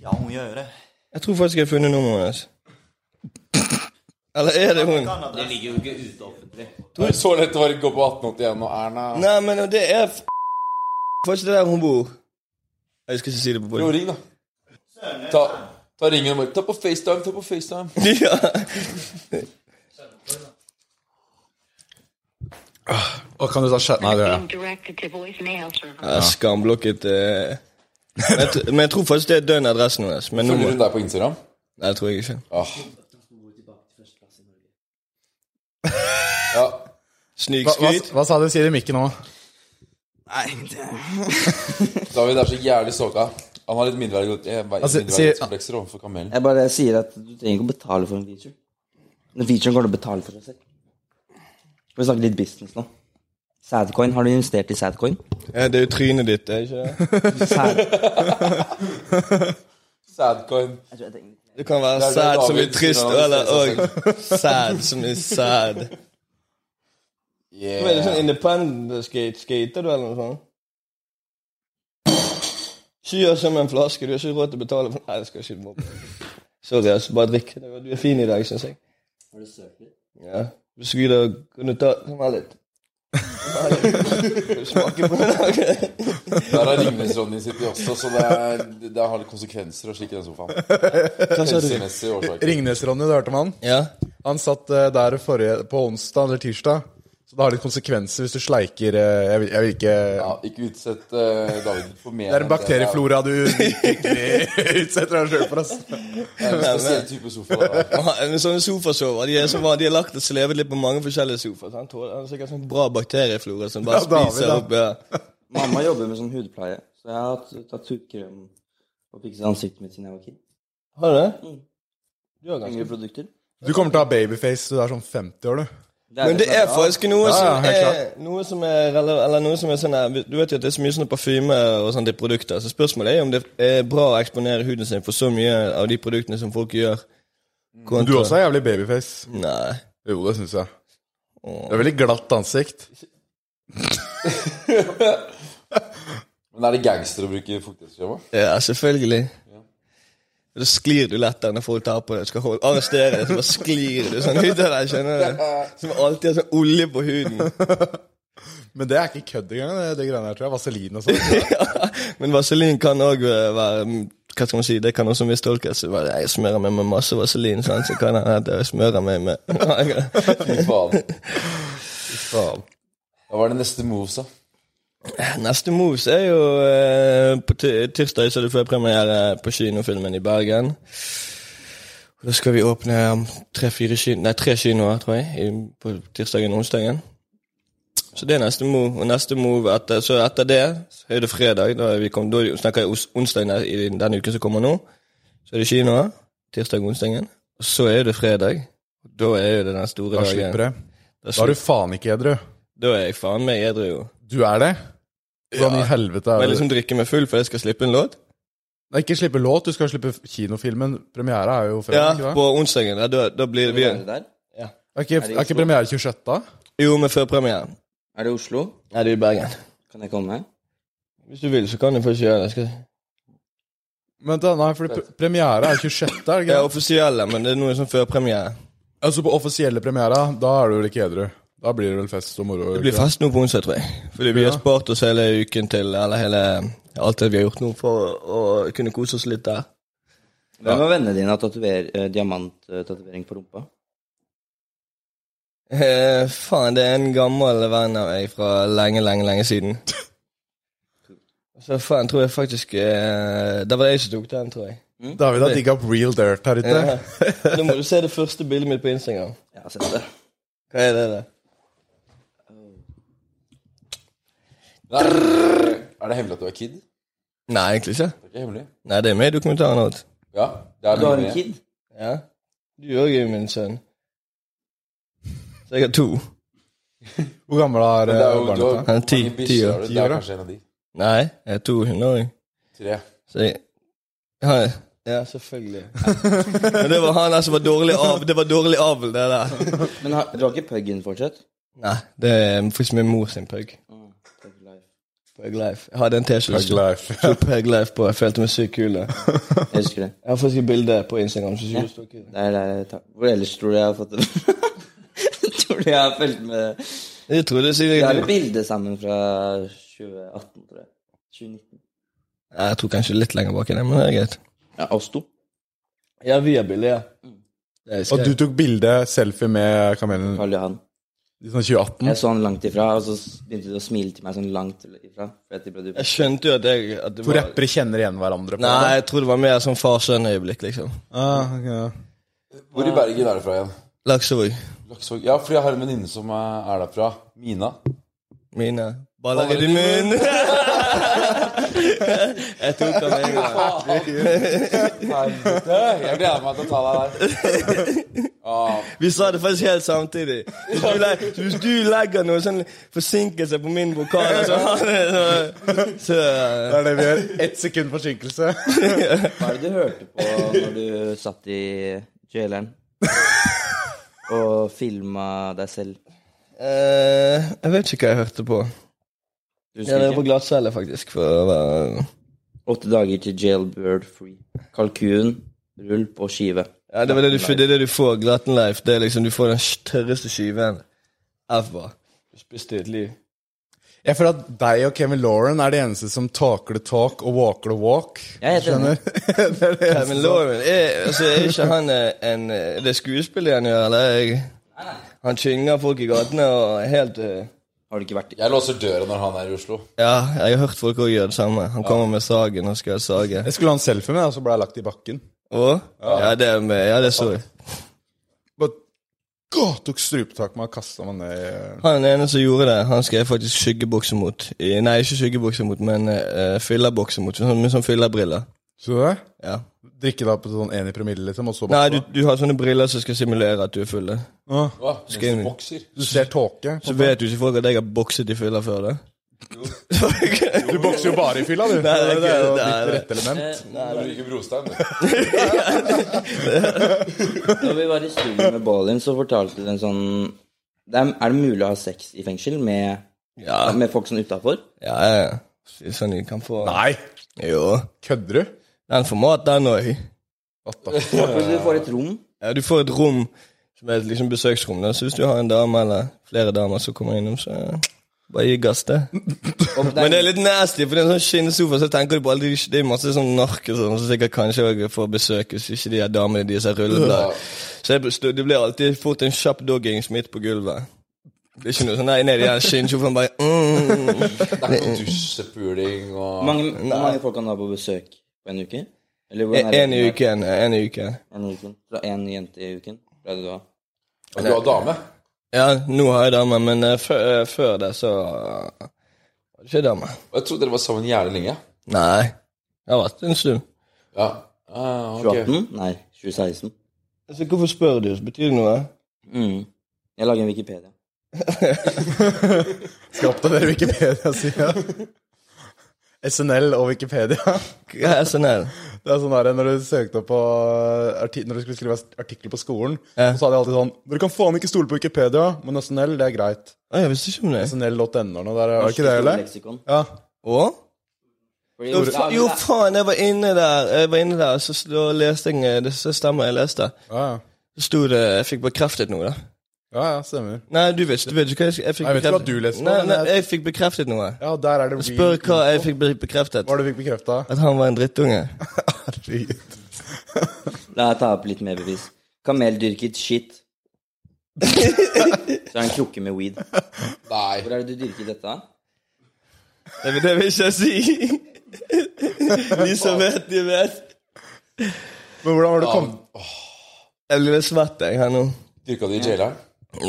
[SPEAKER 8] Ja, hun gjør jo det.
[SPEAKER 5] Jeg tror faktisk jeg har funnet nummeret hennes. Eller er det hun?
[SPEAKER 6] Det ligger jo ikke ute offentlig.
[SPEAKER 3] Det er så lett å bare gå på 1881 og Erna
[SPEAKER 5] Nei, men det er f... Var ikke det der hun bor? Jeg skal ikke si det på
[SPEAKER 3] Jo,
[SPEAKER 5] bordet.
[SPEAKER 3] ring, da. Ta, ta ringen og bare Ta på FaceTime, ta på FaceTime.
[SPEAKER 5] Ja.
[SPEAKER 4] Å, Kan du ta skjermen? Nei, det gjør jeg.
[SPEAKER 9] being directed to voicemail service.
[SPEAKER 5] Jeg er skamblokket eh. men, jeg, tr- men jeg tror faktisk det er dønn adressen hennes. Men
[SPEAKER 3] Følger
[SPEAKER 5] nummeret
[SPEAKER 3] hun deg på Instagram?
[SPEAKER 5] Nei, det tror jeg ikke.
[SPEAKER 3] Åh. Ja.
[SPEAKER 4] Hva, hva,
[SPEAKER 5] Snikskryt.
[SPEAKER 4] hva sa du, sier Mikke nå?
[SPEAKER 3] David er så jævlig såka. Han har litt mindreverdig-
[SPEAKER 4] Altså,
[SPEAKER 3] mindreverdighetskomplekser overfor kamelen.
[SPEAKER 6] Jeg bare sier at du trenger ikke å betale for en feature. Den featuren går til å betale for seg selv. Skal vi snakke litt business nå? Sadcoin, har du investert i Sadcoin?
[SPEAKER 5] Ja, det er jo trynet ditt, er det ikke det?
[SPEAKER 6] Sad.
[SPEAKER 3] Sadcoin.
[SPEAKER 6] Jeg tror jeg trenger
[SPEAKER 5] Det kan være
[SPEAKER 3] Det er det
[SPEAKER 5] sad som er
[SPEAKER 3] David
[SPEAKER 5] trist,
[SPEAKER 3] sier han
[SPEAKER 5] eller
[SPEAKER 3] bestemmer
[SPEAKER 5] og sad som er sad. Men er det sånn independent skate? Skater du, eller noe sånt? Skyer som en flaske, du har ikke råd til å betale for Nei, jeg skal ikke mobbe. Sorry, altså, bare drikk. Det var- Du er fin i dag, syns jeg.
[SPEAKER 6] Har du søkt litt?
[SPEAKER 5] Ja. Du skulle da kunne ta Kom her litt. Smake på den. her.
[SPEAKER 3] Der har Ringnes-Ronny sittet også, så det, er, det har litt konsekvenser å slikke den sofaen. Helsemessige årsaker.
[SPEAKER 4] Ringnes-Ronny, du hørte om han?
[SPEAKER 5] Ja.
[SPEAKER 4] Han satt eh, der forrige, på onsdag eller tirsdag. Så det har litt konsekvenser hvis du sleiker eh, Jeg vil, jeg vil ikke
[SPEAKER 3] Ja, ikke utsett eh, David for mer
[SPEAKER 4] Det er en bakterieflora du virkelig utsetter deg sjøl for, ass.
[SPEAKER 3] Det er en spesiell type sofa. da.
[SPEAKER 5] Men Sånne sofasover de er, som var, de er lagt og slevet litt på mange forskjellige sofaer. Han har sikkert sånn bra bakterieflora som bare
[SPEAKER 4] Ja, David,
[SPEAKER 5] spiser
[SPEAKER 4] da.
[SPEAKER 5] opp ja.
[SPEAKER 6] Mamma jobber med sånn hudpleie, så jeg har hatt- tatt hudkrem og fikset ansiktet mitt siden jeg var kid.
[SPEAKER 5] Har du det? Du har ganske
[SPEAKER 6] Yngre produkter.
[SPEAKER 4] Du kommer til å ha babyface til du er sånn 50 år, du.
[SPEAKER 6] Det
[SPEAKER 5] Men det
[SPEAKER 6] som
[SPEAKER 5] er
[SPEAKER 6] bra.
[SPEAKER 5] faktisk noe
[SPEAKER 4] Ja, ja,
[SPEAKER 5] som
[SPEAKER 4] helt
[SPEAKER 5] er
[SPEAKER 4] klart.
[SPEAKER 5] Noe som er rele- Eller noe som er sånn her, Du vet jo at det er så mye sånne parfyme og sånne produkter, så spørsmålet er om det er bra å eksponere huden sin for så mye av de produktene som folk gjør.
[SPEAKER 4] Du også er jævlig babyface.
[SPEAKER 5] Nei.
[SPEAKER 4] Jo, det syns jeg. Du har veldig glatt ansikt.
[SPEAKER 3] Men er det gangster å bruke fuktighetskrem? da?
[SPEAKER 5] Ja, selvfølgelig. Da sklir du lettere når folk tar på deg. Skal holde, arrestere deg, så bare sklir du sånn ut av deg. Skjønner du? Som alltid har sånn olje på huden.
[SPEAKER 4] Men det er ikke kødd engang, det, det greiene her, tror jeg. Vaselin og sånn.
[SPEAKER 5] Men vaselin kan òg være mm, Hva skal man si, Det kan også mistolkes. Så bare, Jeg smører meg med masse vaselin, sant? så kan jeg at jeg smører meg med
[SPEAKER 3] Fy faen. Hva var det neste moves, da?
[SPEAKER 5] Neste moves er jo eh, På ti- tirsdag så er det førpremiere på kinofilmen i Bergen. Og Da skal vi åpne um, tre-fire kin nei, tre kinoer, tror jeg, i, på tirsdagen og onsdagen. Så det er neste move. Og neste move etter, så etter det så er det fredag. Da, er vi kom, da snakker jeg os- onsdagen der- i denne uken som kommer nå. Så er det kinoer. Tirsdag og onsdagen. Og så er det fredag. Da er jo det den store
[SPEAKER 4] Da
[SPEAKER 5] dagen.
[SPEAKER 4] slipper jeg.
[SPEAKER 5] Da
[SPEAKER 4] Da er du
[SPEAKER 5] slutt-
[SPEAKER 4] faen ikke edru.
[SPEAKER 5] Da er jeg faen meg edru, jo.
[SPEAKER 4] Du er det? Hvordan i helvete
[SPEAKER 5] Må
[SPEAKER 4] er
[SPEAKER 5] jeg
[SPEAKER 4] det?
[SPEAKER 5] liksom drikke meg full for jeg skal slippe en låt?
[SPEAKER 4] Nei, ikke slippe låt, du skal slippe kinofilmen. Premiere er jo fredag,
[SPEAKER 5] Ja,
[SPEAKER 4] ikke det?
[SPEAKER 5] på onsdagen. Ja, da, da blir vi
[SPEAKER 6] Er det der?
[SPEAKER 4] Er ikke,
[SPEAKER 6] det i
[SPEAKER 4] er ikke
[SPEAKER 6] Oslo?
[SPEAKER 4] premiere 26. da?
[SPEAKER 5] Jo, med førpremieren.
[SPEAKER 6] Er det Oslo?
[SPEAKER 5] Nei, det er i Bergen.
[SPEAKER 6] Kan jeg komme?
[SPEAKER 5] Hvis du vil, så kan jeg faktisk gjøre det. Skal... jeg-
[SPEAKER 4] Men da, nei, fordi pre premiere er 26., er det
[SPEAKER 5] Jeg
[SPEAKER 4] ikke?
[SPEAKER 5] er offisiell, men det er noe sånn førpremiere.
[SPEAKER 4] det? Altså på offisielle premiere, da er du vel ikke edru? Da blir det vel fest og moro?
[SPEAKER 5] Det blir fest nå på onsdag, tror jeg. Fordi vi har spart oss hele uken til eller hele, alt det vi har gjort nå, for å kunne kose oss litt der.
[SPEAKER 6] Hvem av vennene dine har tatover- eh, diamanttatovering på rumpa?
[SPEAKER 5] Eh, faen, det er en gammel venn av meg fra lenge, lenge, lenge siden. Så faen, tror jeg faktisk eh, Det var det jeg som tok den, tror jeg.
[SPEAKER 4] David har digga opp real dirt her ute.
[SPEAKER 5] Ja. Da må du se det første bildet mitt på Instagram.
[SPEAKER 6] Jeg har sett det.
[SPEAKER 5] Hva er det? da?
[SPEAKER 3] Nei, er det hemmelig at du er kid? Det
[SPEAKER 5] Nei, egentlig ikke.
[SPEAKER 3] er ikke hemmelig.
[SPEAKER 5] Nei, det er med i dokumentaren alt.
[SPEAKER 3] Ja, det er
[SPEAKER 6] Du har en
[SPEAKER 3] hemmelig.
[SPEAKER 6] kid?
[SPEAKER 5] Ja. Du òg er jo min sønn. Så jeg har to.
[SPEAKER 4] Hvor gammel er,
[SPEAKER 3] Men det er jo,
[SPEAKER 4] eh,
[SPEAKER 3] du har
[SPEAKER 4] barnet? ditt?
[SPEAKER 5] Han er ti-
[SPEAKER 3] mange bikkjer,
[SPEAKER 5] ti år.
[SPEAKER 3] har du?
[SPEAKER 4] Ti
[SPEAKER 3] Det
[SPEAKER 4] år,
[SPEAKER 3] er
[SPEAKER 4] ja.
[SPEAKER 3] kanskje en av de.
[SPEAKER 5] Nei, jeg har to hunder òg.
[SPEAKER 3] Tre.
[SPEAKER 5] Så jeg ja, ja, selvfølgelig. Men det var han der som var dårlig avl. Det var dårlig avl, det der.
[SPEAKER 6] Men har, du har ikke puggen fortsatt?
[SPEAKER 5] Nei, det er faktisk min mor sin pug.
[SPEAKER 6] Mm, takk for life.
[SPEAKER 5] Pug Life. Jeg hadde en T-skjorte
[SPEAKER 4] Hug
[SPEAKER 5] som
[SPEAKER 4] life.
[SPEAKER 5] sto Pug Life på. Jeg følte meg sykt kul. da.
[SPEAKER 6] Jeg husker det.
[SPEAKER 5] Jeg har faktisk et bilde på Instagram. som sier
[SPEAKER 6] Ja.
[SPEAKER 5] det står kul.
[SPEAKER 6] Det er der jeg tar Hvor ellers tror du jeg har fått det? tror du jeg har fulgt med
[SPEAKER 5] Jeg trodde
[SPEAKER 6] Vi har et
[SPEAKER 5] sikkert
[SPEAKER 6] bilde sammen fra 2018, tror jeg. 2019.
[SPEAKER 5] Jeg tror kanskje litt lenger bak enn det, men det er greit.
[SPEAKER 6] Ja, oss to.
[SPEAKER 5] Ja, vi er billige. Ja. Det
[SPEAKER 4] Og
[SPEAKER 5] husker
[SPEAKER 4] du
[SPEAKER 5] jeg.
[SPEAKER 4] tok bilde, selfie med kamelen
[SPEAKER 6] Karl Johan.
[SPEAKER 4] i sånn 2018?
[SPEAKER 6] Jeg så han langt ifra, og så begynte de å smile til meg sånn langt ifra. For at de ble
[SPEAKER 5] Jeg skjønte jo at jeg at det
[SPEAKER 4] To
[SPEAKER 5] var...
[SPEAKER 4] rappere kjenner igjen hverandre? på
[SPEAKER 5] Nei,
[SPEAKER 4] det.
[SPEAKER 5] jeg tror det var mer sånn far-sønn-øyeblikk, liksom.
[SPEAKER 4] Ah, ok, ja.
[SPEAKER 3] Hvor i Bergen er du fra igjen?
[SPEAKER 5] Laksevåg.
[SPEAKER 3] Laksevåg? Ja, fordi jeg har en venninne som eh, er derfra. Mina.
[SPEAKER 5] Mine baller i din munn. jeg tok den med en gang.
[SPEAKER 3] Helvete! Jeg gleder meg til å ta deg der.
[SPEAKER 5] Vi sa det faktisk helt samtidig. Hvis du, leg, hvis du legger noe sånn forsinkelse på min vokal, så, så, så
[SPEAKER 4] Det er det vi gjør. Ett sekund forsinkelse.
[SPEAKER 6] Hva er det du hørte på når du satt i jaileren? Og filma deg selv?
[SPEAKER 5] eh, Jeg vet ikke hva jeg hørte på.
[SPEAKER 6] Du
[SPEAKER 5] Ja, det var
[SPEAKER 6] husker
[SPEAKER 5] på
[SPEAKER 6] ikke?
[SPEAKER 5] glattcelle, faktisk. For å være
[SPEAKER 6] Åtte dager til jailbird free. Kalkun, rull på skive.
[SPEAKER 5] Ja, det, var det, du, det er det du får. Glatten life. Det er liksom, du får den tørreste skiven ever. Du spiste i et liv.
[SPEAKER 4] Jeg føler at deg og Kevin Lauren er de eneste som talker the talk og walker the walk.
[SPEAKER 6] Jeg heter
[SPEAKER 4] Skjønner? det er det eneste.
[SPEAKER 5] Kevin Lauren er, altså, er ikke han eh, en eh, Det er skuespillet han gjør, eller? Jeg, han tynger folk i gatene og er helt eh,
[SPEAKER 6] Har du ikke vært i
[SPEAKER 3] Jeg låser døra når han er i Oslo.
[SPEAKER 5] Ja, jeg har hørt folk også gjøre det samme. Han kommer med sagen og skal sage.
[SPEAKER 4] Jeg skulle ha en selfie med deg, og så ble jeg lagt i bakken.
[SPEAKER 5] Og? Ja, det, er med, ja, det så jeg.
[SPEAKER 4] Bare gå, tok strupetak med meg og kasta meg ned. i-
[SPEAKER 5] Han ene som gjorde det, han skal jeg faktisk skyggebokse mot. I, nei, ikke skyggebokse mot, men uh, fyllerbokse mot. Sånn, med sånn fyllerbriller.
[SPEAKER 4] Så du det?
[SPEAKER 5] Ja.
[SPEAKER 4] Drikke deg på sånn én i promille, liksom, og så
[SPEAKER 5] Nei,
[SPEAKER 4] bare
[SPEAKER 5] du, du har sånne briller som skal simulere at du er full.
[SPEAKER 4] Åh,
[SPEAKER 3] Hva? Mens
[SPEAKER 5] Skal
[SPEAKER 3] du
[SPEAKER 5] vi-
[SPEAKER 3] bokser?
[SPEAKER 4] Du ser tåke.
[SPEAKER 5] Så vet jo ikke folk at jeg har bokset i fylla før det.
[SPEAKER 4] Du bokser jo bare i fylla, du.
[SPEAKER 5] Nei, det er
[SPEAKER 4] det er jo
[SPEAKER 5] ikke- det er-
[SPEAKER 4] ditt rette element.
[SPEAKER 3] Du liker brostein, du.
[SPEAKER 6] Når vi var i studio med Bolin, så fortalte du en sånn det er, er det mulig å ha sex i fengsel med,
[SPEAKER 5] Ja,
[SPEAKER 6] med folk sånn utafor?
[SPEAKER 5] ja, ja. Sånn jeg kan få
[SPEAKER 4] Nei,
[SPEAKER 5] Jo.
[SPEAKER 4] kødder du?
[SPEAKER 5] Den får mat, den òg.
[SPEAKER 4] What the fuck?
[SPEAKER 6] Du får et rom.
[SPEAKER 5] Ja, du får et rom som er et liksom besøksrom. Da. Så hvis du har en dame eller flere damer som kommer innom, så eh, bare gi gass, det.
[SPEAKER 6] Og
[SPEAKER 5] Men det er litt nasty, for det er en sånn skinnsofa, så tenker du på alle de Det er masse sånn narke og sånn, som sikkert kanskje også får besøk hvis ikke de her damene deres har rulleblad. Så jeg bestod, det blir alltid fort en kjapp doggings midt på gulvet. Det er ikke noe sånn nei, ned i den skinnsofaen bare mm.
[SPEAKER 3] Det er ikke noe dusjepuling
[SPEAKER 6] Hvor
[SPEAKER 3] og
[SPEAKER 6] mange, hvor mange folk kan du ha på besøk på en uke? Eller hvordan er
[SPEAKER 5] E- En i
[SPEAKER 6] reglene?
[SPEAKER 5] uken. En i uken.
[SPEAKER 6] En i uken. Fra én jente i uken? Pleide du å ha?
[SPEAKER 3] Og Du har dame?
[SPEAKER 5] Ja, nå har jeg dame, men eh, før, eh, før det så eh, var det ikke dame.
[SPEAKER 3] Og Jeg trodde dere var sammen jævlig lenge.
[SPEAKER 5] Nei. Jeg har vært en stund.
[SPEAKER 3] Ja. Ah, ok.
[SPEAKER 6] 2018? Nei, 2016.
[SPEAKER 5] Altså, hvorfor spør du? Betyr det noe?
[SPEAKER 6] Mm. Jeg lager en Wikipedia.
[SPEAKER 4] Skal oppdatere Wikipedia-sida. SNL og Wikipedia.
[SPEAKER 5] Hva er SNL?
[SPEAKER 4] Det er sånn der, Når du søkte opp på arti Når du skulle skrive artikkel på skolen,
[SPEAKER 5] Ja.
[SPEAKER 4] så sa de alltid sånn Dere kan faen ikke stole på Wikipedia, men SNL, det er greit.
[SPEAKER 5] Å, jeg visste ikke om det.
[SPEAKER 4] SNL.no, der er det ikke det, eller?
[SPEAKER 6] Leksikon.
[SPEAKER 4] Ja.
[SPEAKER 5] Og?
[SPEAKER 6] Fordi-
[SPEAKER 5] Jo,
[SPEAKER 6] Ja,
[SPEAKER 5] fa
[SPEAKER 6] men
[SPEAKER 5] jo,
[SPEAKER 6] det er-
[SPEAKER 5] faen, jeg var inne der, jeg var inne der så s- da leste jeg eh, det så stemmer jeg leste.
[SPEAKER 4] Ja, ja.
[SPEAKER 5] Så sto det Jeg fikk bekreftet noe, da.
[SPEAKER 4] ja, ja stemmer.
[SPEAKER 5] Nei, du vet ikke, du vet ikke hva jeg, jeg fikk
[SPEAKER 4] Nei, jeg vet ikke hva du
[SPEAKER 5] bekreftet.
[SPEAKER 4] leser på,
[SPEAKER 5] Nei,
[SPEAKER 4] men
[SPEAKER 5] nei,
[SPEAKER 4] jeg-
[SPEAKER 5] jeg fikk bekreftet noe.
[SPEAKER 4] Ja, der er det
[SPEAKER 5] Spør
[SPEAKER 4] re-
[SPEAKER 5] hva jeg fikk be- bekreftet.
[SPEAKER 4] Hva er det du fikk bekrefta?
[SPEAKER 5] At han var en drittunge.
[SPEAKER 6] La meg ta opp litt mer bevis. Kameldyrket shit. Så er det en krukke med weed.
[SPEAKER 3] Nei.
[SPEAKER 6] Hvor er det du dyrker dette? da?
[SPEAKER 5] Det, vil- det vil ikke jeg si. de som vet, de vet.
[SPEAKER 4] Men hvordan var det du kom
[SPEAKER 5] Jeg blir litt svett, jeg, her nå.
[SPEAKER 3] Dyrka du i jaileren?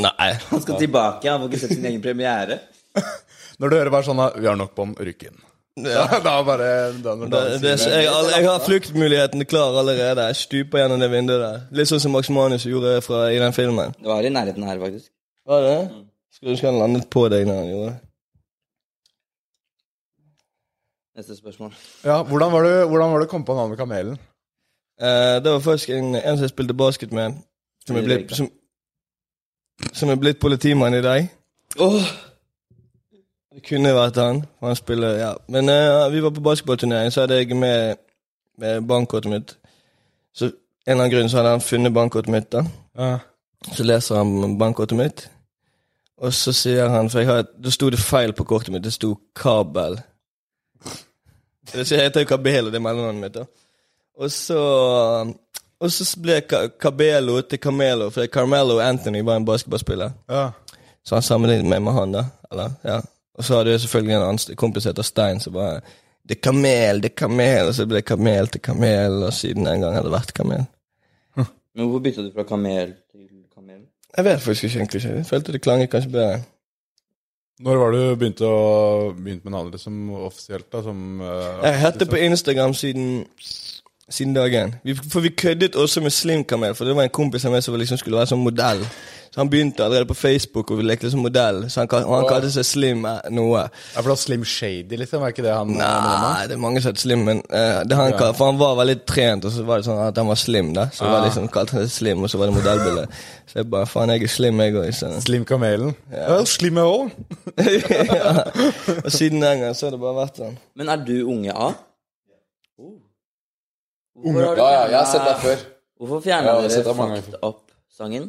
[SPEAKER 5] Nei.
[SPEAKER 6] Han skal tilbake, han får ikke sett sin egen premiere.
[SPEAKER 4] Når du hører bare sånn da, Vi har nok på ryggen. Ja. da bare da, når
[SPEAKER 5] Det,
[SPEAKER 4] dagen
[SPEAKER 5] det,
[SPEAKER 4] sier
[SPEAKER 5] jeg, all- jeg har fluktmuligheten klar allerede. Jeg stuper gjennom det vinduet der. Litt sånn som Max Manus gjorde fra, i den filmen.
[SPEAKER 6] Det var i nærheten her, faktisk.
[SPEAKER 5] Var det? Skulle ønske han landet på deg når han gjorde det.
[SPEAKER 6] Neste spørsmål.
[SPEAKER 4] Ja, hvordan var, du, hvordan var det du kom på navnet Kamelen?
[SPEAKER 5] Eh, det var faktisk en, en som jeg spilte basket med, som er blitt, som, som er blitt politimann i dag. Åh! Det kunne vært han. for han spiller, ja. Men eh, vi var på basketballturnering, så hadde jeg med, med bankkortet mitt. Så en eller annen grunn så hadde han funnet bankkortet mitt. da. Så leser han bankkortet mitt, og så sier han For jeg har, et- da sto det feil på kortet mitt. Det sto Kabel. Det heter jo Kabel, og det er mellomnavnet mitt. da. Og så Og så ble Ka Cabello til Camelo, for Carmelo Anthony var en basketballspiller.
[SPEAKER 4] Ja.
[SPEAKER 5] Så han sammenlignet meg med han, da. Eller, ja. Og så hadde jeg selvfølgelig en annen st- kompis som heter Stein, som bare Det er kamel, det er kamel, og så ble det kamel til kamel, og siden den gang har det vært kamel.
[SPEAKER 6] Men hvorfor bytta du fra kamel til kamel?
[SPEAKER 5] Jeg vet faktisk ikke, egentlig ikke. Jeg følte det klanget kanskje bedre.
[SPEAKER 4] Når var det du begynte, å, begynte med navnet som offisielt? da, som... eh,
[SPEAKER 5] Jeg hette på Instagram siden siden dagen. Vi, for vi køddet også med Slimkamel, for det var en kompis av meg som liksom skulle være sånn modell. Så han begynte allerede på Facebook og vi lekte som modell, så han, kal- og han kalte seg Slim eh, noe.
[SPEAKER 4] Ja, for da Slim Shady, liksom? Er ikke det han
[SPEAKER 5] Nei, det er mange som heter Slim, men eh, det han kal- for han var veldig trent, og så var det sånn at han var slim, da. Så det var liksom, kalte han seg Slim, og så var det modellbilde. Så jeg bare faen, jeg er slim, jeg òg.
[SPEAKER 4] Slim Kamelen? Ja, Slim er òg.
[SPEAKER 5] ja. Og siden den gang så har det bare vært sånn.
[SPEAKER 6] Men er du unge A?
[SPEAKER 4] Unge-
[SPEAKER 3] Uh. Ja, ja, jeg har sett deg før.
[SPEAKER 6] Hvorfor
[SPEAKER 3] Ja,
[SPEAKER 6] fjerna
[SPEAKER 3] jeg har sett
[SPEAKER 6] dere
[SPEAKER 3] deg mange
[SPEAKER 6] Fucked Up-sangen?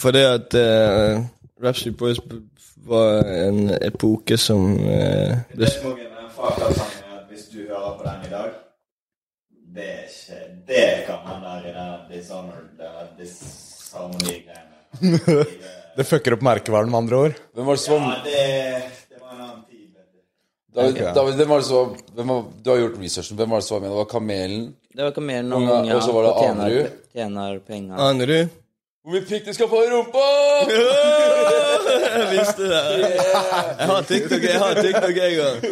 [SPEAKER 5] Fordi at uh, Rapsy Boys b- var en epoke som eh, ble s-
[SPEAKER 8] Desmogen er en faktasang er at hvis du hører på den i dag Det er ikke Det kan han der i den sånn- dishonored eller sånn disharmoni-greiene.
[SPEAKER 4] Det fucker opp merkevaren, med andre ord.
[SPEAKER 3] Hvem var det som
[SPEAKER 8] Ja,
[SPEAKER 3] var,
[SPEAKER 8] det, det var en annen tid. vet du.
[SPEAKER 3] David, David, hvem var det som var, hvem var, Du har gjort researchen. Hvem var det som var med? Det var Kamelen.
[SPEAKER 6] Det var kamelen og
[SPEAKER 3] Unge A,
[SPEAKER 6] unge A
[SPEAKER 3] og så var det
[SPEAKER 6] og tjener,
[SPEAKER 3] Anerud.
[SPEAKER 6] tjener penga.
[SPEAKER 5] Aner Ah, du?
[SPEAKER 3] Hvor mye pikk du skal få i rumpa!
[SPEAKER 5] Jeg visste det. Jeg har TikTok, jeg har TikTok, jeg òg.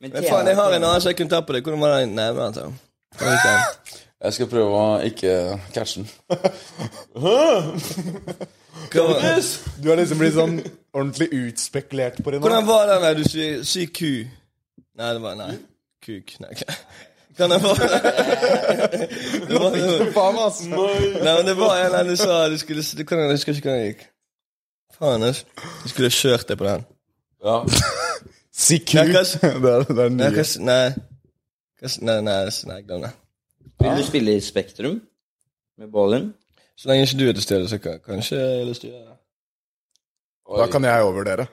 [SPEAKER 6] Men
[SPEAKER 5] Men faen, jeg har en
[SPEAKER 6] tjener-
[SPEAKER 5] annen som jeg kunne tatt på deg. Hvordan var den? Nei, vent da. Jeg vet ikke.
[SPEAKER 3] Jeg skal prøve å ikke catche den.
[SPEAKER 5] Hva var-
[SPEAKER 4] Du har liksom blitt sånn ordentlig utspekulert på det nå.
[SPEAKER 5] Hvordan var den der du sier Si ku? Nei, det var Nei. Kuk. Nei, hva Kan det være det? var- det var-
[SPEAKER 4] Faen, ass.
[SPEAKER 5] Nei, men det var en eller annen du sa du skulle du, kan, Jeg husker ikke hvordan det gikk. Faen, ass. Jeg skulle kjørt deg på den.
[SPEAKER 3] Ja.
[SPEAKER 4] Si ku.
[SPEAKER 5] Nei,
[SPEAKER 4] Det
[SPEAKER 5] hva s-
[SPEAKER 4] er det er
[SPEAKER 5] Nei, hva,
[SPEAKER 4] nye.
[SPEAKER 5] s- nei, hva, s- nei, nei, s- nei, glem det.
[SPEAKER 6] Vil du spille i Spektrum? Med Ballin?
[SPEAKER 5] Så lenge ikke du er til stede, så kan kanskje jeg har lyst til å gjøre det.
[SPEAKER 4] Da kan jeg overvurdere.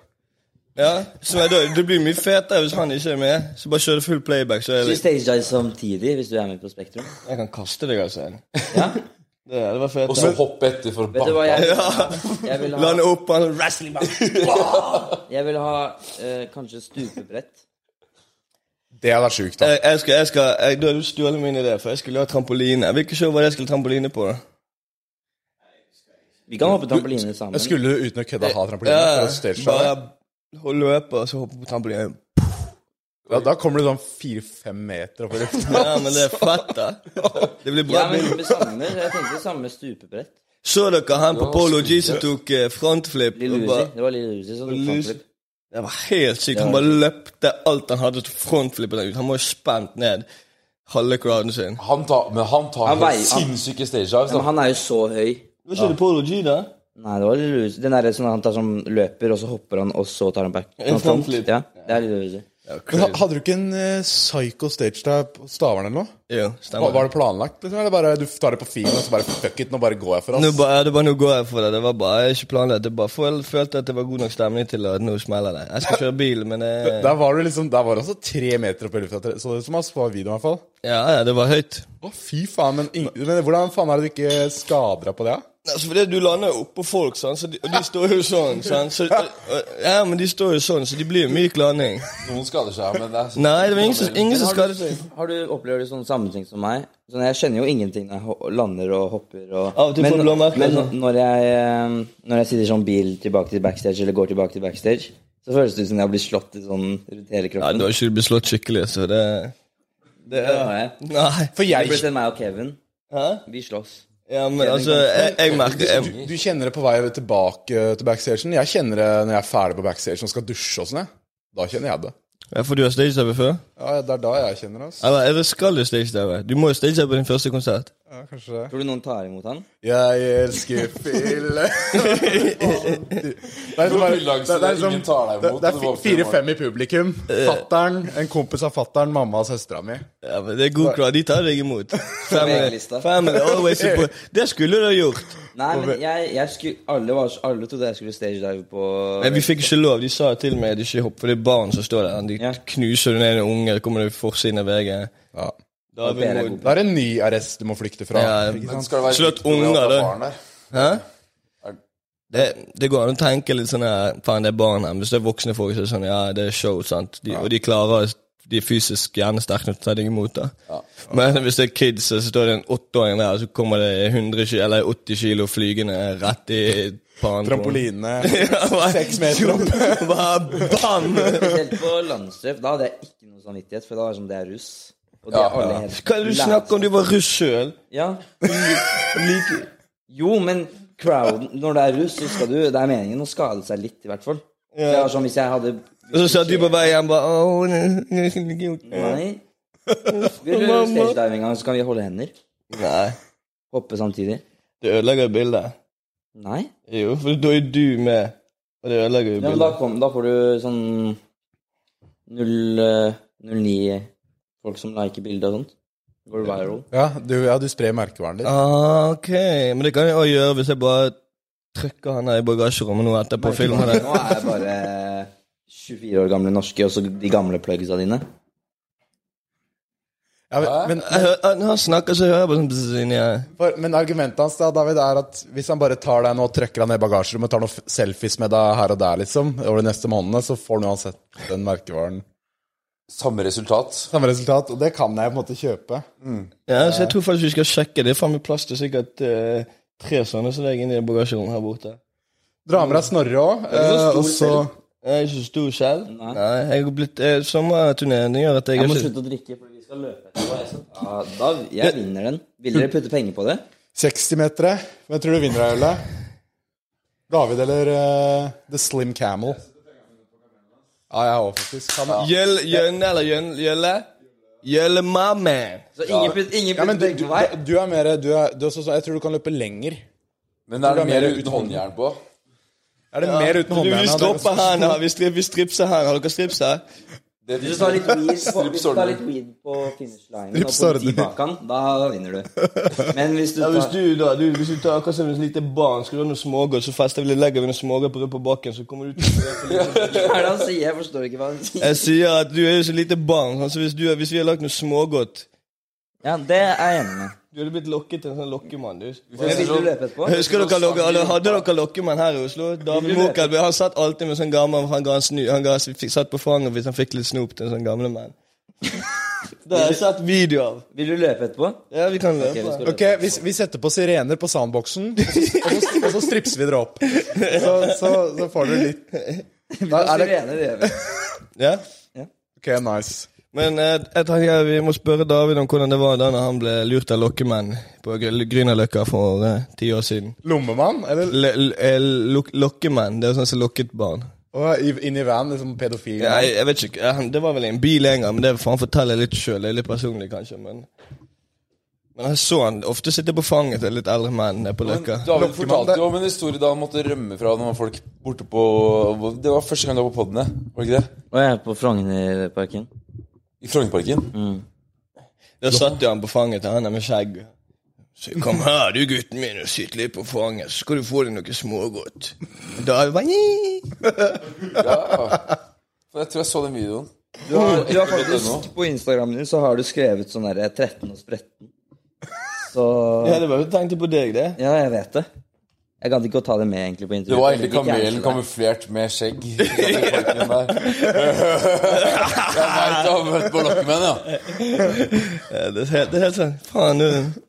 [SPEAKER 5] Ja, så nei, da, Det blir mye fetere hvis han ikke er med. Så bare kjør full playback. så er
[SPEAKER 6] Vi
[SPEAKER 5] det...
[SPEAKER 6] stager deg samtidig hvis du er med på Spektrum.
[SPEAKER 5] Jeg kan kaste deg, altså.
[SPEAKER 6] Ja?
[SPEAKER 5] Det, det var
[SPEAKER 3] Og så
[SPEAKER 5] fetere.
[SPEAKER 3] hoppe etter for å
[SPEAKER 6] Vet du hva
[SPEAKER 3] banke.
[SPEAKER 6] jeg
[SPEAKER 5] Ja.
[SPEAKER 6] Jeg vil ha,
[SPEAKER 5] Lande opp han wrestling
[SPEAKER 6] jeg vil ha eh, kanskje stupebrett.
[SPEAKER 4] Det hadde vært sjukt, da.
[SPEAKER 5] jeg, jeg skal, jeg skal, jeg, Du har stjålet min idé, for jeg skulle ha trampoline. Hvilket show var det jeg skulle ha trampoline på? da?
[SPEAKER 6] Vi kan hoppe trampoline sammen.
[SPEAKER 4] Jeg skulle uten å kødde ha trampoline.
[SPEAKER 5] Ja,
[SPEAKER 4] for å stage show,
[SPEAKER 5] bare
[SPEAKER 4] ja.
[SPEAKER 5] hold- løpe og så hoppe på trampoline.
[SPEAKER 4] Da, da kommer du sånn fire-fem meter opp i luften.
[SPEAKER 5] Ja, men det er fett, da. Det blir bra.
[SPEAKER 6] Ja, men med samme, jeg tenkte samme stupebrett.
[SPEAKER 5] Så dere han på Polo G som tok eh, frontflip? og
[SPEAKER 6] Lille Uzi.
[SPEAKER 5] bare-
[SPEAKER 6] Det var Lille Uzi som tok
[SPEAKER 5] Lille Uzi.
[SPEAKER 6] frontflip.
[SPEAKER 5] Det var helt sykt. Han bare løpte alt han hadde til frontflippet ut. Han var jo spent ned halve crowden sin.
[SPEAKER 3] Han tar, men han tar
[SPEAKER 6] Han
[SPEAKER 3] helt
[SPEAKER 6] veier- han-
[SPEAKER 3] sinnssyke stage dives.
[SPEAKER 6] Ja, men
[SPEAKER 3] da.
[SPEAKER 6] han er jo så høy.
[SPEAKER 5] Var ikke det Polo G, da?
[SPEAKER 6] Nei, det var Lille Uzi. Den derre som han tar som løper, og så hopper han, og så tar han back. Han front.
[SPEAKER 5] frontflip.
[SPEAKER 6] Ja, det er Lille Uzi.
[SPEAKER 4] Men ha- hadde du ikke en eh, psycho stage der på Stavern eller noe? Var,
[SPEAKER 5] Jo,
[SPEAKER 4] var
[SPEAKER 5] stemmer.
[SPEAKER 4] det planlagt, liksom? Eller bare du tar det på feeling og så bare fuck it, nå bare går jeg for
[SPEAKER 5] Nå
[SPEAKER 4] oss?
[SPEAKER 5] bare, ja, det var nå går jeg for det. Det var bare, jeg er ikke planlagt. Jeg bare føl- følte at det var god nok stemning til at nå smeller det. Jeg skal kjøre bil, men eh,
[SPEAKER 4] Der var det liksom, der var det også tre meter opp i lufta. tre- Så det ut som ass på videoen i hvert fall.
[SPEAKER 5] Ja, ja, det var høyt.
[SPEAKER 4] Å, fy faen, men, ing- men hvordan faen er det du ikke skader deg på det? da?
[SPEAKER 5] Altså, fordi du lander jo oppå folk, sant? Så de, og de står jo sånn. Sant? Så, og- og- ja, men de står jo sånn, så de blir jo myk landing.
[SPEAKER 3] Noen skader seg, men det er sånn-
[SPEAKER 5] Nei, det var ingen som, ingen som skadet seg.
[SPEAKER 6] Har du opplever du sånn samme ting som meg? Sånn, jeg skjønner jo ingenting når jeg ho- lander og hopper. Og,
[SPEAKER 5] Av og til får du blåmerker,
[SPEAKER 6] men
[SPEAKER 5] altså.
[SPEAKER 6] når jeg, eh, når jeg sitter sånn bil tilbake til backstage, eller går tilbake til backstage, så føles det ut som jeg blir slått i sånn rundt hele
[SPEAKER 5] Ja,
[SPEAKER 6] kroppen.
[SPEAKER 5] du har ikke blitt slått skikkelig, så det
[SPEAKER 6] det har jeg.
[SPEAKER 5] Nei.
[SPEAKER 4] For
[SPEAKER 6] Det ble
[SPEAKER 4] jeg
[SPEAKER 6] til meg og Kevin.
[SPEAKER 5] Hæ?
[SPEAKER 6] Vi slåss.
[SPEAKER 5] Ja, men altså, jeg, jeg merker jeg,
[SPEAKER 4] du kjenner det på vei tilbake eh, til backstagen. Jeg kjenner det når jeg er ferdig på backstagen og skal dusje og sånn. jeg. Da kjenner jeg det.
[SPEAKER 5] Ja, For du har stagedivet før?
[SPEAKER 4] Ja, Det er da jeg kjenner det. altså. ass.
[SPEAKER 5] Eller eller skal du stagedive? Du må jo stagedive på din første konsert.
[SPEAKER 4] Ja, kanskje det.
[SPEAKER 6] Tror du noen tar imot han?
[SPEAKER 4] Jeg elsker fille Det er
[SPEAKER 3] Du har villangst, det er ingen tar deg imot,
[SPEAKER 4] det er
[SPEAKER 3] og du Eh.
[SPEAKER 4] fi-
[SPEAKER 3] våkner
[SPEAKER 4] fire-fem i publikum. Fattern, en kompis av fattern, mamma og søstera mi.
[SPEAKER 5] Ja, men Det er god crowd. De tar deg imot. Family,
[SPEAKER 6] VG-lista.
[SPEAKER 5] family always support. Det skulle du ha gjort.
[SPEAKER 6] Nei, men jeg, jeg skulle, alle, var, alle trodde jeg skulle stage dive på
[SPEAKER 5] Men vi fikk ikke lov. De sa til meg at de ikke hopp, for det er barn som står der. De
[SPEAKER 6] Ja.
[SPEAKER 5] knuser du ned noen unger, kommer du i forsiden av VG.
[SPEAKER 4] Ja.
[SPEAKER 5] Da
[SPEAKER 6] Per er
[SPEAKER 5] vil
[SPEAKER 6] god.
[SPEAKER 4] Det er en ny arrest du må flykte fra.
[SPEAKER 5] Ja,
[SPEAKER 4] ikke
[SPEAKER 3] Men
[SPEAKER 4] sant?
[SPEAKER 3] skal det være
[SPEAKER 5] Slått
[SPEAKER 3] riktig når
[SPEAKER 5] unger,
[SPEAKER 3] han
[SPEAKER 5] det.
[SPEAKER 3] tar barn der?
[SPEAKER 5] Hæ? Det, det går an å tenke litt sånn her Faen, det er barn her. Men Hvis det er voksne folk, så er det sånn Ja, det er show, sant. De, Og de klarer De er fysisk gjerne sterke nok til å ta deg imot, da. Men hvis det er kids, så står det en åtteåring der, og så kommer det 100 kilo, eller 80 kilo flygende rett i pannen. på den.
[SPEAKER 4] Trampoline.
[SPEAKER 5] Ja, bare-
[SPEAKER 4] Seks meter opp.
[SPEAKER 5] Bare bam!
[SPEAKER 6] Spesielt på landstreff. Da hadde jeg ikke noe samvittighet, for da var det som det er russ. Og det er alle helt
[SPEAKER 5] Hva er det du snakker om? Du var russ sjøl.
[SPEAKER 6] Ja. Like. Jo, men crowden Når det er russ, så skal du Det er meningen å skade seg litt, i hvert fall. Det var sånn hvis jeg hadde
[SPEAKER 5] Og så satt du på vei hjem bare Åh, nå- nå skal jeg ikke gjort det».
[SPEAKER 6] Nei. Vil du stagedive en gang, så kan vi holde hender?
[SPEAKER 5] Nei.
[SPEAKER 6] Hoppe samtidig?
[SPEAKER 5] Det ødelegger jo bildet.
[SPEAKER 6] Nei?
[SPEAKER 5] Jo, for da er du med, og det ødelegger jo
[SPEAKER 6] Ja, men da,
[SPEAKER 5] bildet.
[SPEAKER 6] kom, da får du sånn 0, eh, 09 folk som liker bildet og sånt. Går viral.
[SPEAKER 4] Ja, du, ja, du sprer merkevaren din.
[SPEAKER 5] Ah, ok, men det kan jeg også gjøre hvis jeg bare trykker han her i bagasjerommet nå etterpå og filmer det.
[SPEAKER 6] Nå er jeg bare 24 år gamle norske, og så de gamle plugsa dine.
[SPEAKER 4] Ja, men, men
[SPEAKER 5] Jeg hø- Når han snakker, så hører jeg bare sånn bzz inni her.
[SPEAKER 4] For, men argumentet hans da, David, er at hvis han bare tar deg nå og trekker deg ned i bagasjerommet, tar noen f- selfies med deg her og der, liksom, over de neste månedene, så får han uansett den merkevaren.
[SPEAKER 3] Samme resultat.
[SPEAKER 4] Samme resultat, og det kan jeg på en måte kjøpe.
[SPEAKER 5] Ja, så jeg tror faktisk vi skal sjekke. Det er faen meg plass til sikkert eh, tre sånne som deg inni det bagasjerommet her borte.
[SPEAKER 4] Dra med deg Snorre òg, eh, og så
[SPEAKER 5] Jeg er ikke så stor selv.
[SPEAKER 6] Nei.
[SPEAKER 5] jeg har blitt eh, Sommerturneringen gjør at jeg,
[SPEAKER 6] Jeg må
[SPEAKER 5] er ikke
[SPEAKER 6] slutte å drikke, for vi skal løpe etterpå. jeg skal- Ja, da, jeg vinner den. Vil dere putte penger på det?
[SPEAKER 4] 60-metere. Hvem tror du vinner deg ølet? David eller eh, The Slim Camel? Ja, jeg òg, faktisk. Han er,
[SPEAKER 5] Gjølle, Jønne eller Jønne? Gjølle? Gjølle, my man.
[SPEAKER 6] Så ingen putter ingen
[SPEAKER 4] ja, men
[SPEAKER 6] putter
[SPEAKER 4] du,
[SPEAKER 6] penger
[SPEAKER 4] du,
[SPEAKER 6] på meg?
[SPEAKER 4] du er mer du er, du er sånn- Jeg tror du kan løpe lenger.
[SPEAKER 3] Men er det
[SPEAKER 4] Hvordan er
[SPEAKER 3] mer
[SPEAKER 4] det
[SPEAKER 3] uten
[SPEAKER 4] uten
[SPEAKER 3] håndjern på?
[SPEAKER 4] Er det mer uten
[SPEAKER 5] Du, vi
[SPEAKER 4] håndjernet?
[SPEAKER 5] stropper her nå. Vi, strip, vi stripser her. Har dere strips her?
[SPEAKER 3] Det
[SPEAKER 6] Hvis du tar litt weed på, hvis du
[SPEAKER 3] ordner.
[SPEAKER 6] tar litt weed på finish line og
[SPEAKER 4] Strips
[SPEAKER 6] på
[SPEAKER 4] ordner.
[SPEAKER 6] tibakan, da vinner du. Men hvis du
[SPEAKER 5] Ja, hvis
[SPEAKER 6] tar
[SPEAKER 5] du da, du, hvis du tar akkurat som et lite barn, skal du ha noe smågodt, så fester vi litt, legger vi noe smågodt på, på bakken, så kommer du til
[SPEAKER 6] Hva er det han sier? Jeg forstår ikke hva han sier.
[SPEAKER 5] Jeg sier at du er jo så lite barn, sånn, så hvis, du, hvis vi har lagt noe smågodt
[SPEAKER 6] Ja, det er jeg enig med.
[SPEAKER 5] Du hadde blitt lokket til en sånn lokkemann, du.
[SPEAKER 6] Men Vil du løpe etterpå?
[SPEAKER 5] Husker dere, lokke- alle, Hadde dere lokkemann her i Oslo? David Mokalb han satt alltid med sånn gammel Han ga en snu, han ga, fikk, satt på fanget hvis han fikk litt snop til en sånn gamle mann. Det har jeg sett video av.
[SPEAKER 6] Vil du løpe etterpå?
[SPEAKER 5] Ja, vi kan
[SPEAKER 6] Ok,
[SPEAKER 5] løpe.
[SPEAKER 6] vi skal løpe.
[SPEAKER 4] Ok, vi, vi setter på sirener på soundboxen, og så, og så stripser vi dere opp. Så, så, så får dere litt da er det,
[SPEAKER 6] Sirene, det gjør vi.
[SPEAKER 5] Ja?
[SPEAKER 4] Ok, nice.
[SPEAKER 5] Men eh, jeg tenker vi må spørre David om hvordan det var da når han ble lurt av lokkemenn på Gr- Grünerløkka for eh, ti år siden.
[SPEAKER 4] Lommemann? Eller
[SPEAKER 5] Le- l- eh, lok- Lokkemenn, det er sånn som lokket barn.
[SPEAKER 4] Å, i- inn i van, liksom pedofil?
[SPEAKER 5] Ja, jeg, jeg vet ikke, eh, han- Det var vel i en bil en gang, men det får han fortelle litt sjøl. Det er litt personlig, kanskje. Men, men jeg så han ofte sitte på fanget til litt eldre menn nede på Løkka.
[SPEAKER 3] David
[SPEAKER 4] Lokkemann,
[SPEAKER 3] fortalte
[SPEAKER 4] det-
[SPEAKER 3] jo om en historie da han måtte rømme fra noen folk borte på Det var første gang du var på podene, var det ikke det?
[SPEAKER 6] Og jeg er på Frognerparken.
[SPEAKER 3] I Frognerparken.
[SPEAKER 5] Da satt jo han på fanget til han der med skjegg. Så kom her, du gutten min, og sitt litt på fanget, så skal du få deg noe smågodt. Da er vi bare «Nyi».
[SPEAKER 3] For Jeg tror jeg så den videoen.
[SPEAKER 6] Du har, du har
[SPEAKER 3] .no.
[SPEAKER 6] faktisk På Instagramen din så har du skrevet sånn derre 13 og spretten. Så
[SPEAKER 5] Ja, det var jo tenkt på deg, det.
[SPEAKER 6] Ja, jeg vet det. Jeg gadd ikke å ta det med egentlig på intervjuet.
[SPEAKER 3] Det var egentlig
[SPEAKER 6] Jeg liker
[SPEAKER 3] kamelen
[SPEAKER 6] ikke det.
[SPEAKER 3] kamuflert med skjegg. i Frognerparken der. Jeg veit du har møtt på lokkemenn, ja.
[SPEAKER 5] Ja, Det er helt, det er helt sånn Faen, du.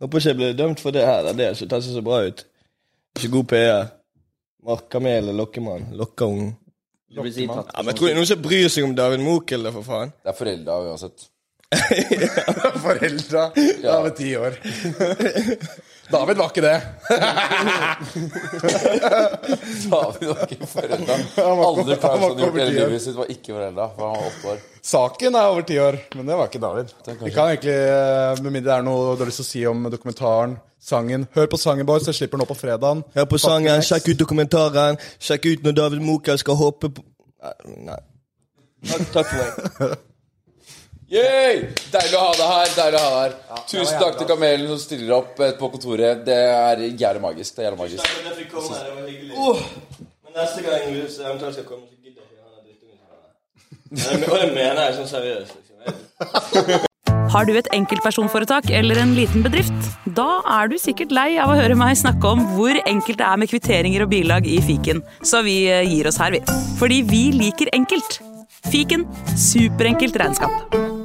[SPEAKER 5] Håper ikke jeg blir dømt for det her. da. Det er ikke det ser så bra ut. Ikke god PR. Markkamel og lokkemann. Lokkeungen.
[SPEAKER 6] Du blir sikkert tatt
[SPEAKER 5] Ja, men tror du det er noen som bryr seg om David Mokel, da, for faen?
[SPEAKER 3] Det er forelda uansett.
[SPEAKER 4] Foreldra da var ti år. David var ikke det.
[SPEAKER 3] David var ikke forelda.
[SPEAKER 4] var ikke-
[SPEAKER 3] Alle
[SPEAKER 4] han var
[SPEAKER 3] Paulsen
[SPEAKER 4] ikke
[SPEAKER 3] gjort
[SPEAKER 4] over
[SPEAKER 3] hele
[SPEAKER 4] ti år.
[SPEAKER 3] livet sitt, var ikke forelda. for Han var åtte år.
[SPEAKER 4] Saken er over ti år, men det var ikke David.
[SPEAKER 3] kanskje.
[SPEAKER 4] Vi kan egentlig, eh, Med mindre det er noe du har lyst til å si om dokumentaren, sangen Hør på sangen, boys. Jeg slipper nå på fredagen.
[SPEAKER 5] Hør på sangen, sjekk ut dokumentaren, sjekk ut når David Mokel skal hoppe på Nei. nei. Takk, takk for meg.
[SPEAKER 3] Yay! Deilig å ha deg her. deilig å ha deg her Tusen takk til Kamelen som stiller opp eh, på kontoret. Det er jævlig magisk. det er jævlig magisk
[SPEAKER 5] Det fikk komme, det var hyggelig. Åh! Men neste gang du eventuelt skal komme, så gidder jeg ikke han der drittungen. Men- Og det mener jeg sånn seriøst. liksom. Jeg-
[SPEAKER 10] Har du et enkeltpersonforetak eller en liten bedrift? Da er du sikkert lei av å høre meg snakke om hvor enkelt det er med kvitteringer og bilag i fiken, så vi eh, gir oss her, vi. Fordi vi liker enkelt. Fiken superenkelt regnskap.